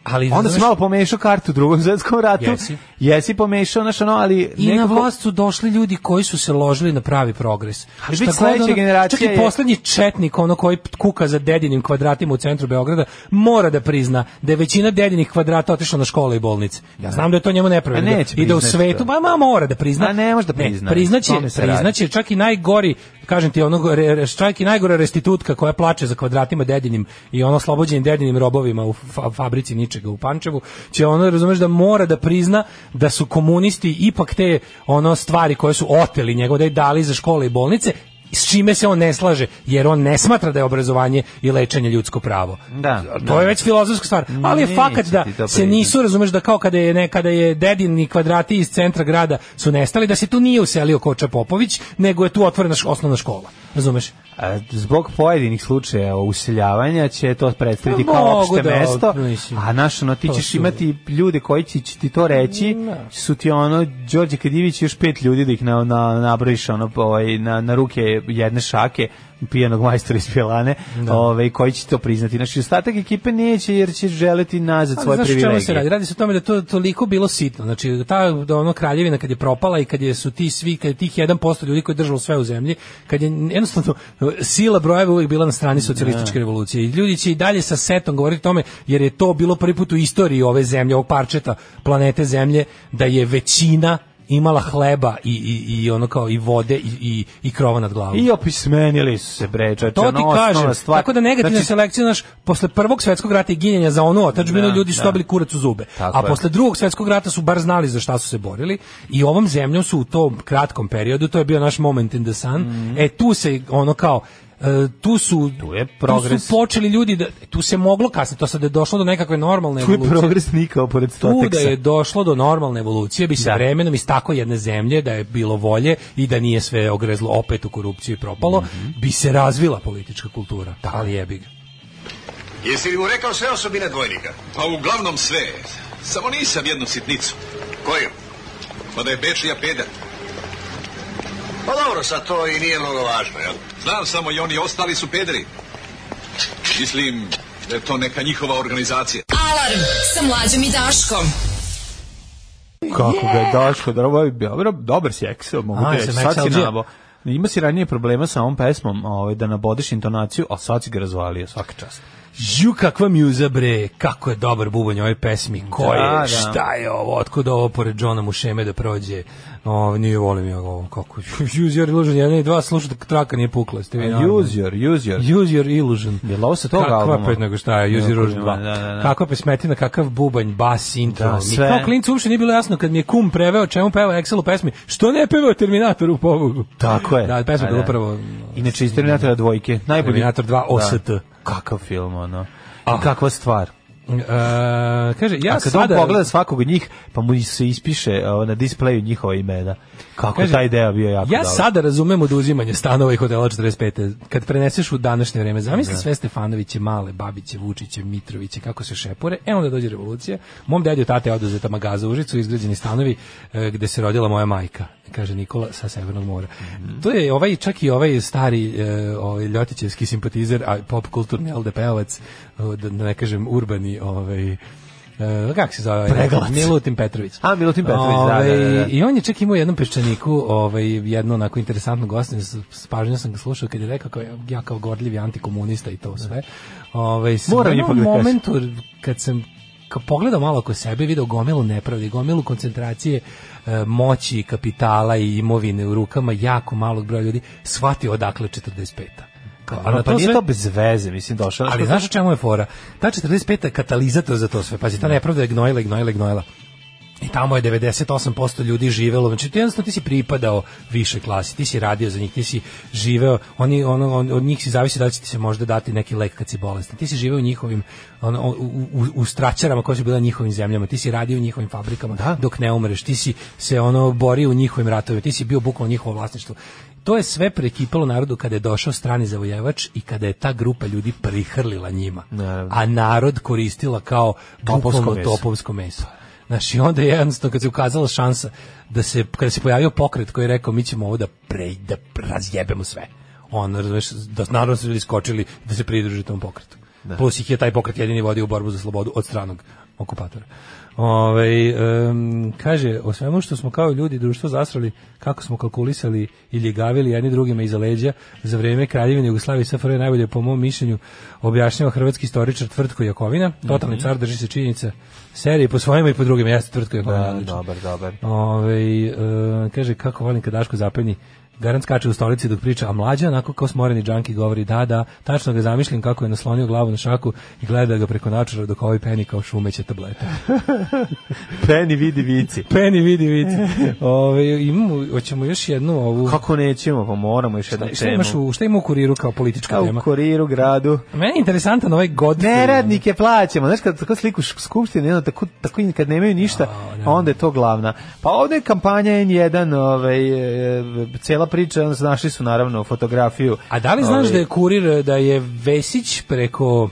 Ali
onda se
znaš-
malo pomešao kartu u drugom svetskom ratu.
Jesi.
Jesi pomešao, znači ono, ali
I na vlast su došli ljudi koji su se ložili na pravi progres.
Ali
Šta
već
god
sledeća
ono-
generacija
Čak
je-
i poslednji četnik, ono koji kuka za dedinim kvadratima u centru Beograda, mora da prizna da je većina dedinih kvadrata otišla na škole i bolnice. Ja znam da je to njemu nepravedno.
A neće
I da u
priznati
svetu,
to.
ba, ma, mora da prizna.
A ne može da prizna.
priznaće,
O tome se
priznaće čak i najgori, kažem ti, onog, re, re, čak i najgora restitutka koja plače za kvadratima dedinim i ono slobođenim dedinim robovima u fa- fabrici ničega u Pančevu, će ono, razumeš, da mora da prizna da su komunisti ipak te ono stvari koje su oteli njegove da je dali za škole i bolnice, s čime se on ne slaže, jer on ne smatra da je obrazovanje i lečenje ljudsko pravo.
Da,
to
da.
je već filozofska stvar. Ali je
Neće
fakat
ti
da
to
se
priznati.
nisu nisu, razumeš da kao kada je nekada je dedini kvadrati iz centra grada su nestali, da se tu nije uselio Koča Popović, nego je tu otvorena š- osnovna škola. Razumeš?
A, zbog pojedinih slučajeva useljavanja će to predstaviti
Pa
kao
mogu
opšte
da,
mesto,
mislim.
a naš ono, ti
To
ćeš
su- Da.
imati ljude koji će će ti to reći, su ti ono, Đorđe Kadivić i još pet ljudi da ih na, na, nabrojiš ono, po- ovaj, na, na ruke jedne šake, pijanog majstora iz Pjelane,
Da.
ovaj, koji će to priznati. Znači, ostatak ekipe neće jer će želiti nazad svoje
znaš o čemu se radi?
privilegije.
Radi se o tome da to toliko bilo sitno. Znači, ta da ono kraljevina kad je propala i kad je su ti svi, kad je tih 1% ljudi koji je držalo sve u zemlji, kad je jednostavno sila brojeva uvijek bila na strani
Da.
socijalističke revolucije. I ljudi će i dalje sa setom govoriti o tome, jer je to bilo prvi put u istoriji ove zemlje, ovog parčeta planete zemlje, da je većina imala hleba i, i, i ono kao i vode i, i, i krova nad glavom.
I opismenili su se, bre, čoveče,
To
ono,
ti
osnovna
kažem.
stvar.
Tako da negativna
Znači,
selekcija, znaš, posle prvog svetskog rata i ginjenja za onu otačbinu,
Da,
ljudi su
da.
dobili kurac u zube.
Tako
A
je.
posle drugog svetskog rata su bar znali za šta su se borili i ovom zemljom su u tom kratkom periodu, to je bio naš moment in the sun, e tu se ono kao E, tu su
Mhm. Tu je
tu
progres.
su počeli ljudi da tu se moglo kasnije to sad je došlo do nekakve normalne
Tu je
evolucije
progres nikao pored
tu da
stoteksa.
je došlo do normalne evolucije bi se
Da.
vremenom iz tako jedne zemlje da je bilo volje i da nije sve ogrezlo opet u korupciju i propalo
Mhm.
bi se razvila politička kultura ali jebi ga
Jesi li mu rekao sve osobine dvojnika? Pa uglavnom sve. Samo nisam jednu sitnicu. Koju? Pa da je Bečija peder.
Pa dobro, sad to i nije mnogo važno, jel?
Znam samo i oni ostali su pederi. Mislim da je to neka njihova organizacija.
Alarm sa mlađom i Daškom.
Kako ga je Daško, dobro, dobro, dobar si Excel, mogu
A,
ti reći,
jesam
sad si
Excel-đija.
nabo. Ima si ranije problema sa ovom pesmom, ovaj, da nabodeš intonaciju, a sad si ga razvalio, svaka čast.
Ju kakva mjuza bre, kako je dobar bubanj ovoj pesmi, ko je,
Da, da.
šta je ovo, otkud ovo pored Johna Mušeme da prođe, o, nije volim ja ovo, kako, use your illusion, jedan i dva, slušajte, traka nije pukla, ste vi normalni?
Use your, use your.
Use your illusion.
Jel ovo sa tog
Kakva
albuma?
pet nego šta je, Use your
Nema
illusion
pojma,
2.
da, da, da.
Kakva pesmetina, kakav bubanj, bas, intro.
Da,
Da,
sve.
Kao klincu uopšte nije bilo jasno kad mi je kum preveo čemu peva Excel u pesmi, što ne pevao Terminator u pobogu.
Tako je.
Da, pesma
A,
je bila
da.
prvo...
Inače, iz Terminatora dvojke. Najbolji. Da.
Terminator 2 OST.
Kakav film, ono. I kakva stvar.
Uh, kaže, ja
a kad
sada...
on pogleda svakog od njih, pa mu se ispiše o, na displeju njihova imena. Kako
Kaže,
taj deo bio jako
Ja
dobar.
sada razumem oduzimanje stanova i hotela 45. Kad preneseš u današnje vreme, zamisli
Da.
sve Stefanoviće, Male, Babiće, Vučiće, Mitroviće, kako se šepure, e onda dođe revolucija. Mom dedju tate je oduzeta magaza u Užicu, izgrađeni stanovi e, gde se rodila moja majka, kaže Nikola sa Severnog mora.
Mhm.
To je ovaj, čak i ovaj stari e, ovaj ljotićevski simpatizer, a pop kulturni LDP-ovac, o, da, da ne kažem urbani, ovaj, e, kako se zove?
Pregalac.
Milutin Petrović.
A, Milutin Petrović, da, da,
Ovaj,
da, da.
i on je čak imao u jednom peščaniku, ovaj, jedno onako interesantno gostanje, s, s pažnjom sam ga slušao kad je rekao kao, ja- ja kao gorljivi antikomunista i to sve. Ovaj, sam
Moram
u
da je
jednom
pogledati.
momentu kad sam ka- pogledao malo oko sebe, video gomilu nepravde, gomilu koncentracije e, moći, kapitala i imovine u rukama jako malog broja ljudi, shvatio odakle 45 Kao, a na
Ono, pa
to
nije
sve-
to bez veze, mislim, došao.
ali znaš u čemu je fora? Ta 45. katalizator za to sve. Pazi,
Da.
ta nepravda je gnojila i gnojila i gnojila. I tamo je 98% ljudi živelo. Znači, ti jednostavno ti si pripadao više klasi, ti si radio za njih, ti si živeo, oni, ono, on, od njih si zavisi da li će ti se možda dati neki lek kad si bolestan. Ti si živeo u njihovim, ono, u, u, u straćarama koje su bile na njihovim zemljama, ti si radio u njihovim fabrikama dok ne umreš, ti si se ono borio u njihovim ratovima, ti si bio bukvalno njihovo vlasništvo. To je sve prekipalo narodu kada je došao strani zavojevač i kada je ta grupa ljudi prihrlila njima.
Naravno.
A narod koristila kao
Topovsko
bukvalno
meso.
topovsko meso. Znaš, i onda je jednostavno kad se ukazala šansa da se, kada se pojavio pokret koji je rekao mi ćemo ovo da, pre, da razjebemo sve. On, razumeš, da naravno su ljudi skočili da se pridruži tom pokretu.
Da.
Plus ih je taj pokret jedini vodio u borbu za slobodu od stranog okupatora. Ove, Ovaj, kaže, o svemu što smo kao ljudi društvo zasrali, kako smo kalkulisali i ljegavili jedni drugima iza leđa za vreme kraljevine Jugoslavije i SFRJ najbolje po mom mišljenju objašnjava hrvatski istoričar Tvrtko Jakovina,
Mhm.
totalni car drži se činjenica serije po svojima i po drugima, jeste Tvrtko Jakovina.
Da,
odlično.
dobar, dobar.
Ovaj, e, kaže, kako volim kad Daško zapeni, Garant skače u stolici dok priča, a mlađa onako kao smoreni džanki govori da, da, tačno ga zamišljam kako je naslonio glavu na šaku i gleda ga preko načara dok ovaj peni kao šumeće tablete.
Penny vidi vici.
peni vidi, vidi. Ove, imamo, hoćemo još jednu ovu...
Kako nećemo, pa moramo još jednu
Šta
temu.
imaš u, šta ima u kuriru kao politička
Kao u
tema?
kuriru gradu.
Meni je interesantan ovaj god.
Neradnike plaćamo. Znaš, kad tako slikuš skupštine, ono, tako, tako i kad nemaju ništa, onda je to glavna. Pa ovde je kampanja N1, ovaj, e, cela priča, onda su- našli su naravno fotografiju.
A da li znaš
Ovaj,
da je kurir, da je Vesić preko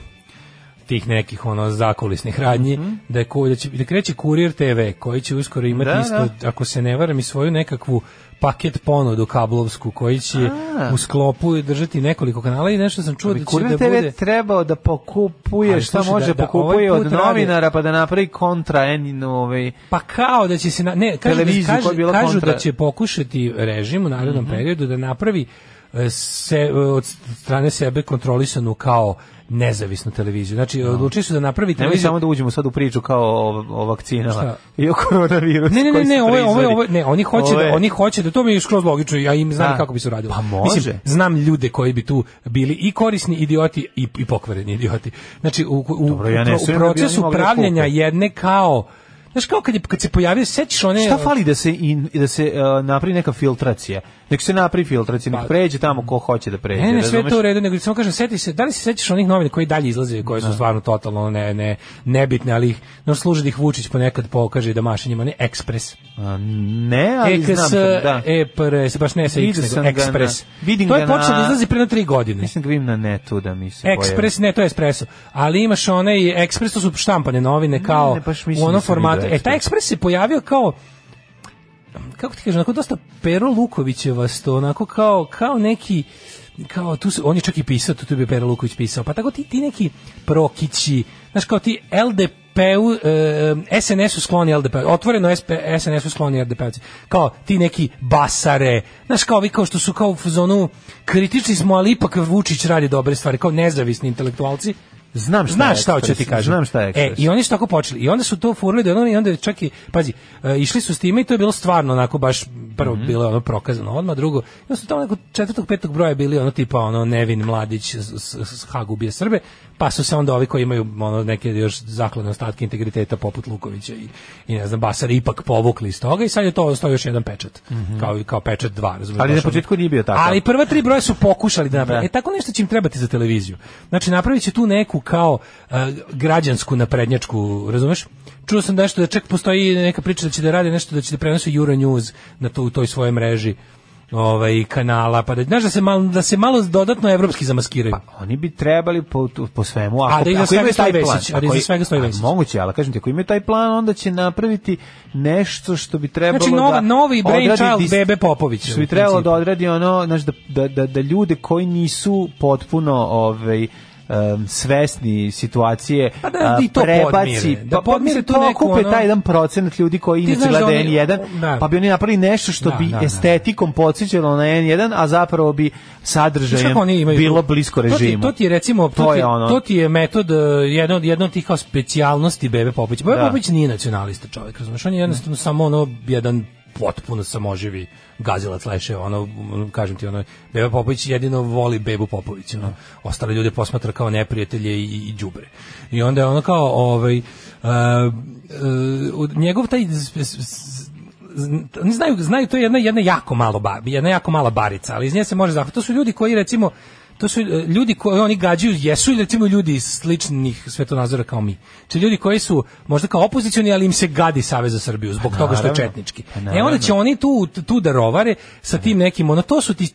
tih nekih ono zakulisnih radnji da je ko- da će da kreće kurir TV koji će uskoro imati
Mhm. Da,
isto ako se ne varam i svoju nekakvu paket ponudu kablovsku koji će u sklopu držati nekoliko kanala i nešto sam čuo da će
Kurir
da
TV
bude
trebao da pokupuje
Ali
šta
slušaj,
može,
da- da
pokupuje
ovaj
od
put radi-
novinara pa da napravi kontra N, ovaj,
Pa kao da će se na, ne kažu, da,
Televiziju koja je
kažu,
bila
kažu
kontra- Mhm.
da će pokušati režim u narednom periodu da napravi e, se e, od strane sebe kontrolisanu kao nezavisnu televiziju. Znači odlučili su da napravi
Nemoj
televiziju
samo da uđemo sad u priču kao o, o vakcinama
Šta?
i o koronavirusu.
Ne, ne, ne,
koji su
ne, ovo je, ovo je,
proizvodi.
ovo je- ne, oni hoće
Ovo je-
da oni hoće da to mi je skroz logično, ja im znam
Da.
kako bi se uradilo.
Pa može.
Mislim, znam ljude koji bi tu bili i korisni idioti i i pokvareni idioti. Znači u u,
Dobro, ja ne
u, pro- u
sumnjam da bi oni
procesu
mogli da
pravljenja
kupe.
jedne kao Znaš, kao kad, je, kad se pojavio, sećaš one...
Šta fali da se in, da se uh, napravi neka filtracija? Nek se napravi filtracija, nek
Pa-
pređe tamo ko hoće da pređe.
Ne, ne, sve je
razumeš?
to u redu, nego samo kažem, seti se, da li se sećaš onih novina koji dalje izlaze, koje
Da.
su stvarno totalno ne, ne, nebitne, ali ih, no, služi da ih Vučić ponekad pokaže da maše njima, ne, ekspres.
A, ne, ali
EKS,
znam to, da.
e, EPRS, baš ne sa X,
Vidio
nego
sam ga
ekspres.
na- vidim
to je
ga na-
počelo da izlazi pre na tri godine.
Mislim da vidim na netu da mi se
Ekspres, ne, to je espresso. Ali imaš onaj, ekspres, to su štampane novine kao
ne, baš mislim
u
da
onom
sam
formatu.
vidio
E, taj
Ekspres.
ekspres se pojavio kao kako ti kažem, onako dosta Pero Lukovićevasto, onako kao, kao neki kao tu se, on je čak i pisao, tu, tu bi Pero Luković pisao, pa tako ti, ti neki prokići, znaš kao ti LDP -u, e, SNS-u skloni LDP, otvoreno SP, SNS-u skloni LDP-ovci, kao ti neki basare, znaš kao vi kao što su kao u zonu kritični smo, ali ipak Vučić radi dobre stvari, kao nezavisni intelektualci,
Znam šta je
Znaš šta hoću
Ekspres,
ti kažem.
znam šta je
E,
Ekspres.
i oni su tako počeli. I onda su to furali do jednog i onda je čak i, pazi, e, išli su s time i to je bilo stvarno onako baš, prvo
Mhm.
bilo je ono prokazano odmah, drugo, i onda su tamo nekog četvrtog, petog broja bili ono tipa ono Nevin Mladić s, s, s Hag ubije Srbe, pa su se onda ovi koji imaju ono neke još zakladne ostatke integriteta poput Lukovića i, i ne znam, Basar ipak povukli iz toga i sad je to ostao još jedan pečat, kao, kao pečat dva, razumiješ?
Mhm. Ali na
baš ono-
početku nije bio takav.
Ali prva tri broja su pokušali da naprave. E tako nešto će im trebati za televiziju. Znači napravit će tu neku kao e, građansku naprednjačku, razumeš? Čuo sam nešto da čak postoji neka priča da će da rade nešto da će da prenose Euronews na to, u toj svojoj mreži ovaj kanala pa da znaš da se malo da se malo dodatno evropski zamaskiraju.
Oni bi trebali po, tu- po svemu, ako,
da iza
ako
svega
imaju taj
stoji
plan.
Vesić, ali
ako
iza
i-
svega stoji
a,
Vesić.
Moguće, ali kažem ti, ako imaju taj plan, onda će napraviti nešto što bi trebalo
Znači, nova-
da...
novi brainchild
odradi
Bebe Popović,
Što bi
u
trebalo
principu.
da odradi ono, znaš, da, da, da, da ljude koji nisu potpuno ovaj, em, svesni situacije
Pa da
a,
i to podmire,
prebaci
da podmire
mislim,
tu neku,
pokupe
ono-
taj jedan procenat ljudi koji inače
znaš da
gleda
oni-
N1
da.
pa bi oni napravili nešto što
Da,
bi
da, da.
estetikom podsjećalo na N1 a zapravo bi sadržajem
Znaš kako oni imaju-
bilo blisko
To ti-
režimu
To ti, je recimo, to,
To
ti,
je ono.
to ti je metod, e, jedna od, jedna od tih kao specijalnosti Bebe Popovića. Bebe
Da.
Popović nije nacionalista čovjek, razumiješ? On je jednostavno samo ono, jedan potpuno samoživi gazilac leše, ono, m, kažem ti, ono, Bebe Popović jedino voli Bebu Popović, ono, ostale ljude posmatra kao neprijatelje i, i đubre. I onda je ono kao, ovaj, e, e, od- njegov taj s- s- s- zn- oni znaju, znaju to je jedna, jedna jako malo ba, jedna jako mala barica, ali iz nje se može zahvatiti. To su ljudi koji recimo to su e, ljudi koji oni gađaju jesu ili recimo ljudi iz sličnih svetonazora kao mi. Či ljudi koji su možda kao opozicioni, ali im se gadi Savez za Srbiju zbog toga što je
Pa naravno.
četnički.
Pa
E onda će oni tu tu da rovare sa tim nekim, ono to su ti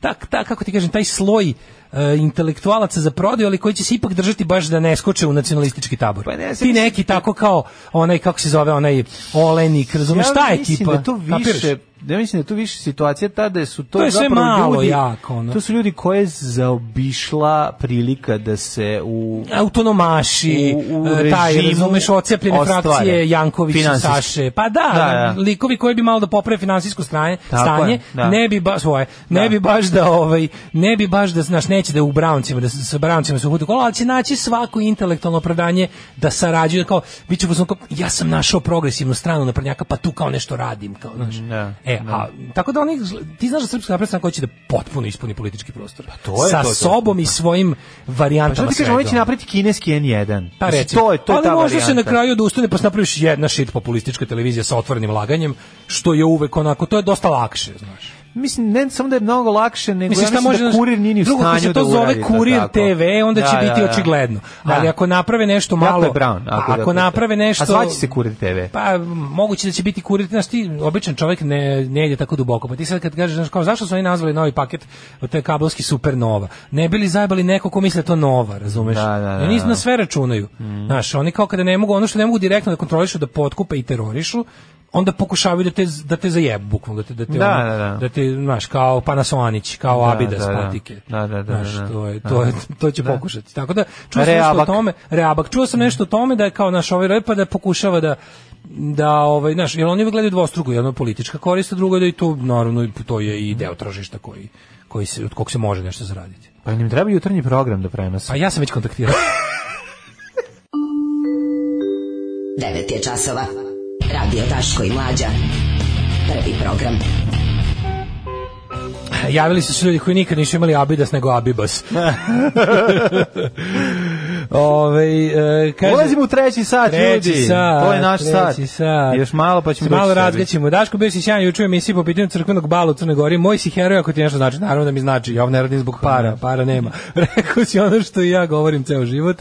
tak, tak kako ti kažem, taj sloj e, intelektualaca za prodaju, ali koji će se ipak držati baš da ne skoče u nacionalistički tabor.
Pa ne,
ti neki tako kao onaj, kako se zove, onaj Olenik, razumeš,
Ja
šta je
mislim
ekipa?
Da je to
Kapiraš?
više, ja mislim da je to više situacija ta da su to,
To je sve
zapravo
malo
ljudi,
jako, ono.
To su ljudi koje je zaobišla prilika da se u
autonomaši,
U- u
e, taj,
režimu
razumeš, ocepljene
ostvare.
frakcije, Janković i
Finansijski.
Saše. Pa da,
Da, da.
likovi koji bi malo da poprave finansijsko stranje,
Tako
stanje,
je, da.
ne bi baš svoje, ne
Da.
bi baš da ovaj, ne bi baš da znaš neće da u Browncima da se- sa Browncima se uhodi u kola, ali će naći svako intelektualno opravdanje da sarađuje kao biće fuzon kao ja sam našao progresivnu stranu naprednjaka, pa tu kao nešto radim, kao znaš.
Da,
e, a tako da oni ti znaš da srpska napredna stranka hoće da potpuno ispuni politički prostor.
Pa to je
sa
to, to je.
sobom i svojim
Pa
varijantama.
što ti kažem,
svega.
oni će napraviti kineski N1.
Pa
Mislim,
recimo.
To je, to je
ali
ta
možda se na
varijanta.
kraju odustane pa se napraviš jedna shit populistička televizija sa otvorenim laganjem, što je uvek onako, to je dosta lakše, znaš.
Mislim, ne samo da je mnogo lakše, nego
Mislim,
ja
šta
mislim
može,
da
znaš,
kurir nije ni u
drugo, ako
stanju
se
da
to
uradi.
zove Kurir
tako.
TV, onda će
Da,
biti
da, da.
očigledno.
Da.
Ali ako naprave nešto
Jako
malo...
je Brown,
a
ako,
ako
da-
naprave nešto...
A zvaće se Kurir TV.
Pa m, moguće da će biti kurir, znaš ti, običan čovjek ne, ne ide tako duboko. Pa ti sad kad kažeš, znaš, kao, zašto su oni nazvali novi paket, to je kablovski supernova. Ne bili zajebali neko ko misle to nova, razumeš?
Da, da, da,
oni
da.
na sve računaju.
Mhm.
Znaš, oni kao kada ne mogu, ono što ne mogu direktno da kontrolišu, da potkupe i terorišu, onda pokušavaju da te, da te zajebu, bukvalno, da te, da te,
Da,
ono,
da, da.
te, znaš, kao Panasonic, kao
Da,
Abidas,
da, da.
patike.
Da, da, da, da,
Znaš,
da.
to, je, to, je, to će pokušati. Tako da, čuo sam nešto o
Reabak.
tome, Reabak, čuo sam nešto o tome da je kao naš ovaj repa da pokušava da da ovaj naš jer oni gledaju dvostruko jedno je politička korist a drugo je da i to naravno i to je i deo tržišta koji koji se od kog se može nešto zaraditi.
Pa im treba jutarnji program da prenose.
Pa ja sam već kontaktirao.
9 je časova. Radio Daško i Mlađa. Prvi program.
E, Javili su se ljudi koji nikad nisu imali Abidas nego Abibas. Ove, e, kaže,
Ulazimo u treći sat,
Treći
ljudi.
sat,
to je naš sat.
treći sat.
Još malo pa ćemo
Se malo
doći sebi.
razgaćemo. Daško bio si sjajan juče u emisiji po pitanju crkvenog bala u Crnoj Gori. Moj si heroj ako ti nešto znači. Naravno da mi znači. Ja ovo ne radim zbog para. Para nema. Rekao si ono što i ja govorim ceo život.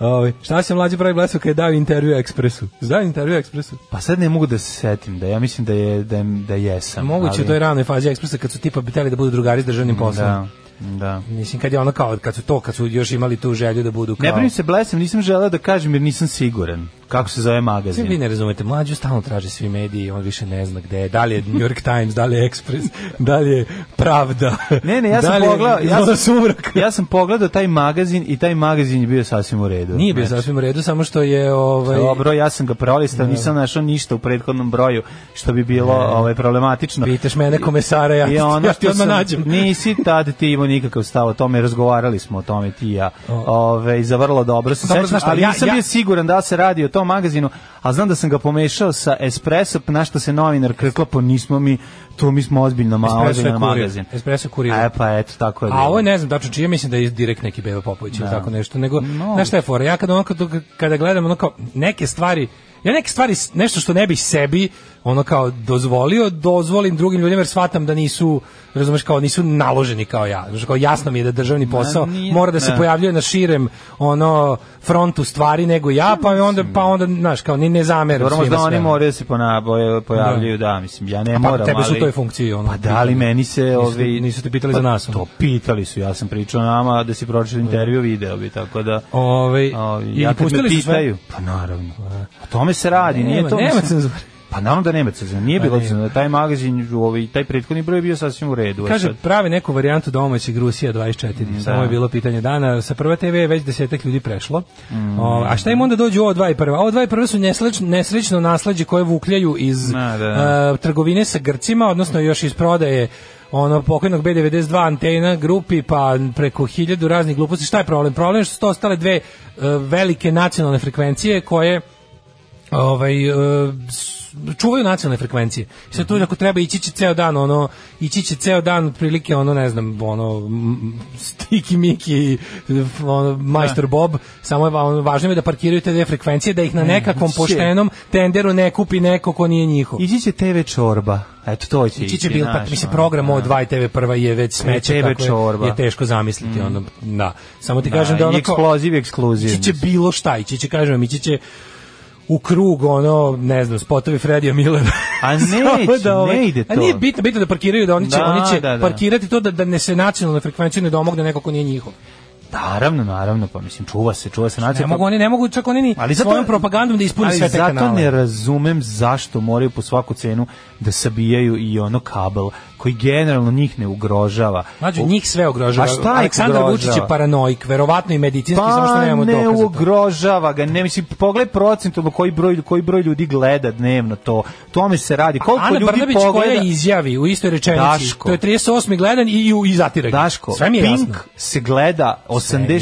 Ovaj, šta se mlađi pravi blesu kada je dao intervju Ekspresu? Zdao intervju Ekspresu?
Pa sad ne mogu da se setim da ja mislim da je da, da jesam.
Moguće u
ali-
toj ranoj fazi Ekspresa kad su tipa biteli da budu drugari s državnim poslom.
Da. Da.
Mislim kad je ono kao kad su to kad su još imali tu želju da budu kao
Ne brini se, blesem, nisam želeo da kažem jer nisam siguran kako se zove
Sve vi
magazin.
ne razumete, mlađu stalno traže svi mediji, on više ne zna gde je, da li je New York Times, da li je Express, da li je Pravda.
Ne, ne, ja sam
da li je
pogledao, ja
Zona
sam
sumrak.
Ja sam pogledao taj magazin i taj magazin je bio sasvim u redu.
Nije bio
Znači,
sasvim u redu, samo što je ovaj
Dobro, ja sam ga prolistao, nisam našao ništa u prethodnom broju što bi bilo ovaj problematično.
Pitaš mene komesara, ja,
I ono
ja ti
što
odmah
sam-
nađem.
Nisi tad ti imao nikakav stav o tome, razgovarali smo o tome ti i ja. Ove, i za vrlo dobro se
Dobro,
sećam,
znaš šta,
ali
ja-
nisam
ja-
bio siguran da li se radi o tom magazinu, a znam da sam ga pomešao sa Espresso, na što se novinar krkla, po nismo mi, to mi smo ozbiljno ma,
Espresso je
ozbiljno
kurir.
magazin.
Espresso je kurir.
E pa Da. eto, tako je.
A
bilo.
ovo je, ne znam tačno čije, mislim da je direkt neki Beba Popović ili tako nešto, nego, znaš šta je fora, ja kada, ono, kad- kada gledam ono kao neke stvari, ja neke stvari, s- nešto što ne bi sebi ono kao dozvolio, dozvolim drugim ljudima jer shvatam da nisu, razumeš, kao nisu naloženi kao ja. Znaš, kao jasno mi je da državni posao
nije- e.
mora da se
ne.
pojavljuje na širem ono frontu stvari nego ja, pa onda, pa onda, znaš, kao ni ne zameram
Dobro,
svima
možda oni
sve.
moraju da se ponaboje, pojavljuju, da. mislim, ja ne
pa
moram,
tebe su
ali-
u toj funkciji, ono,
Pa da, ali
pitali.
meni se...
Nisu te-
ovi,
nisu te pitali
pa
za nas, ono.
To pitali su, ja sam pričao nama, da si pročitao intervju, video bi, tako da...
Ovaj,
Ovi,
i
ja kad me
pustili su sve?
pitaju, pa naravno. O tome se radi, nije
Nema-
to...
nema
mislim-
cenzure. Pa
Pa naravno da nema cenzure, nije bilo
nema.
cenzure. Taj magazin, ovaj, taj prethodni broj je bio sasvim u redu. e
Kaže,
sad. Mm, da.
pravi neku varijantu da domaćeg Rusija 24. Samo je bilo pitanje dana. Sa prva TV je već desetak ljudi prešlo.
Mm.
O, a šta im onda dođu ovo dva i prva? Ovo dva i prva su nesrećno, nesrećno nasleđe koje vukljaju iz
Da, da.
e, trgovine sa Grcima, odnosno još iz prodaje ono pokojnog B92 antena grupi pa preko hiljadu raznih gluposti. Šta je problem? Problem je što su to ostale dve e, velike nacionalne frekvencije koje ovaj e, s- čuvaju nacionalne frekvencije. I sad tu
Mhm.
ako treba ići će ceo dan ono ići će ceo dan otprilike ono ne znam ono m, Stiki Miki f- ono
Da.
Majstor Bob samo je va- ono, važno je da parkiraju te dve frekvencije da ih na nekakvom
ići će-
poštenom tenderu ne kupi neko ko nije njihov.
Ići će TV čorba, eto to će ići.
Ići će bil, pa
znaš,
mislim
ono,
program
da.
o 2 i TV prva je već smeće
TV
kako je-
čorba. Mhm.
je teško zamisliti ono da. Samo ti
Da,
kažem da
i
ono kao-
eksploziv, ekskluziv.
Ići će bilo šta, ići će, kažem vam, ići će u krug, ono, ne znam, spotovi Fredija Millera.
A
Samo
neće,
ovaj-
ne ide
A
to.
nije bitno, bitno da parkiraju, da oni će,
Da,
oni će
da, da.
parkirati to da, da ne se nacionalne frekvencije ne domogne neko ko nije njihov.
Naravno, naravno, pa mislim, čuva se, čuva se
Ne
nacija. pa-
Znači, mogu, oni ne mogu, čak oni ni
Ali zato,
svojom propagandom da ispune
ali
sve te
zato
kanale.
ne razumem zašto moraju po svaku cenu da sabijaju i ono kabel koji generalno njih ne ugrožava.
Mlađo,
U-
njih sve ugrožava.
A šta ih
Aleksandar
ugrožava?
Vučić je paranoik, verovatno i medicinski, samo što nemamo
Pa ne
dokaza.
ugrožava ga, ne mislim, pogled procentom koji broj, koji broj ljudi gleda dnevno to, tome se radi, koliko
Ana
ljudi
Brnabić
pogleda...
koja izjavi u istoj rečenici,
Daško.
to je 38. gledan i, i, i zatire ga.
Daško,
Sve mi je
Pink
jasno.
se gleda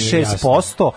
86%,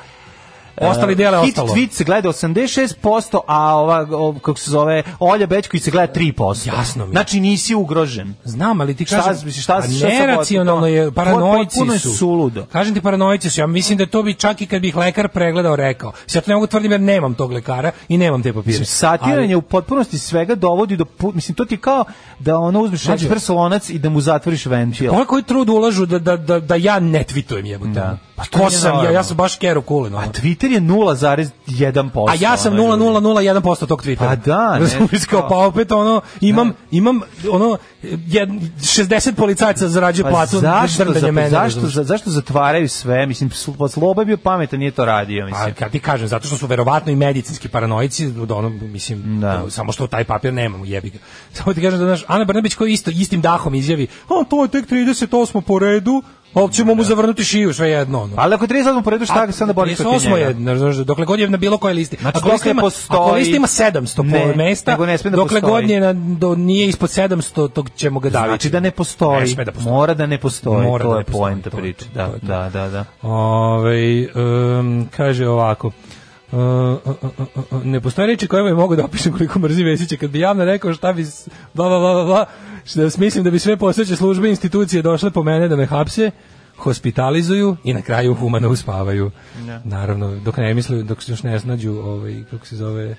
Ostali dele
eh, Hit
ostalo.
tweet se gleda 86%, a ova, o, kako se zove, Olja Bećković se gleda 3%.
Jasno mi je.
Znači nisi ugrožen.
Znam, ali ti
Šta-
kažem,
šta-
a
šta sam
neracionalno
potpuno-
je, paranoici
potpuno je
su.
suludo.
Kažem ti, paranoici su. Ja mislim da to bi čak i kad bi ih lekar pregledao rekao. Sad to ne mogu tvrdim jer nemam tog lekara i nemam te papire.
Mislim, Znači, satiranje u potpunosti svega dovodi do... pu- Mislim, to ti je kao da ono uzmeš
Mlađe.
prsolonac i da mu zatvoriš ventil.
Ovo koji trud ulažu da, da, da, da ja ne tweetujem jebote.
Da.
Pa
Pa
ko
to nije
sam ja? Ja
normalno.
sam baš Kero Kulin. ono.
A Twitter je 0,1%.
A ja sam
ono, ljudi.
0,001% tog Twittera.
Pa da, ne, Da.
Razumiješ kao,
kao-
pa opet ono, imam, imam ono, jed, 60 policajaca zarađuje
Pa
platu
zašto,
drndanje
za,
da mene,
zašto,
razumeš?
za, zašto zatvaraju sve? Mislim, sl- pa Sloba je bio pametan, nije to radio.
Pa
Mislim.
kad ti kažem, zato što su verovatno i medicinski paranoici, od ono, mislim,
Da.
samo što taj papir nemamo, jebi ga. Samo ti kažem da, znaš, Ana Brnabić koji isto, istim dahom izjavi, a to je tek 38 po redu, a opće ćemo mu zavrnuti šiju, sve jedno, ono.
Ali ako 38 po redu, Da. Pa, šta ga se onda boriš protiv
38
njega?
je, znaš, znaš, dokle god je na bilo kojoj listi.
Znači,
ako, lista
dokle
ima,
postoji-
ako lista ima 700
Ne,
po mesta,
nego ne sme da
dokle
postoji.
god je na, do, nije ispod 700, tog ćemo ga daviti.
Znači da ne postoji.
Ne sme da postoji.
Mora da ne postoji.
Mora
to
da ne
je
postoji,
poenta
to je
priče.
to,
Da,
to je to.
da, da, da.
Ove, um, kaže ovako, Uh, uh, uh, uh, uh, ne postoje reči koje mi mogu da opišem koliko mrzi Vesića kad bi javno rekao šta bi s- bla bla bla bla bla, šta mislim da bi sve posveće službe i institucije došle po mene da me hapse hospitalizuju i na kraju humano uspavaju. Naravno, dok ne misle, dok se još ne snađu, ovaj, kako se zove,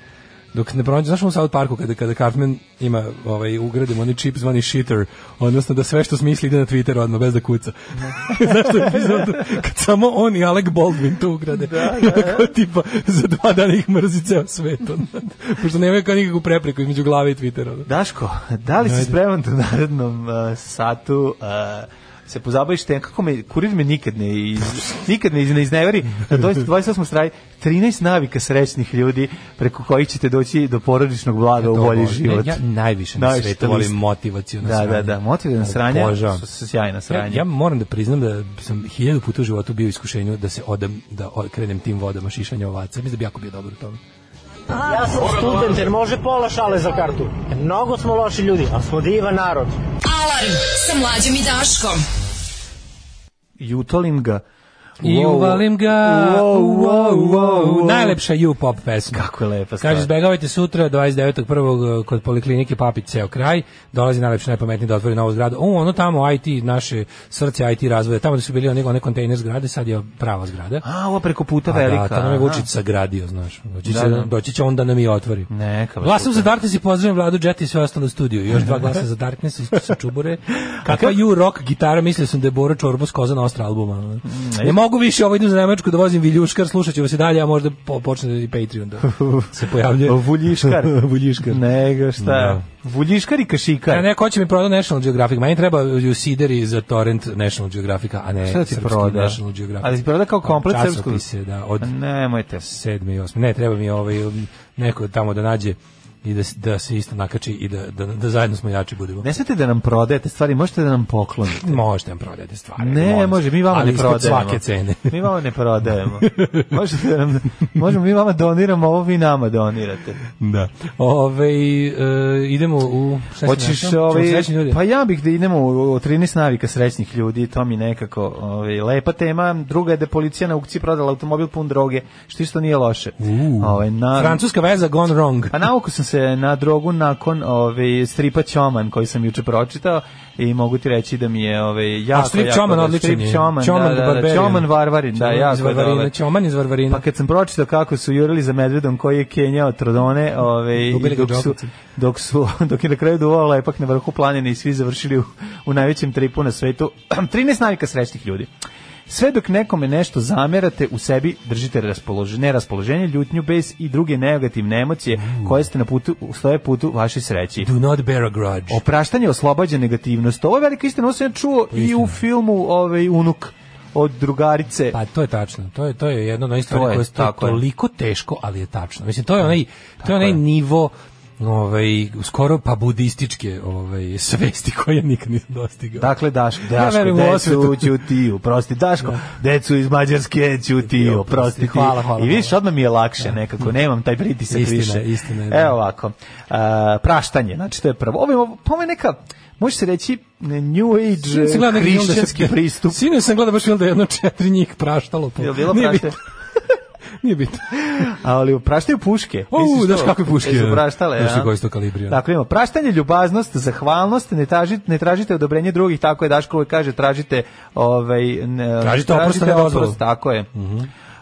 dok ne pronađu, znaš u South Parku kada, kada Cartman ima, ovaj, ugradim onaj čip zvani shitter, odnosno da sve što smisli ide na Twitter odmah, bez da kuca. znaš tu epizodu? Kad samo on i Alec Baldwin to ugrade. Da, da. Tako, tipa, za dva dana ih mrzi ceo svet. ono. Pošto nemaju kao nikakvu prepreku između glave i Twittera. ono.
Daško, da li si
Ajde.
spreman da u narednom uh, satu uh, se pozabaviš tem, kako me, kurir me nikad ne, iz, nikad ne, iz, ne izneveri, na 20 28. strani 13 navika srećnih ljudi preko kojih ćete doći do porodičnog blaga u
To
bolji
volim.
život.
Ja, ja najviše na
Najviše
svetu
to
volim
isto.
motivacijona
Da,
sranja.
da, da, motivacijona sranja
Obožavam.
su- su sjajna
Ja,
sranja.
ja moram da priznam da sam hiljadu puta u životu bio u iskušenju da se odam, da o- krenem tim vodama šišanja ovaca. Mislim da bi jako bio dobar u tome.
Ja sam student, jer može pola šale za kartu. Mnogo smo loši ljudi, ali smo divan narod.
Alarm sa mlađom i Daškom.
I utolim ga.
I
Wow.
uvalim ga.
Wow, wow, wow, wow.
Najlepša U-pop pesma.
Kako je lepa stvar.
Kaže, izbegavajte sutra, 29.1. eh, kod poliklinike Papić ceo kraj. Dolazi najlepši, najpametniji da otvori novu zgradu. U, ono tamo IT, naše srce IT razvoja. Tamo da su bili one, one kontejner zgrade, sad je prava zgrada.
A, ova preko puta
Pa
velika.
Da, tamo je
aha.
Vučić sagradio, znaš. Doći će,
Da, da.
doći će on da nam i otvori.
Neka vas
Glasam za Darkness i pozdravim Vladu Jet i sve ostalo u studiju. Još dva glasa za Darkness i sa čubure. Kakva ju rock gitara, mislio sam da je Bora Čorbo s koza na ostra albuma.
Mm,
ono. Ne mogu više, ovo idem za Nemačku da vozim viljuškar, slušat ću vas i dalje, a možda po, počne i Patreon da se pojavljuje.
Vuljiškar.
Vuljiškar.
Nego šta?
Da.
Vuljiškar i kašikar.
Ja neko će mi proda National Geographic, meni treba ju sideri za torrent National Geographica, a ne
Šta da ti
srpski
proda?
National Geographic. Pa,
Ali ti proda kao komplet srpskog?
Časopise, da, od
Pa Nemojte.
sedmi i osmi. Ne, treba mi ovaj neko tamo da nađe i da, s- da se isto nakači i da, da, da zajedno smo jači budemo.
Ne smete da nam prodajete stvari, možete da nam poklonite.
Možete nam prodajete stvari.
Ne,
molim.
može, mi vama
Ali
ne
ispod
prodajemo.
svake cene.
Mi vama ne prodajemo. Možete da nam, možemo mi vama doniramo, ovo vi nama donirate.
da. Ove, e, idemo u... šta si
Hoćeš
našao? Ćemo
ovaj,
srećni ljudi?
pa ja bih da idemo u u 13 navika srećnih ljudi, to mi nekako ovaj, lepa tema. Druga je da je policija na aukciji prodala automobil pun droge, što isto nije loše. Ovaj, na,
Francuska veza gone wrong.
Pa navuku sam se na drogu nakon ove, stripa Ćoman koji sam juče pročitao i mogu ti reći da mi je ove, jako,
A strip
jako...
Ćoman
dobar.
odličan je.
Strip Ćoman, da,
the
da, da,
Barbarian.
Ćoman Varvarin, da,
Ćoman iz
jako je
Varvarina,
dobar.
Ćoman iz Varvarina.
Pa kad sam pročitao kako su jurili za medvedom koji je Kenjao Trodone, ove, i
Ubili ga
dok, su,
džokovci.
dok, su, dok je na kraju duvao lepak na vrhu planine i svi završili u, u najvećem tripu na svetu, 13 navika srećnih ljudi. Sve dok nekome nešto zamerate u sebi, držite raspoloženje, neraspoloženje, ljutnju, bez i druge negativne emocije koje ste na putu, stoje putu vašoj sreći.
Do not bear a grudge.
Opraštanje oslobađa negativnost. Ovo je velika istina, ovo sam ja čuo i u filmu ovaj, Unuk od drugarice.
Pa to je tačno. To je to je jedno od onih stvari
To je,
koje je
tako je.
toliko teško, ali je tačno. Mislim to je onaj to je onaj nivo ovaj skoro pa budističke ovaj svesti koje ja nikad nisam dostigao.
Dakle, Daš,
Ja
Daško,
verujem u
decu
osvetu. Da.
ćutiju, prosti, Daško, decu iz Mađarske ćutiju, prosti ti.
Hvala, hvala,
I vidiš,
hvala. Da.
odmah mi je lakše nekako, nemam taj pritisak
Istina,
više.
istina je, da.
Evo ovako, a, praštanje, znači to je prvo. Ovo je, ovo je neka, može se reći, New
Sinoć sam gledao
Age e,
neki film da se-
hrišćanski pristup.
Sinoć sam gledao baš film da je jedno četiri njih praštalo. Po,
Je li bilo
Nije
prašte?
bitno, Nije bitno.
Ali praštaju puške.
O,
Misliš
znaš
to?
kakve puške,
Jesu
da.
praštale,
Znaš
a?
koje su to kalibri, da. a?
Dakle, imamo praštanje, ljubaznost, zahvalnost, ne tražite, ne tražite odobrenje drugih, tako je Daško uvek kaže, tražite, ovaj, ne,
Tražite Mhm. oprost, a ne dozvolu.
tako je.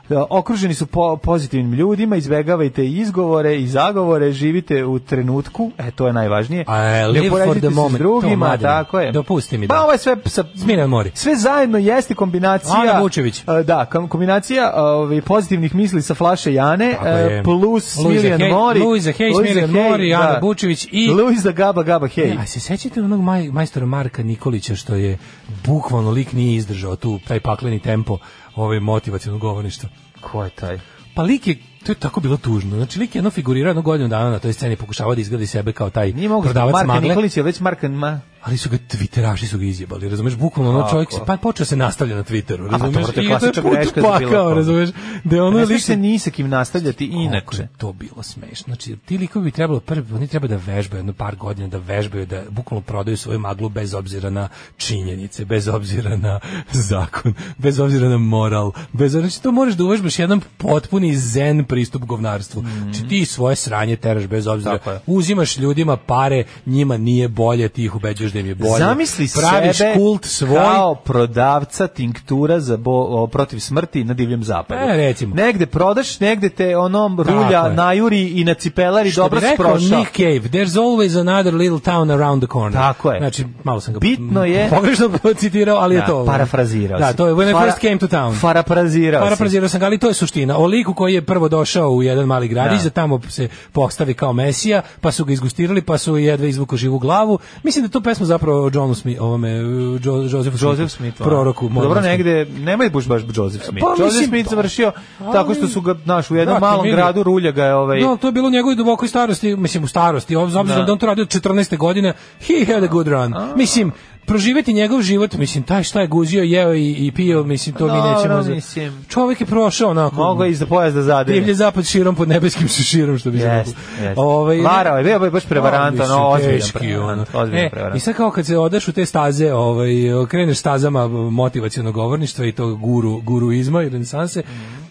Da, Okruženi su po- pozitivnim ljudima, izbegavajte izgovore i zagovore, živite u trenutku, e, to je najvažnije.
A, e, live
ne
for
poređite
the
se
moment, to,
s drugima,
mladine.
tako je.
Dopusti mi
Pa
da.
ovo je sve sa,
Smiren mori.
sve zajedno jeste kombinacija
Ana Vučević.
E, Da, kom- kombinacija ovaj pozitivnih misli sa flaše Jane
Tako je.
e, plus
Luisa
Smiljan
Hej-
Mori. da.
Luisa Hej, Smiljan Mori, Ana Vučević i-
Luisa Gaba Gaba Hej.
A se sećate onog maj, majstora Marka Nikolića što je bukvalno lik nije izdržao tu taj pakleni tempo ovaj motivacionog govorništva.
Ko je taj?
Pa lik je, to je tako bilo tužno. Znači lik je jedno figurirao jedno godinu dana na toj sceni pokušava da izgradi sebe kao taj
Nije mogu
prodavac
Marka
magle.
Nikolić je već Marka ma.
ali su ga twitteraši su ga izjebali, razumeš, bukvalno ono čovjek se, pa počeo se nastavlja na Twitteru,
pa
razumeš,
dobro, to je
i to je
klasična greška
put
za bilo
pakao,
koga.
razumeš, da je ono
Ne
lik...
smiješ se ni sa kim nastavljati
Koliko
inače.
je to bilo smešno. Znači, ti likovi bi trebalo prvi, oni treba da vežbaju jedno par godina, da vežbaju, da bukvalno prodaju svoju maglu bez obzira na činjenice, bez obzira na zakon, bez obzira na moral, bez obzira, znači to moraš da uvežbaš jedan potpuni zen pristup govnarstvu. Znači ti svoje sranje teraš bez obzira,
Mhm. Tako je.
uzimaš ljudima pare, njima nije bolje, ti ih ubeđuješ da im je bolje.
Zamisli
Praviš
sebe
kult svoj.
kao prodavca tinktura za bo, o, protiv smrti na divljem zapadu.
E, recimo.
Negde prodaš, negde te onom rulja
je.
najuri i na cipelari
Što
dobro
bi rekao
sprošao.
Nick Cave, there's always another little town around the corner.
Tako je.
Znači, malo sam ga
Bitno je-
pogrešno citirao, ali je
Da,
to.
parafrazirao
Da,
si.
to je when I
Fara-
first came to town.
Parafrazirao si.
Parafrazirao sam ga, ali to je suština. O liku koji je prvo došao u jedan mali gradić,
Da.
da. tamo se postavi kao mesija, pa su ga izgustirali, pa su jedva izvuku živu glavu. Mislim da je to pesma zapravo o Johnu Smith, ovome, jo, Josephu Smithu,
Joseph Smith. ono.
proroku.
Pa Dobro,
mormonskom.
negde, nemoj buš baš Joseph Smith.
Pa,
Joseph
mislim,
Smith
pa-
završio tako što su ga, znaš, u jednom
Brate,
malom
vidi.
gradu rulja ga je ovaj...
No, ali to je bilo u njegovoj dubokoj starosti, mislim u starosti, obz- obzirom
Da.
da. on to radi od 14. godine, he had a good run. Mislim, proživeti njegov život, mislim, taj šta je guzio, jeo i, i pio, mislim, to mi
Dobro,
nećemo... za-
mislim.
Čovjek je prošao onako...
Mogao je i za pojazd da zadere.
Divlji zapad širom pod nebeskim širom, što bi se
Jest,
reklo.
jest.
Ovaj,
Varao je, bio je baš prevarant,
A, mislim,
ono, ozbiljan
teški,
prevarant,
ono.
ozbiljan
E,
prevarant.
I sad kao kad se odaš u te staze, ovaj, kreneš stazama motivacionog govorništva i tog guru, guruizma i renesanse,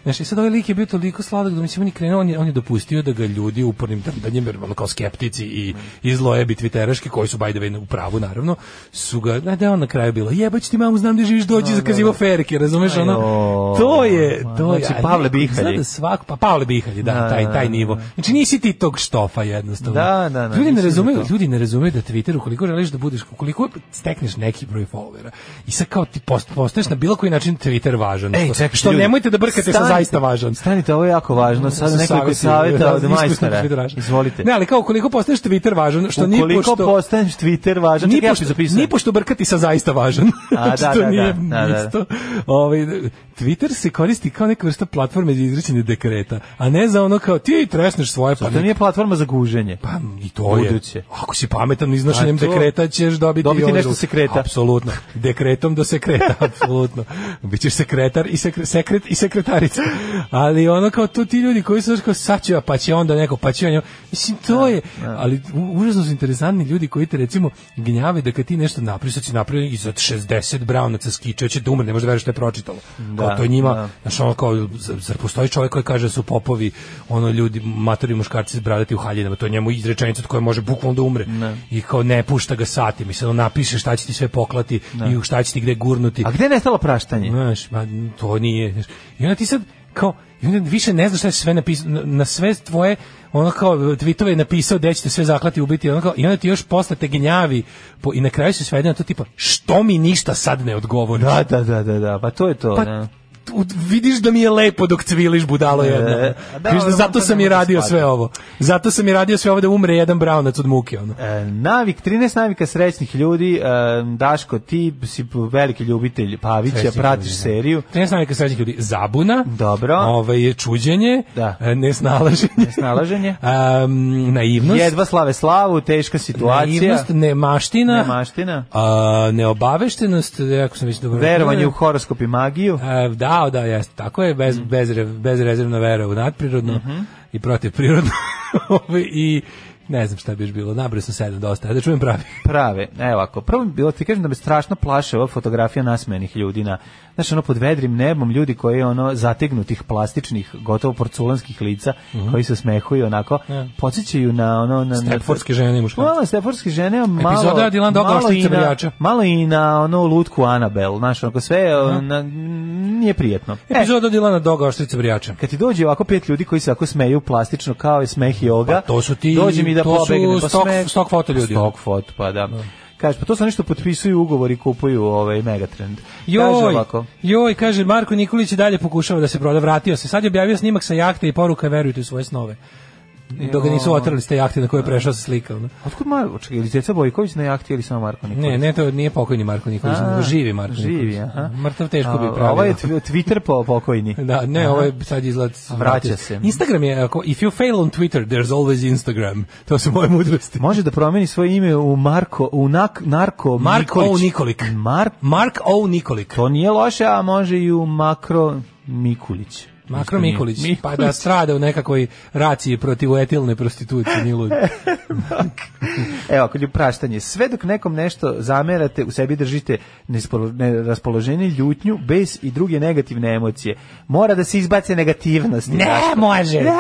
Znaš, i sad ovaj lik je bio toliko sladak da mislim, on je krenuo, on je, on je dopustio da ga ljudi upornim trdanjem, jer ono kao skeptici i, i zlojebi twitteraški, koji su by the way u pravu, naravno, su ga, da, da je on na kraju bilo, jebać ti mamu, znam gde živiš,
Da,
dođi, zakazivo ferke, razumeš, ono,
Ajoj.
to je, to je,
Znači,
a
Pavle
neko
Bihalj je.
zna da svak, pa Pavle Bihalj, da,
Da,
taj,
da,
taj
da.
nivo. Znači nisi ti tog štofa jednostavno.
Da, da, da,
Ljudi ne
nisam za
razumeju,
to.
ljudi ne razumeju da Twitter ukoliko želiš da budeš, ukoliko stekneš neki broj followera i sad kao ti post, postaješ na bilo koji način Twitter važan.
Ej,
Što-
čekajte,
što
ljudi.
nemojte da brkate sa
Stanite,
zaista važan. da,
Stanite, ovo je jako važno. Sad
Sa
nekoliko
savjetima,
savjeta od
raznih
majstora.
iskusnih Twitteraša.
Izvolite.
Ne, ali kao ukoliko postaješ Twitter važan, što ni
Ukoliko
pošto-
postaneš Twitter važan,
ni
čekaj, ja ću
pošto,
zapisati.
ni pošto brkati sa zaista važan.
A,
Što
da, da,
nije
da, da, da.
isto. Ovaj, Twitter se koristi kao neka vrsta platforme za izricanje dekreta, a ne za ono kao ti tresneš svoje pa
To nije platforma za guženje.
pa i to je.
Buduće.
Ako si pametan iznošenjem
A to-
dekreta ćeš dobiti,
Dobiti
i ono
nešto
drugo.
sekreta.
Apsolutno. Dekretom do sekreta, apsolutno. Bićeš sekretar i sekre, sekret i sekretarica. Ali ono kao tu ti ljudi koji su znaš, kao sad ću ja, pa će onda neko, pa će on. Mislim,
Da,
to je. Ali u- užasno su interesantni ljudi koji te recimo gnjave da kad ti nešto napraviš, sad si napravio i za 60 braunaca skiče, će da umre, ne može da veruješ što je pročitalo. kao to je njima,
da.
Znaš, ono kao, zar zar postoji čovjek koji kaže da su popovi, ono, ljudi, matori muškarci bradati u haljinama, to je njemu izrečenica od koje može bukvalno da umre. I kao ne pušta ga sati, mislim, on napiše šta će ti sve poklati i u šta će ti gde gurnuti.
A gde je nestalo praštanje?
Znaš, ma, to nije. znaš. I onda ti sad, kao, i onda više ne znaš šta je sve napisao, na, na sve tvoje, ono kao, tweetove je napisao gde ćete sve zaklati i ubiti, ono kao, i onda ti još posle te gnjavi, po, i na kraju se svede na to tipa, što mi ništa sad ne odgovoriš?
Da, da, da, da, da, pa to je to.
Pa,
da.
u- vidiš da mi je lepo dok cviliš budalo jedno.
E, da,
Vidiš
ali
da zato
on to
sam
ne
i
može
radio sve
shvatiti.
ovo. Zato sam i radio sve ovo da umre jedan braunac od muke. Ono.
E, navik, 13 navika srećnih ljudi, e, Daško, ti si veliki ljubitelj Pavića,
Srećnih
pratiš
ljudi, da.
seriju.
13 navika srećnih ljudi. Zabuna.
Dobro.
Ovaj, je čuđenje.
Da.
e, Nesnalaženje.
Nesnalaženje.
em, naivnost.
Jedva slave slavu, teška situacija,
Naivnost, nemaština.
nemaština,
a, neobaveštenost, e, ako sam već dobro...
verovanje u horoskop i magiju.
E, Da, da, jeste, tako je,
Mhm.
bez, bezre- bezrezervna vera u nadprirodno i protiv prirodno Ovaj, i ne znam šta bi još bilo, nabrao sam sedam dosta, ajde da čujem pravi.
prave. Evo ovako, prvo mi bilo ti kažem da me strašno plaše ova fotografija nasmejanih ljudi na znači ono pod vedrim nebom ljudi koji ono zategnutih plastičnih gotovo porculanskih lica
Mhm.
koji se smehuju onako podsjećaju na ono na
Stepfordske žene i muškarce.
Malo stepfordske žene, malo
Epizoda Dylan Dog,
malo, i
Oštrica
na,
brijača.
malo i na ono lutku Anabel, znaš, onako sve na, nije prijetno. E,
Mhm. Epizoda Dilana Doga, Oštrica Brijača.
kad ti dođe ovako pet ljudi koji se ako smeju plastično kao je smeh yoga,
Pa to su ti-
dođe mi da
to su
pobegne, pa
stock-
smeh-
stock foto ljudi.
Stock foto, pa da. Kaže, pa to su nešto potpisuju ugovor i kupuju ovaj Megatrend. Kaže
Joj,
ovako,
joj, kaže Marko Nikolić i dalje pokušava da se proda, vratio se. Sad je objavio snimak sa jahte i poruka verujte u svoje snove. Dok ga nisu otrali ste jahte na koje je prešao sa slika. ono.
otkud Marko, čekaj, ili Ceca Bojković na jahti ili samo Marko Nikolić?
Ne, ne, to nije pokojni Marko Nikolić,
A,
nego živi Marko Nikolić.
Živi, aha.
Mrtav teško bi
A,
pravio.
Ovo je tw- Twitter po pokojni.
Da, ne, ovo je sad izgled
Vraća se.
Instagram je, ako, if you fail on Twitter, there's always Instagram. To su moje mudrosti.
Može da promeni svoje ime u Marko, u nak, Narko
Mark
Nikolić.
O. Nikolik.
Mark,
Mark O. Nikolik.
to nije loše, a može i u Makro Mikulić.
Makro Nikolić, pa da strada u nekakvoj raciji protiv etilne prostitucije, ni lud.
Evo, kod praštanje. Sve dok nekom nešto zamerate, u sebi držite nespolo- ne- raspoloženje, ljutnju, bes i druge negativne emocije. Mora da se izbace negativnost.
Ne može.
Nema.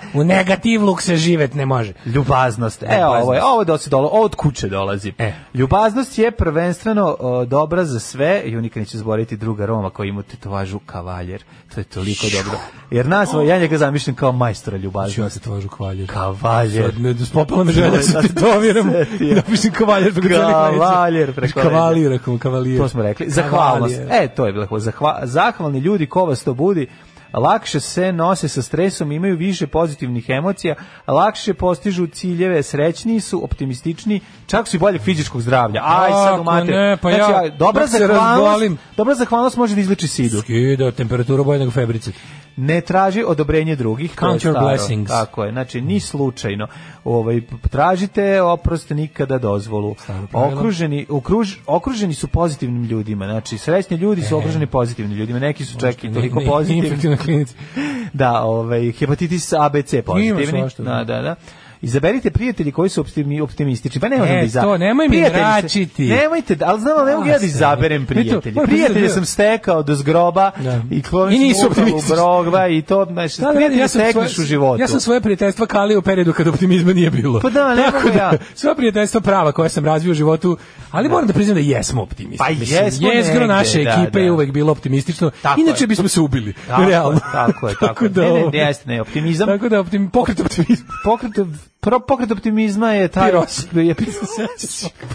se. U negativluk se živet ne može.
Ljubaznost. E, ovo je, ovo dosi dolo, ovo od kuće dolazi.
E.
Ljubaznost je prvenstveno o, dobra za sve i nikad neću zboriti druga Roma koji ima tetovažu kavaljer. To je toliko dobro. Jer nas, ja njega zamišljam kao majstora
Znači, ja
ljubaznosti.
se tvažu kavaljer.
Kavaljer.
Sad me spopala me želja da se
Sad se
tetoviram.
setio.
Napišem Da kavaljer preko celih leđa.
Kavaljer preko leđa.
Kavaljer, ako mu kavaljer.
To smo rekli. Zahvalnost.
Kavaljer.
E, to je bilo. Zahva, zahvalni ljudi ko vas to budi, lakše se nose sa stresom, imaju više pozitivnih emocija, lakše postižu ciljeve, srećniji su, optimistični, čak su i boljeg fizičkog zdravlja. Aj, sad
Ako
u mater.
ne, pa ja,
dobra,
dok se
zahvalnost,
razbolim.
dobra zahvalnost može da izliči sidu.
Skida temperaturu bolje nego febrice.
Ne traži odobrenje drugih. to je
Count your
staro.
blessings.
Tako je, znači ni slučajno. Ovaj, p- tražite oprost nikada dozvolu.
Staro pravilo.
Okruženi, okruž, okruženi su pozitivnim ljudima, znači srećni ljudi su okruženi pozitivnim ljudima, neki su čak i toliko
E. Ne, ne,
pozitivni.
Infektivna klinici.
Da, ovaj, hepatitis ABC pozitivni.
svašta, da.
Da, da, da. Izaberite prijatelji koji su optimi- optimistični. Pa ne možemo
E,
da izaberem.
to, nemoj mi
Prijatelji se-
mračiti.
Nemojte, da- ali znam, ali ne mogu
A,
ja da
sve.
izaberem
Mi to-
prijatelje.
moram
Prijatelje
priznati da-
sam stekao do zgroba
Da.
i klonim
I nisu
sam upravo u
optimistični.
brogva i to, znaš,
Da, da,
prijatelje
ja sam
stekneš
svoje-
u životu.
Ja sam svoje prijateljstva kalio u periodu kada optimizma nije bilo.
Pa da, ne
Tako
mogu ja.
Sva prijateljstva prava koja sam razvio u životu, ali moram da priznam da jesmo optimisti.
Pa
Mislim,
jesmo
Jezgro
negde,
naše
da,
ekipe
da.
je uvek bilo optimistično.
Tako
Inače
je.
bismo se ubili.
Tako je,
realno.
tako je, tako je. Ne, ne,
ovo-
jeste, ne, optimizam.
Tako da optim, pokret optimizma.
Pokret, pro, pokret optimizma je taj...
Piros.
je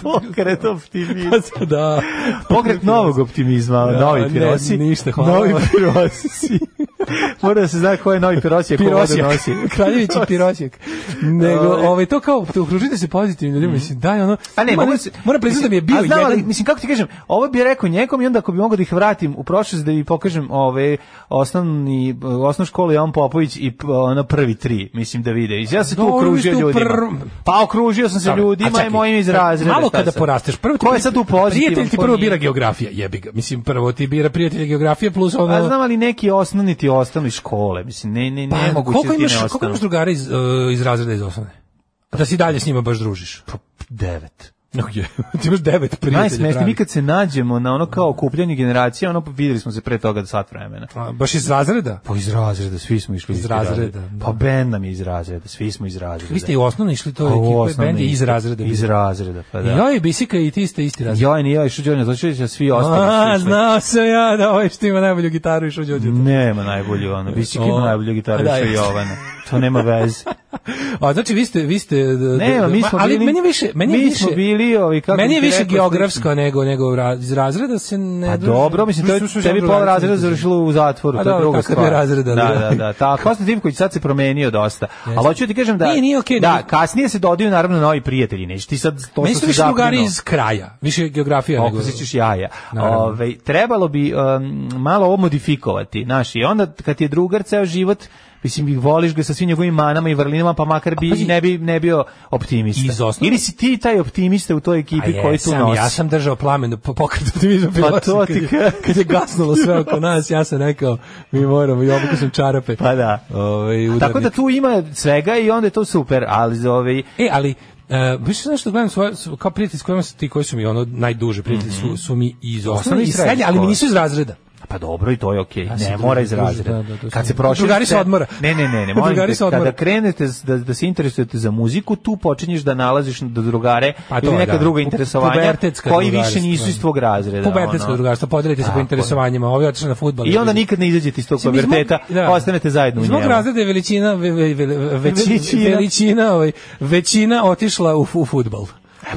pokret optimizma.
da.
Pokret novog optimizma,
Da,
novi
ne,
pirosi.
ništa, hvala.
Novi pirosi. Mora da se zna ko je novi pirosi, a ko vodu
Pirosijak.
nosi.
Kraljević i Pirosijak. Nego, ovaj, to kao, to okružite se pozitivnim ljudima, mislim, daj ono,
Pa ne,
ima
mogu
ne-
se-
moram priznati da mi je bio
A znam, ali,
jedan,
mislim, kako ti kažem, ovo bi rekao njekom i onda ako bi mogao da ih vratim u prošlost da bi pokažem ove osnovni, osnovnu školu Jovan Popović i p- ono prvi tri, mislim da vide. Ja sam tu
Dobro,
okružio
vi ste u
ljudima.
prv-
Pa okružio sam se
Dobro, a
ljudima
čekaj,
i mojim iz
kad-
razreda.
Malo
šta
kada
sad?
porasteš, prvo ti
Ko je sad u pozitivom?
Prijatelj ti
ko
prvo
nije?
bira geografija, jebi ga. Mislim, prvo ti bira prijatelj geografije plus ono... Pa,
A znam, ali neki osnovni ti ostali škole, mislim, ne, ne, ne moguće
koliko
ti ne
imaš,
ostanu.
koliko imaš drugara iz, uh, iz razreda iz osnovne? A Da si dalje s njima baš družiš.
Pa, Devet.
No, je. ti imaš devet prijatelja.
Najsmešnije, mi
pravih.
kad se nađemo na ono kao okupljanju generacija, ono videli smo se pre toga da sat vremena.
A, Baš iz razreda?
Pa iz razreda, svi smo išli
Iz
isti
razreda,
razred.
da.
Pa bend nam je iz razreda, svi smo iz razreda.
Vi ste i u osnovno išli to je
Pa u
ekipa,
osnovni
bend je iz razreda.
Iz razreda, pa da.
Joj, bisika i ti ste isti razred.
Joj, ni joj, šuđo, ne znači da svi ostali. su
da A,
išli.
znao sam ja da ovaj što ima najbolju gitaru i šuđu
Nema najbolju ono, Bisik ima
O.
najbolju gitaru
Da,
što je
jeste.
Jovana. To nema veze.
A znači vi ste vi ste da- da-
Nema, mi
ma-
smo
ali
bili-
meni je više meni je
mi
više
smo bili, ovi, kako
meni je
bi ti
više
rekao,
geografsko nego nego ra- iz razreda se ne
Pa
družim.
dobro, mislim, to
Mislim,
je
su
tebi
sam
pola
drugarice,
razreda
mislim.
završilo u zatvoru,
A
to je
dobro,
druga
takav
stvar.
je razred,
da,
ali
da,
da.
da. Ta Kosta Divković sad se promenio dosta. Ali hoću ti kažem da...
Nije, nije okej,
Da,
nije.
kasnije se dodaju naravno novi prijatelji, neće ti sad to
Meni
što
su
se
više drugari
zaprinuo.
iz kraja, više geografija nego.
Okusit ćeš jaja.
Naravno.
Ove, trebalo bi um, malo ovo modifikovati. Znaš, I onda kad ti je drugar ceo život, mislim, i voliš ga sa svim njegovim manama i vrlinama, pa makar bi,
pazi,
ne, bi, ne bio optimista.
iz osnovne-
Ili si ti taj optimista u toj ekipi
A
koji tu
jesam,
nosi.
ja sam držao plamen da po- pokret optimizma
Pa
bila
to
sam kad,
ti
je,
kažem.
kad je gasnulo sve oko nas, ja sam rekao, mi moramo, i obuku sam čarape.
Pa da.
Ovaj,
Tako da
udarnik.
tu ima svega i onda je to super, ali za ovaj, ove...
E, ali Uh, više znaš što gledam svoje, s- kao prijatelji s kojima su ti koji su mi ono najduže prijatelji su, su mi iz osnovne i
Mhm. i srednje
srednje, ali mi
škole.
nisu iz razreda.
Pa dobro i to je okej.
se
Ne
druži-
mora iz
druži,
razreda.
da, da, to
Kad
sam-
se proširi
Drugari se
cen-
odmora.
Ne, ne, ne, ne, molim
Drugari
te,
se odmora.
kada krenete s- da da se interesujete za muziku, tu počinješ da nalaziš da drugare
Pa to
ili
je,
neka
da.
druga
Pu-
interesovanja
pubertetska
koji više
drugarstva.
nisu iz tvog razreda.
Pubertetsko
Da, ono.
drugarstvo, podelite se
Tako
po
je.
interesovanjima, ovi otišli na fudbal.
I onda nikad ne izađete iz tog
Mislim, iz mog-
puberteta,
da.
ostanete zajedno u
Iz mog
njemu.
razreda je veličina, ve, ve, ve,
Veličina. E,
veličina, veličina, ovaj, većina otišla u, u fudbal.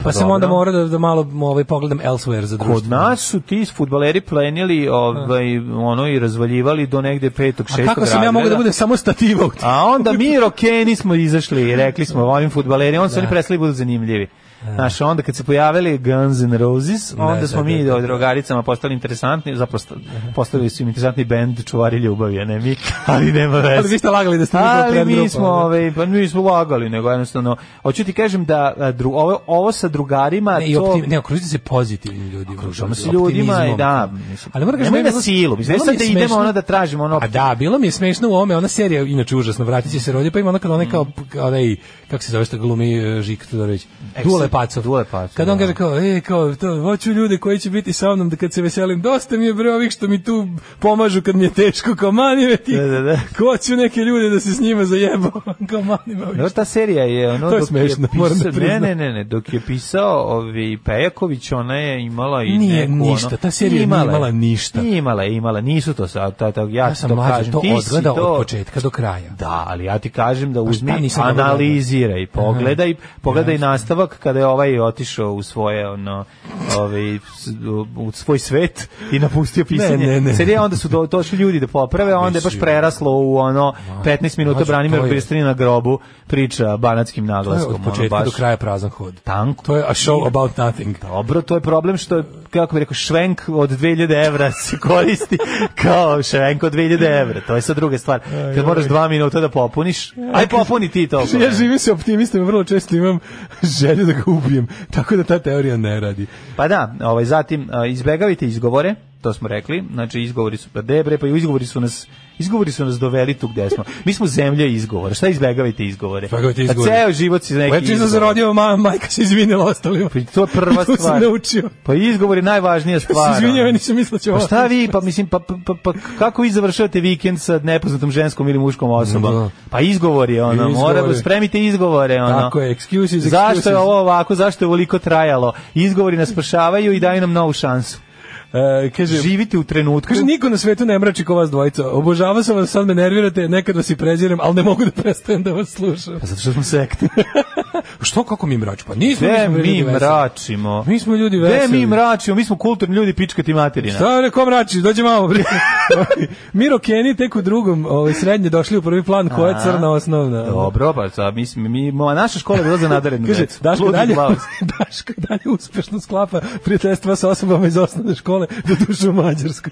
Pa sam
dobro.
onda morao da, da malo ovaj, pogledam elsewhere za društvo.
Kod nas su ti fudbaleri plenili ovaj, ono i razvaljivali do negde petog,
Da. A
šestog
kako sam ja
razreda.
mogu da budem samo stativa u tim? Da.
A onda mi rokeni smo izašli i rekli smo ovim fudbalerima, onda su oni prestali da budu zanimljivi. Znaš, onda kad se pojavili Guns N' Roses, onda
da,
smo mi
da, da.
drogaricama postali interesantni, zapravo sta- postavili su im interesantni bend Čuvari ljubavi, a ne mi, ali nema veze.
Ali vi ste lagali da ste njihova
Ali mi
predgrupa,
smo,
ono.
ovaj, pa mi smo lagali, nego jednostavno, hoću ti kažem da a, dru, ovo, ovo sa drugarima,
Ne, i
da, to...
optim, ne, okružite se pozitivnim ljudima.
Okružujemo se ljudima i da, mislim,
ali moram kažem,
nemoj
meni je
na
bilo-
silu, mislim,
bilo
sad
mi je
da idemo,
smešno-
ono, da tražimo, ono,
A da, bilo mi je smešno u ovome, ona serija je inače užasno, vratit će se rodje, pa ima ona kad onaj kao, onaj, kako se zove što glumi e, Žika Todorović,
Eks-
Dule Pacov.
Dule Pacov,
Kad on
da.
kaže kao, e, kao, to, hoću ljude koji će biti sa mnom da kad se veselim, dosta mi je bre ovih što mi tu pomažu kad mi je teško, kao mani me ti,
Da, da, da.
hoću neke ljude da se s njima zajebam, kao mani me ovih.
Dobro, ta serija je ono
To je
dok
smešno,
je
moram da
pisao, ne,
priznam.
ne, ne, ne, dok je pisao ovi Pejaković, ona je imala i
Nije
neku,
ništa,
ono,
ta serija nije imala ništa.
Nije imala, je imala, nisu to sad, ta, ta, ja,
Ja sam
da, to
mlađe
kažem,
to
ti si
odgledao
to,
od početka do kraja.
Da, ali ja ti kažem da uzmi,
Pa šta nisam da. dobro
analiziraj, pogledaj, pogledaj nastavak kada je ovaj otišao u svoje ono, ovaj s- u- u svoj svet i napustio pisanje.
ne, ne.
Serija, onda su do, došli ljudi da poprave, a onda je baš
Mislim.
preraslo u ono 15 minuta
Mlađe, to
Branimir
je-
Bristrini na grobu priča banatskim
To je
naglaskom.
od
ono,
početka
baš-
do kraja prazan hod.
Tanko.
To je a show about nothing.
Dobro, to je problem što je, kako bih rekao, švenk od 2000 evra se koristi kao švenk od 2000 evra. To je sad druga stvar. Kad moraš dva minuta da popuniš, aj popuni ti to.
Ja živim se optimistom, vrlo često imam želju da ga ubijem, tako da ta teorija ne radi.
Pa da, ovaj, zatim a, izbegavajte izgovore, to smo rekli, znači izgovori su, pa debre, pa i izgovori su nas Izgovori su nas doveli tu gde smo. Mi smo zemlja izgovora. Šta izbegavajte izgovore?
Izbegavajte izgovore.
Pa ceo život si neki
Leči sam se
izgovor.
rodio, ma, majka se izvinila ostalima.
Pa To je
To
prva
sam
stvar.
naučio.
Pa izgovor je najvažnija stvar.
Se izvinjava,
ono.
nisam mislio da će
Pa
ovo.
šta vi, pa mislim, pa, pa, pa, pa kako vi završavate vikend sa nepoznatom ženskom ili muškom osobom?
Da.
Pa izgovor je ono,
Izgovor
mora, da
je.
spremite izgovore. Ono.
Tako je, excuses, excuses.
Zašto je ovo ovako, zašto je ovoliko trajalo? Izgovori nas spašavaju i daju nam novu šansu.
E, kaže,
Živite u trenutku.
kaže, niko na svetu ne mrači ko vas dvojica. Obožava sam vas, sad me nervirate, nekad vas i prezirem, ali ne mogu da prestajem da vas slušam.
Pa zato što smo sekti.
Što, kako mi mrači? Pa nismo, mi
Gde
smo ljudi
mi
veseli.
mračimo?
Mi smo ljudi
Gde
veseli.
mi mračimo? Mi smo kulturni ljudi, pička ti materina.
Šta bre, ko mrači, dođe malo bre. Miro Kenny tek u drugom, ovaj srednje došli u prvi plan, koja je crna osnovna.
Dobro, pa sad, mislim, mi, moja naša škola je bila za nadarenu
Kaže,
decu.
Daško i
Ludwig
dalje,
Klaus.
Daško i dalje uspešno sklapa prijateljstva sa osobama iz osnovne škole do duše u Mađarskoj.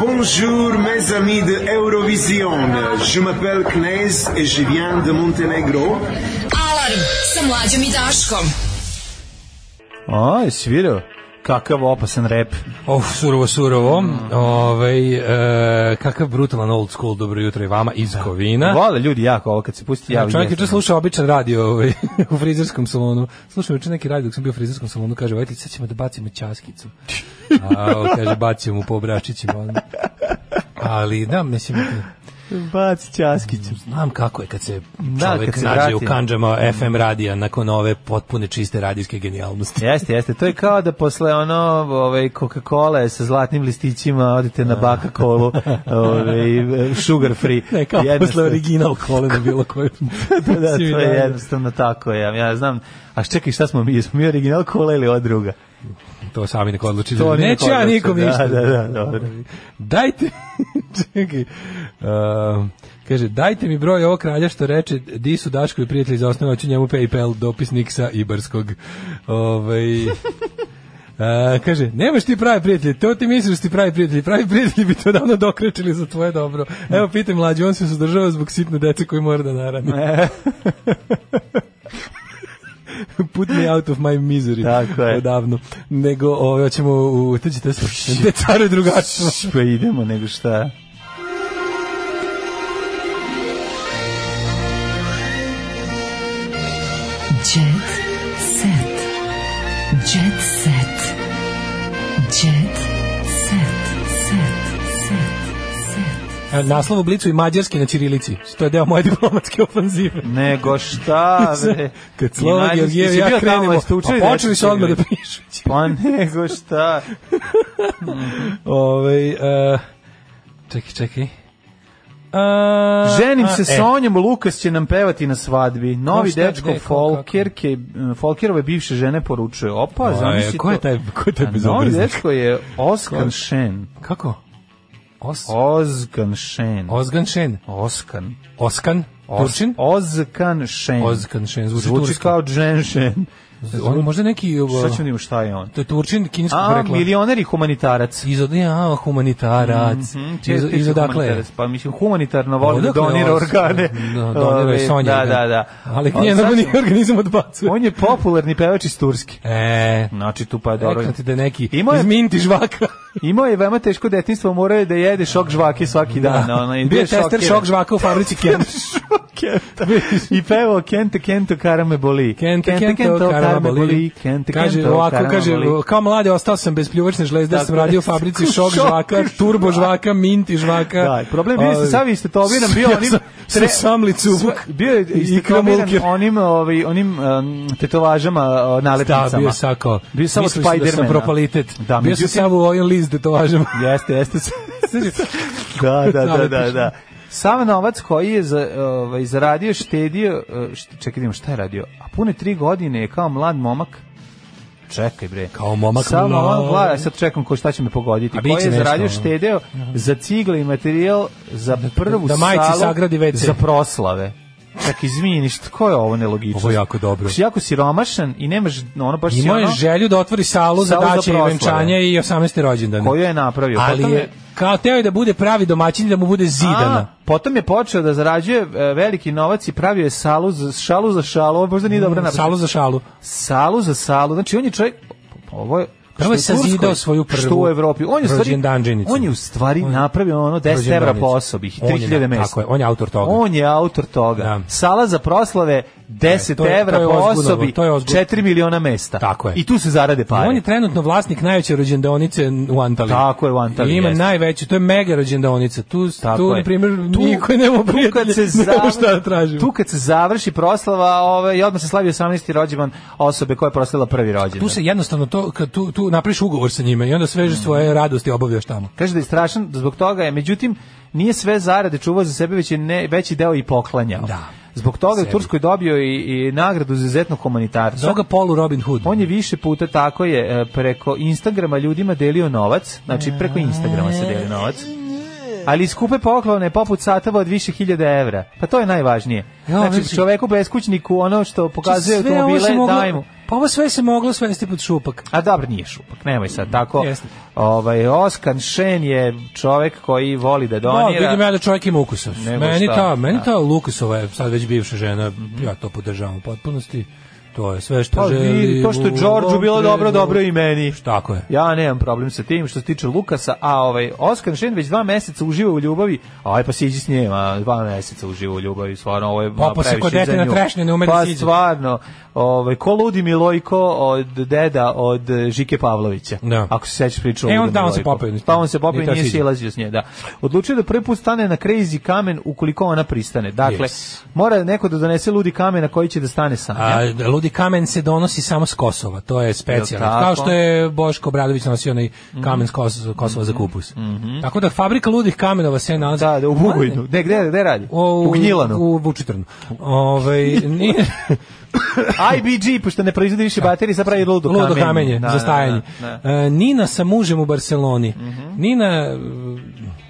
Bonjour mes amis de Eurovision. Je m'appelle Knez et je viens de Montenegro.
Alarm sa mlađom i Daškom.
A, jesi vidio? Kakav opasan rep.
Of, surovo, surovo. Ovaj e, kakav brutalan old school, dobro jutro i vama iz Kovina.
Vole ljudi jako ovo kad se pusti javi.
Čovjek
jeste.
juče slušao običan radio ovaj, u frizerskom salonu. Slušao juče neki radio dok sam bio u frizerskom salonu, kaže, ajde, sad ćemo da bacimo časkicu. A, on kaže, bacimo mu po obračićima. odmah. Ali, da, mislim,
Baci Ćaskićem.
znam kako je kad se
Da,
čovjek
kad se
nađe
vrati.
u kanđama FM radija nakon ove potpune čiste radijske genijalnosti.
Jeste, jeste. To je kao da posle ono ovaj Coca-Cola sa zlatnim listićima odete na baka kolu, ovaj sugar free.
Ne, kao
Jednostavno-
posle original kole na bilo kojem.
Da, da, to je jednostavno tako. Ja, ja znam. A čekaj, šta smo mi? Jesmo mi original kola ili od druga?
To sami neko odluči.
To oni
Neću
neko
ja
odluče,
nikom
da,
ništa.
da, da, dobro.
Dajte, čekaj, um, kaže, dajte mi broj ovog kralja što reče, di su Daškovi prijatelji za osnovu, hoću njemu PayPal, dopis Niksa Ibarskog. Ovaj... A, kaže, nemaš ti pravi prijatelji, to ti misliš da su ti pravi prijatelji, pravi prijatelji bi to davno dokrećili za tvoje dobro. Evo, pitaj mlađi, on se suzdržava zbog sitne dece koji mora da narani. Put me out of my misery.
Tako je.
Odavno. Nego, ove, ćemo u... Te ćete slušati. Te care drugačno.
Pa idemo, nego šta?
Jet set. Jet set. Jet set. Set.
E, Naslov u blicu i mađarski na ćirilici. To je deo moje diplomatske ofanzive.
Nego šta, bre?
Kad Slova
I
Georgijev
najzad-
i
Jesi bio
ja
tamo,
krenemo,
jeste učili
a počeli su
dečki
odmah da
igrati?
pišu.
Pa nego šta?
Ove, uh, čekaj, čekaj. E, A,
Ženim se
e,
Sonjom, Lukas će nam pevati na svadbi. Novi
šta,
dečko
gde, ko,
Folkerke, Folkerove bivše žene poručuje. Opa,
Aj,
zamisli
e, ko je taj, ko je taj
A Novi
bezobraznik?
dečko je Oskan Šen.
Kako? Os,
Ozgan Šen.
Ozgan Šen.
Oskan.
Oskan. Turčin?
Ozkan Šen.
Ozkan Šen, zvuči,
Zvuči
tursko.
kao Džen Šen.
On je možda neki... ovo,
Šta ćemo da vidimo šta je on?
To je Turčin, kineskog
A,
porekla.
milioner i humanitarac.
Iz od, ja, humanitarac.
Mhm, čije-
iz,
čije
iz
su
odakle dakle je?
humanitarac? Pa mislim, humanitarno voli da
Odakle je
donira
Ozkan?
organe.
Da, donira je
Ove,
Sonja,
Da, da, da.
Ali
On-
nije
znaš,
nego nije organizam odbacuje.
On je popularni pevač iz Turske.
E,
Znači, tu pa je dobro.
rekao ti da je neki
Imao je-
iz Minti žvaka.
Imao je veoma teško detinstvo, morao je da jede šok žvake svaki dan. ono, i
Da. Bio je
šokiran.
tester šok žvaka u fabrici Kent.
Kenta. I pevao Kente, Kento, kara me boli.
Kente, Kento, Karaboli.
Kente,
Kaže,
Kento,
ovako,
kara me
kaže,
boli.
kao mladi ostao sam bez pljuvačne žlezde,
Tako
sam
je.
radio u fabrici šok
Šok
žvaka, turbo žvaka, minti žvaka.
Da, problem bio je sa
Ovaj,
sav istetoviran, bio
ja
onim...
sam- Sa
tre-
samli cubuk.
Sva- Bio je istetoviran
kramulkir.
onim, ovaj, onim um, tetovažama, o, nalepnicama.
Da, bio je sako.
Bio je samo
Mislili su Da sam
Spidermana.
propalitet.
Da,
bio sam
međutim-
samo u ovom list da detovažama.
Jeste, jeste. da, da, da, da, da. Sav novac koji je za, ovaj, zaradio, štedio, eh, št, čekaj, da vidimo šta je radio, a pune tri godine je kao mlad momak, čekaj bre,
Kao momak
Sav momak,
mlad.
glad, sad čekam ko šta će me pogoditi,
A bit
koji
će
je
nešto,
zaradio,
ono.
štedeo za cigle i materijal za prvu
da majci
salu
sagradi WC.
za proslave. Čak izvini, šta, ko je ovo nelogično?
Ovo je jako dobro.
Jako siromašan i nemaš, ono, baš si
Imao je
ono,
želju da otvori salu za
Salu za
daće i
proslave.
venčanje i 18. rođendan.
koju je napravio. Potom
Ali
je-
je, kao teo je da bude pravi domaćin i da mu bude zidana.
A, potom je počeo da zarađuje e, veliki novac i pravio je salu za, šalu za šalu, ovo možda nije dobro napravio.
Mm, Salu za šalu.
Salu za salu, znači on je čovjek, ovo je,
Prvo je
što u Turskoj,
sazidao svoju prvu
što u Evropi. On je u stvari,
rođendanđenicu.
on je u stvari
On je-
napravio ono 10 evra po osobi,
On je,
3000 mesta.
Tako je, on je autor toga.
On je autor toga.
Da.
Sala za proslave 10
E, to je-
evra
to je
po
ozgudno,
osobi,
to je ozgudno.
4 miliona mesta.
Tako je.
I tu se zarade pare.
I On je trenutno vlasnik najveće rođendonice u Antaliji.
Tako je, u Antaliji,
I ima
jeste.
najveću, to je mega rođendonica. Tu,
Tako
tu
je.
na primjer,
Tu-
niko nema
tu
prijatelja,
kad se
nema
završi-
šta da tražimo.
Tu kad se završi proslava, ovaj i odmah se slavi 18. rođendan osobe koja je proslavila prvi rođendan.
Tu se jednostavno to, kad tu, tu napriš ugovor sa njima i onda sveže
Mm.
svoje radosti obavljaš tamo.
Kaže da je strašan zbog toga je, međutim, nije sve zarade čuvao za sebe, već je ne, veći deo i poklanjao.
Da.
Zbog toga je
Sebi.
u Turskoj dobio i, i nagradu za izuzetno humanitarca.
Zoga polu Robin Hood.
On je više puta tako je e, preko Instagrama ljudima delio novac, znači preko Instagrama se deli novac. Ali skupe poklone poput satava od više hiljada evra. Pa to je najvažnije.
Ja,
Znači
vidi.
čoveku beskućniku ono što pokazuje
Znači, Sve ovo se
automobile
moglo-
daj mu.
Pa ovo sve se moglo svesti pod šupak.
A dobro nije šupak, nemoj sad tako.
Jeste.
Ovaj Oskan Šen je čovek koji voli
Da,
da donira.
vidim ja da čovjek ima ukusa.
Nego
Meni
šta,
ta, meni
da.
ta Lukasova je sad već bivša žena, ja to podržavam u potpunosti. To je sve što
Pa vidi,
želi.
to što je
u
Đorđu
ovom
bilo dobro,
trenutku.
dobro je i meni.
Tako je.
Ja nemam problem sa tim što se tiče Lukasa, a ovaj Oskan Šen već dva meseca uživa u ljubavi. Aj pa siđi s njim, a dva meseca uživa u ljubavi, stvarno ovo je
Popao se
previše
kod dete
za
na
nju.
trešnje, ne ume da
Pa
siđe.
stvarno, ovaj ko ludi Milojko od deda od eh, Žike Pavlovića.
Da.
Ako se sećaš priče o
E, on-
Ludi
da, on se
Milojko.
popeo.
Pa on se popeo
Nije
i
teo
nije
siđe.
silazio s nje, da. Odlučio da prvi put stane na crazy kamen ukoliko ona pristane. Dakle,
Yes.
mora neko da donese ludi kamen na koji će da stane sam.
A ludi kamen se donosi samo s Kosova, to je specijalno.
Jel tako? Mhm.
Kao što je Boško Obradović nosio onaj kamen s Kosova, Kosova za kupus. Tako da fabrika ludih kamenova se nalazi...
Da, da, u Bugojnu. Gde, gde, gde radi?
O,
u Gnjilanu.
U Vučitrnu. Ovaj, nije,
IBG, pošto ne proizvodi više baterije, sad pravi ludo
Da.
kamenje.
ludo kamenje
Da,
za stajanje.
Da, da, Mhm. da.
E, Nina sa mužem u Barceloni. Nina e,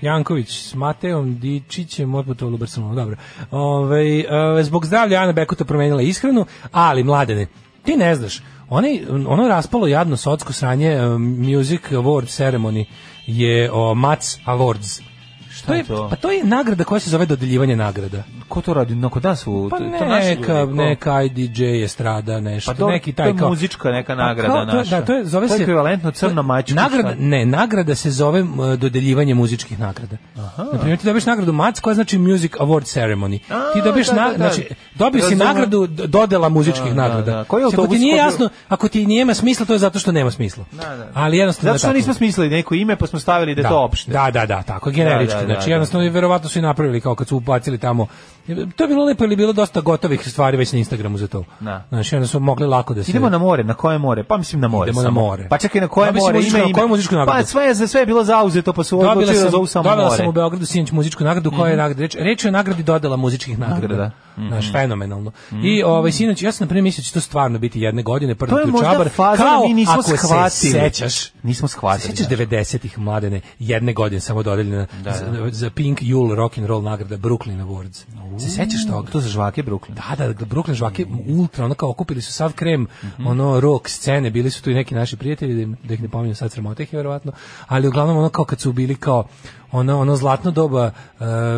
Janković s Mateom Dičićem otputovala u Barcelonu. Dobro. Ove, e, zbog zdravlja Ana Bekuta promenila ishranu, ali mladene, ti ne znaš, onaj, ono raspalo jadno socko sranje e, Music Award Ceremony je o, Mats Awards. Što
je to?
Pa to je nagrada koja se zove dodeljivanje nagrada.
Ko to radi? No, kod nas u...
Pa
to- to naši
neka,
ljudi, ko?
neka IDJ estrada, nešto,
Pa to,
neki
to
taj
je
kao...
muzička neka
Pa
nagrada
kao, to je-
naša.
Da, to je, zove
To je
se-
ekvivalentno crna mačka,
Nagrada,
šta?
ne, nagrada se zove m, dodeljivanje muzičkih nagrada. Na primjer, ti dobiješ nagradu Mac koja znači Music Award Ceremony.
A,
ti dobiješ
da, da,
na,
da.
znači dobiješ si
Razumem.
nagradu d- dodela muzičkih
Da, da,
nagrada.
da. Koji je
Znači, ako
autobus
ti nije
koji je-
jasno, ako ti nema smisla, to je zato što nema smisla.
da.
Ali jednostavno
Zato što
je tako.
nismo smislili neko ime, pa smo stavili da, je to opšte.
Da, da, da, tako generički.
Da, da, da,
znači
da.
jednostavno i verovatno su i napravili kao kad su upacili tamo. To je bilo lepo ili je bilo dosta gotovih stvari već na Instagramu za to.
Da.
Znači onda su mogli lako da se
Idemo na more, na koje more? Pa mislim na more.
Idemo na
samo.
more.
Pa čekaj na koje
Ja mislim,
more
muzičku-
ime
na
ime.
koju muzičku nagradu?
Pa sve je za sve je bilo zauzeto, pa su
Dobila
odlučili da
sam,
zovu samo
dobila
more. Mhm.
sam u Beogradu sinoć muzičku nagradu koja je nagrada. Reč, reč je o nagradi dodela muzičkih nagrada.
Nagrada. da. Mhm.
Mm -hmm. Znaš, fenomenalno. Mm -hmm. I ovaj sinoć ja sam na primer mislio da će to stvarno biti jedne godine prvi
To je možda
čabar.
faza da
kao
mi nismo
ako se
shvatili.
sećaš,
nismo shvatili.
sećaš
da.
90-ih mladene, jedne godine samo dodeljena
Da,
za, za Pink Jule Rock and Roll nagrada Brooklyn Awards. Se sećaš toga?
To za žvake Brooklyn.
Da, da, da, Brooklyn žvake ultra, ono kao okupili su sav krem, ono rock scene, bili su tu i neki naši prijatelji, da, im- da ih ne pominjem sad sramote ih je verovatno, ali uglavnom ono kao kad su bili kao ono, ono zlatno doba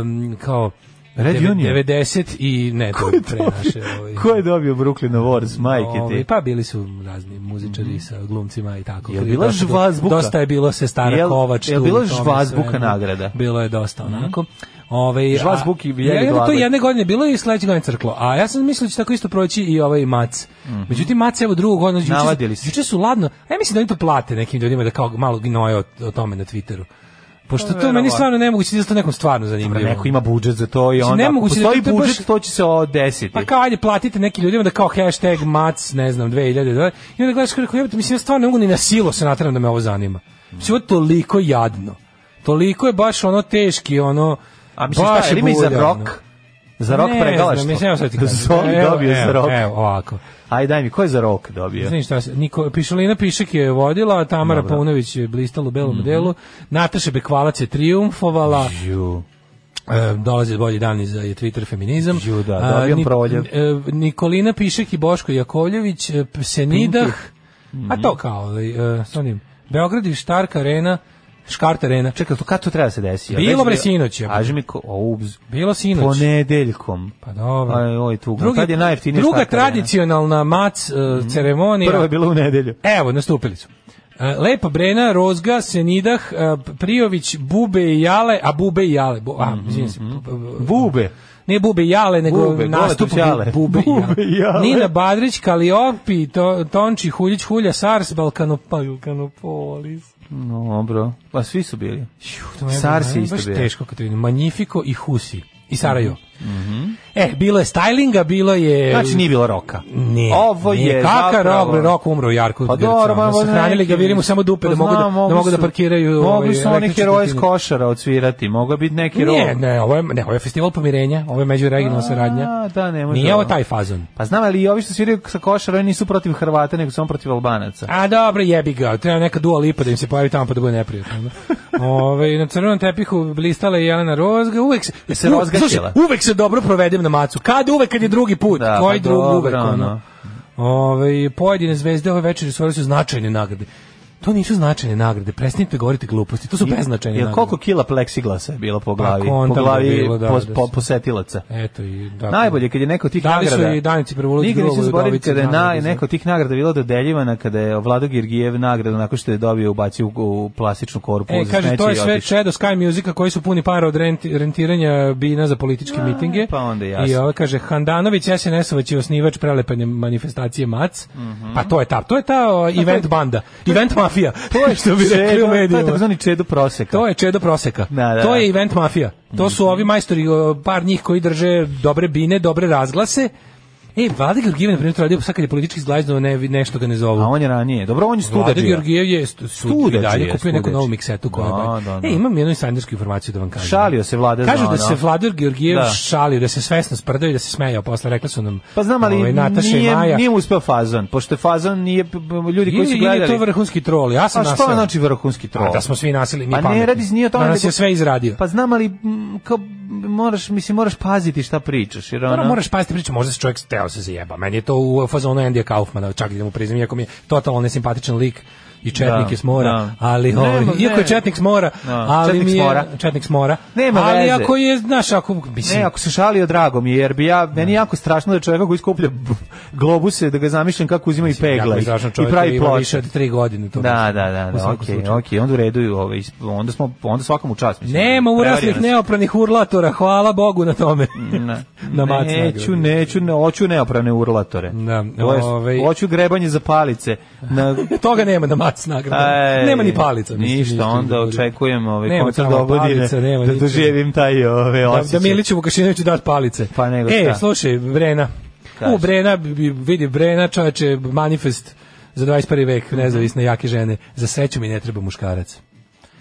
em, kao
Red
deve-
Union?
90 i ne, to je pre naše. Ovaj,
Ko je dobio Brooklyn Awards, majke
ovaj,
ti?
pa bili su razni muzičari sa glumcima i tako.
Jel bila
Dosta-
žvazbuka?
Dosta je bilo se stara
Jel-
Kovač.
jel
tu
bila
i tome
žvazbuka
svemu.
nagrada?
Bilo je dosta onako. Ovaj, a-
Žvazbuk i bijeli
Ja, ja, to
glave.
jedne godine bilo je i sledeće godine crklo. A ja sam mislio da će tako isto proći i ovaj mac. Međutim, mac je evo drugu godinu. juče-
Mhm. Navadili se.
Juče su ladno. A ja mislim da oni to plate nekim ljudima da kao malo gnoje o, o tome na Twitteru. Pošto to meni
Pa, verovatno.
stvarno nemoguće da se to nekom stvarno
Pa
zanimljivo.
neko ima budžet za to i
Mislim,
onda ako
nemoguće da
postoji
to je baš-
budžet, to će se odesiti.
Pa kao, ajde, platite nekim ljudima da kao hashtag mac, ne znam, 2002. I onda gledaš kako jebate, mislim, ja stvarno ne mogu ni na silo se nateram da me ovo zanima. Mislim, ovo je toliko jadno. Toliko je baš ono teški, ono...
A mislim, šta,
baš
jel ima i za
bulja,
rock?
ono.
Za rock
Ne
pregalaštvo?
znam, mislim, evo sad ti kažem.
Zoli
Evo,
dobio
evo,
za rock.
Evo, ovako.
Ajde, daj mi, ko je za rock dobio?
Znaš šta, se- Niko, Pišolina Pišek je vodila, a Tamara Paunović je blistala u belom
Mhm.
delu, Nataša Bekvalac je triumfovala,
Ju.
E, dolazi bolji dan za je Twitter feminizam.
Ju, da, dobijem
Ni-
proljev.
e, Nikolina Pišek i Boško Jakovljević, e, p- Senidah,
Mhm.
a to kao, ovaj, e, s onim, Beograd i Štark arena, Škart arena,
Čekaj, to kad to treba da se desi?
Bilo,
Već
bre,
bi-
sinoć je.
Kaži mi, ko, o, ubz.
bilo sinoć.
Ponedeljkom.
Pa dobro.
Aj, oj, tu,
Drugi-
kad je najjeftinija
druga
štarta arena? Mhm.
tradicionalna mac e, ceremonija.
Prva je bila u nedelju.
Evo, nastupili su. E, Lepa Brena, Rozga, Senidah, e, Prijović, Bube i Jale, a Bube i Jale, bu, a, izvinim se, bu- Mhm, bu-
Bube.
ne Bube i Jale, nego
Bube,
nastup
Goletić Jale.
Bu- Bube, i Jale.
Bube i Jale.
Nina Badrić, Kaliopi, to, Tonči, Huljić, Hulja, Sars, Balkanopa, Balkanopolis.
Dobro. Pa svi su bili.
To me
Sars je
baš
isto bio.
teško kad vidim. Magnifico i Husi. I Sarajevo. E, bilo je stylinga, bilo je...
Znači, nije bilo roka.
Ne,
Ovo
ne,
je
kaka
zapravo-
rok, bre, rok umro u Jarku.
Pa
Grca,
dobro,
ono,
ma pa
sahranili ga, vidimo samo dupe da mogu da, da, mogu da parkiraju.
Mogu
ovaj,
su oni
električne
heroje s
trotine.
košara odsvirati, mogu biti neki heroj.
Nije, ne, ovo je, ne, ovo je festival pomirenja, ovo je međuregionalna saradnja.
A, da, ne može.
Nije ovo
ovo.
taj fazon.
Pa znam, ali i ovi što sviraju sa košara, oni nisu protiv Hrvata, nego samo protiv Albanaca.
A dobro, jebi ga, treba neka dua lipa da im se pojavi tamo pa da bude neprijatno. Ove, na crvenom tepihu blistala je Jelena Rozga, uvek se,
Je se
uvek-
rozgaćila.
slušaj, uvek se dobro provedem na macu. Kad uvek kad je drugi put,
Da,
koji
pa
drugi
dobro,
uvek
ono.
ono. Ove, pojedine zvezde ove večeri osvojile su značajne nagrade. To nisu značajne nagrade, prestanite govoriti gluposti, to su beznačajne
Jel
nagrade.
koliko kila pleksiglasa je bilo po glavi?
kontam
po
je
glavi
bilo, da,
po-
da
po-
se-
posetilaca.
Eto i da.
Najbolje kad je neko od tih
Dali su
nagrada.
i Danici Prvulović
Nikad
drugu
neću zaboraviti
Udovicu
kada je na,
nagradu za-
neko od tih nagrada bilo dodeljivana kada je Vlado Girgijev nagradu nakon što je dobio ubacio u, u plastičnu korpu
E,
za
kaže,
smeće
to je
i
sve
otišao.
Shadow Sky Musica koji su puni para od renti- rentiranja bina za političke mitinge.
pa onda jasno.
I ovo kaže, Handanović, SNS-ovać je osnivač prelepanje manifestacije MAC.
Mhm.
Pa to je ta, to je ta
Pa
o, event banda. Event mafija. To je što bi rekli u
Čedo- To je
medijima.
takozvani čedo proseka.
To je čedo proseka.
Da, da,
to
da.
je event mafija. To su ovi majstori, o, par njih koji drže dobre bine, dobre razglase. E, Vlada Georgijev, je, na primjer, to radio sad kad je politički zglajzno, ne, nešto ga ne zovu.
A on je ranije. Dobro, on je
Vlada
studadžija.
Georgijev je stu- sud i
Studeđija,
dalje kupio neku
studeđija.
novu miksetu koja
Da,
je-
da, da.
E, imam jednu insajdersku informaciju da vam kažem.
Šalio se Vlada za
Kažu
ono.
da se Vlada Georgijev
Da.
šalio, da se svesno sprdao i da se smejao posle, rekli su nam
Pa znam, ali
ovaj, Nataša i
nije,
Maja.
nije mu uspeo fazon, pošto je fazon nije, p- p- ljudi koji
Ili-
su
ili je to
gledali...
vrhunski trol, ja sam
A što
naseo.
znači vrhunski trol?
A da smo svi nasili, mi
Pa
pametni.
ne, radi se nije o tome...
Da nas
nego-
je sve izradio.
Pa znam, ali mm, kao, moraš, mislim, moraš paziti šta pričaš, jer ono...
Ono, moraš paziti priču, možda se čovjek teo se zajeba. Meni je to u fazonu Andy Kaufmana, čak i da mu priznam, iako mi je totalno nesempatičan lik i četnik
Da,
je s mora,
da.
ali
Nema,
ovaj, iako
ne.
je četnik s mora,
Da,
ali
četnik
mi
s
je
mora.
četnik s mora.
Nema
ali
veze.
ako je, znaš, ako mislim,
Ne, ako se šalio, drago mi je, jer bi ja, meni je jako strašno da čovjeka koji skuplja b- globuse, da ga zamišljam kako uzima i pegla
Jako
i,
izražen
i
čovjek koji
pravi
ima
ploče.
više od tri godine. To
Da,
mislim,
da, da,
u
da,
svakom
okej,
slučaju.
okej, onda u redu, je, ovaj, onda, smo, onda svakom u čast, mislim.
Nema
Prevario
uraslih
nas. Mm.
neopranih urlatora, hvala Bogu na tome.
Ne.
Na mac
neću,
nagradu.
neću, ne, hoću neopravne urlatore.
Da,
To jest,
ovaj-
Hoću grebanje za palice. Na,
Toga nema na mac nagrada.
Ej,
nema ni palica. mislim,
Ništa, onda
drugo.
očekujem ovaj
Nema
koncert
tamo
dogodine
palica, nema
da
ničega.
doživim taj ove
Da,
osjećaj.
da Miliću Vukašinoviću dat palice.
Pa nego šta?
E, slušaj, Brena.
Kaži.
U, Brena, bi- bi- vidi, Brena, čoveče,
Mhm.
manifest za 21. vek, nezavisne, jake žene. Za sreću mi ne treba muškarac.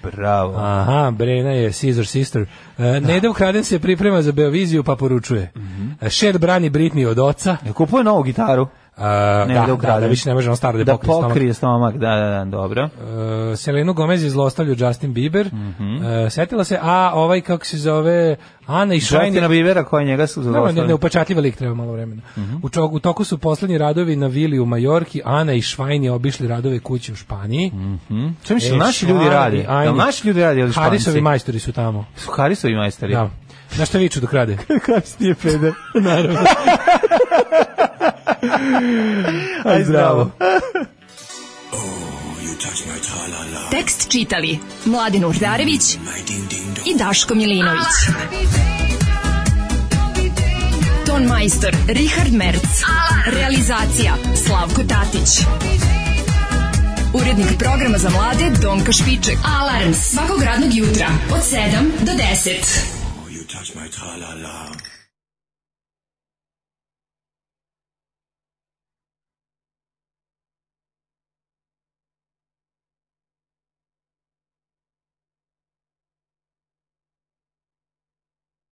Bravo.
Aha, Brena je Caesar sister. E,
Da.
Neda ukraden se priprema za Beoviziju pa poručuje.
Mhm.
E, Cher brani Britney od oca.
Ja kupuje novu gitaru.
A,
Ne,
da,
da
da,
ukrade.
da, više ne može on staro da,
Da
pokrije stomak.
pokrije stomak, da, da, da, dobro.
Uh, Selenu Gomez je zlostavljao Justin Bieber.
Mhm.
Uh, setila se, a ovaj kako se zove Ana i Šajn
Justina Bibera koja njega su
Ne, ne,
zadostavili.
neupočatljiva lik treba malo vremena.
Mhm.
u, čo- u toku su poslednji radovi na vili u Majorki, Ana i Švajn je obišli radove kuće u Španiji. E,
Mhm. Čemu misliš, naši ljudi rade? Da naši ljudi rade ili Španci?
Harisovi majstori su tamo.
Su Harisovi majstari.
Da. Na šta viču dok rade?
Haris nije peder.
Naravno.
Aj, zdravo.
Tekst čitali Mladin Urdarević i Daško Milinović. Ton majstor Richard Merc. Realizacija Slavko Tatić. Urednik programa za mlade Donka Špiček. Alarms svakog radnog jutra od 7 do 10.
You touch my tra-la-la.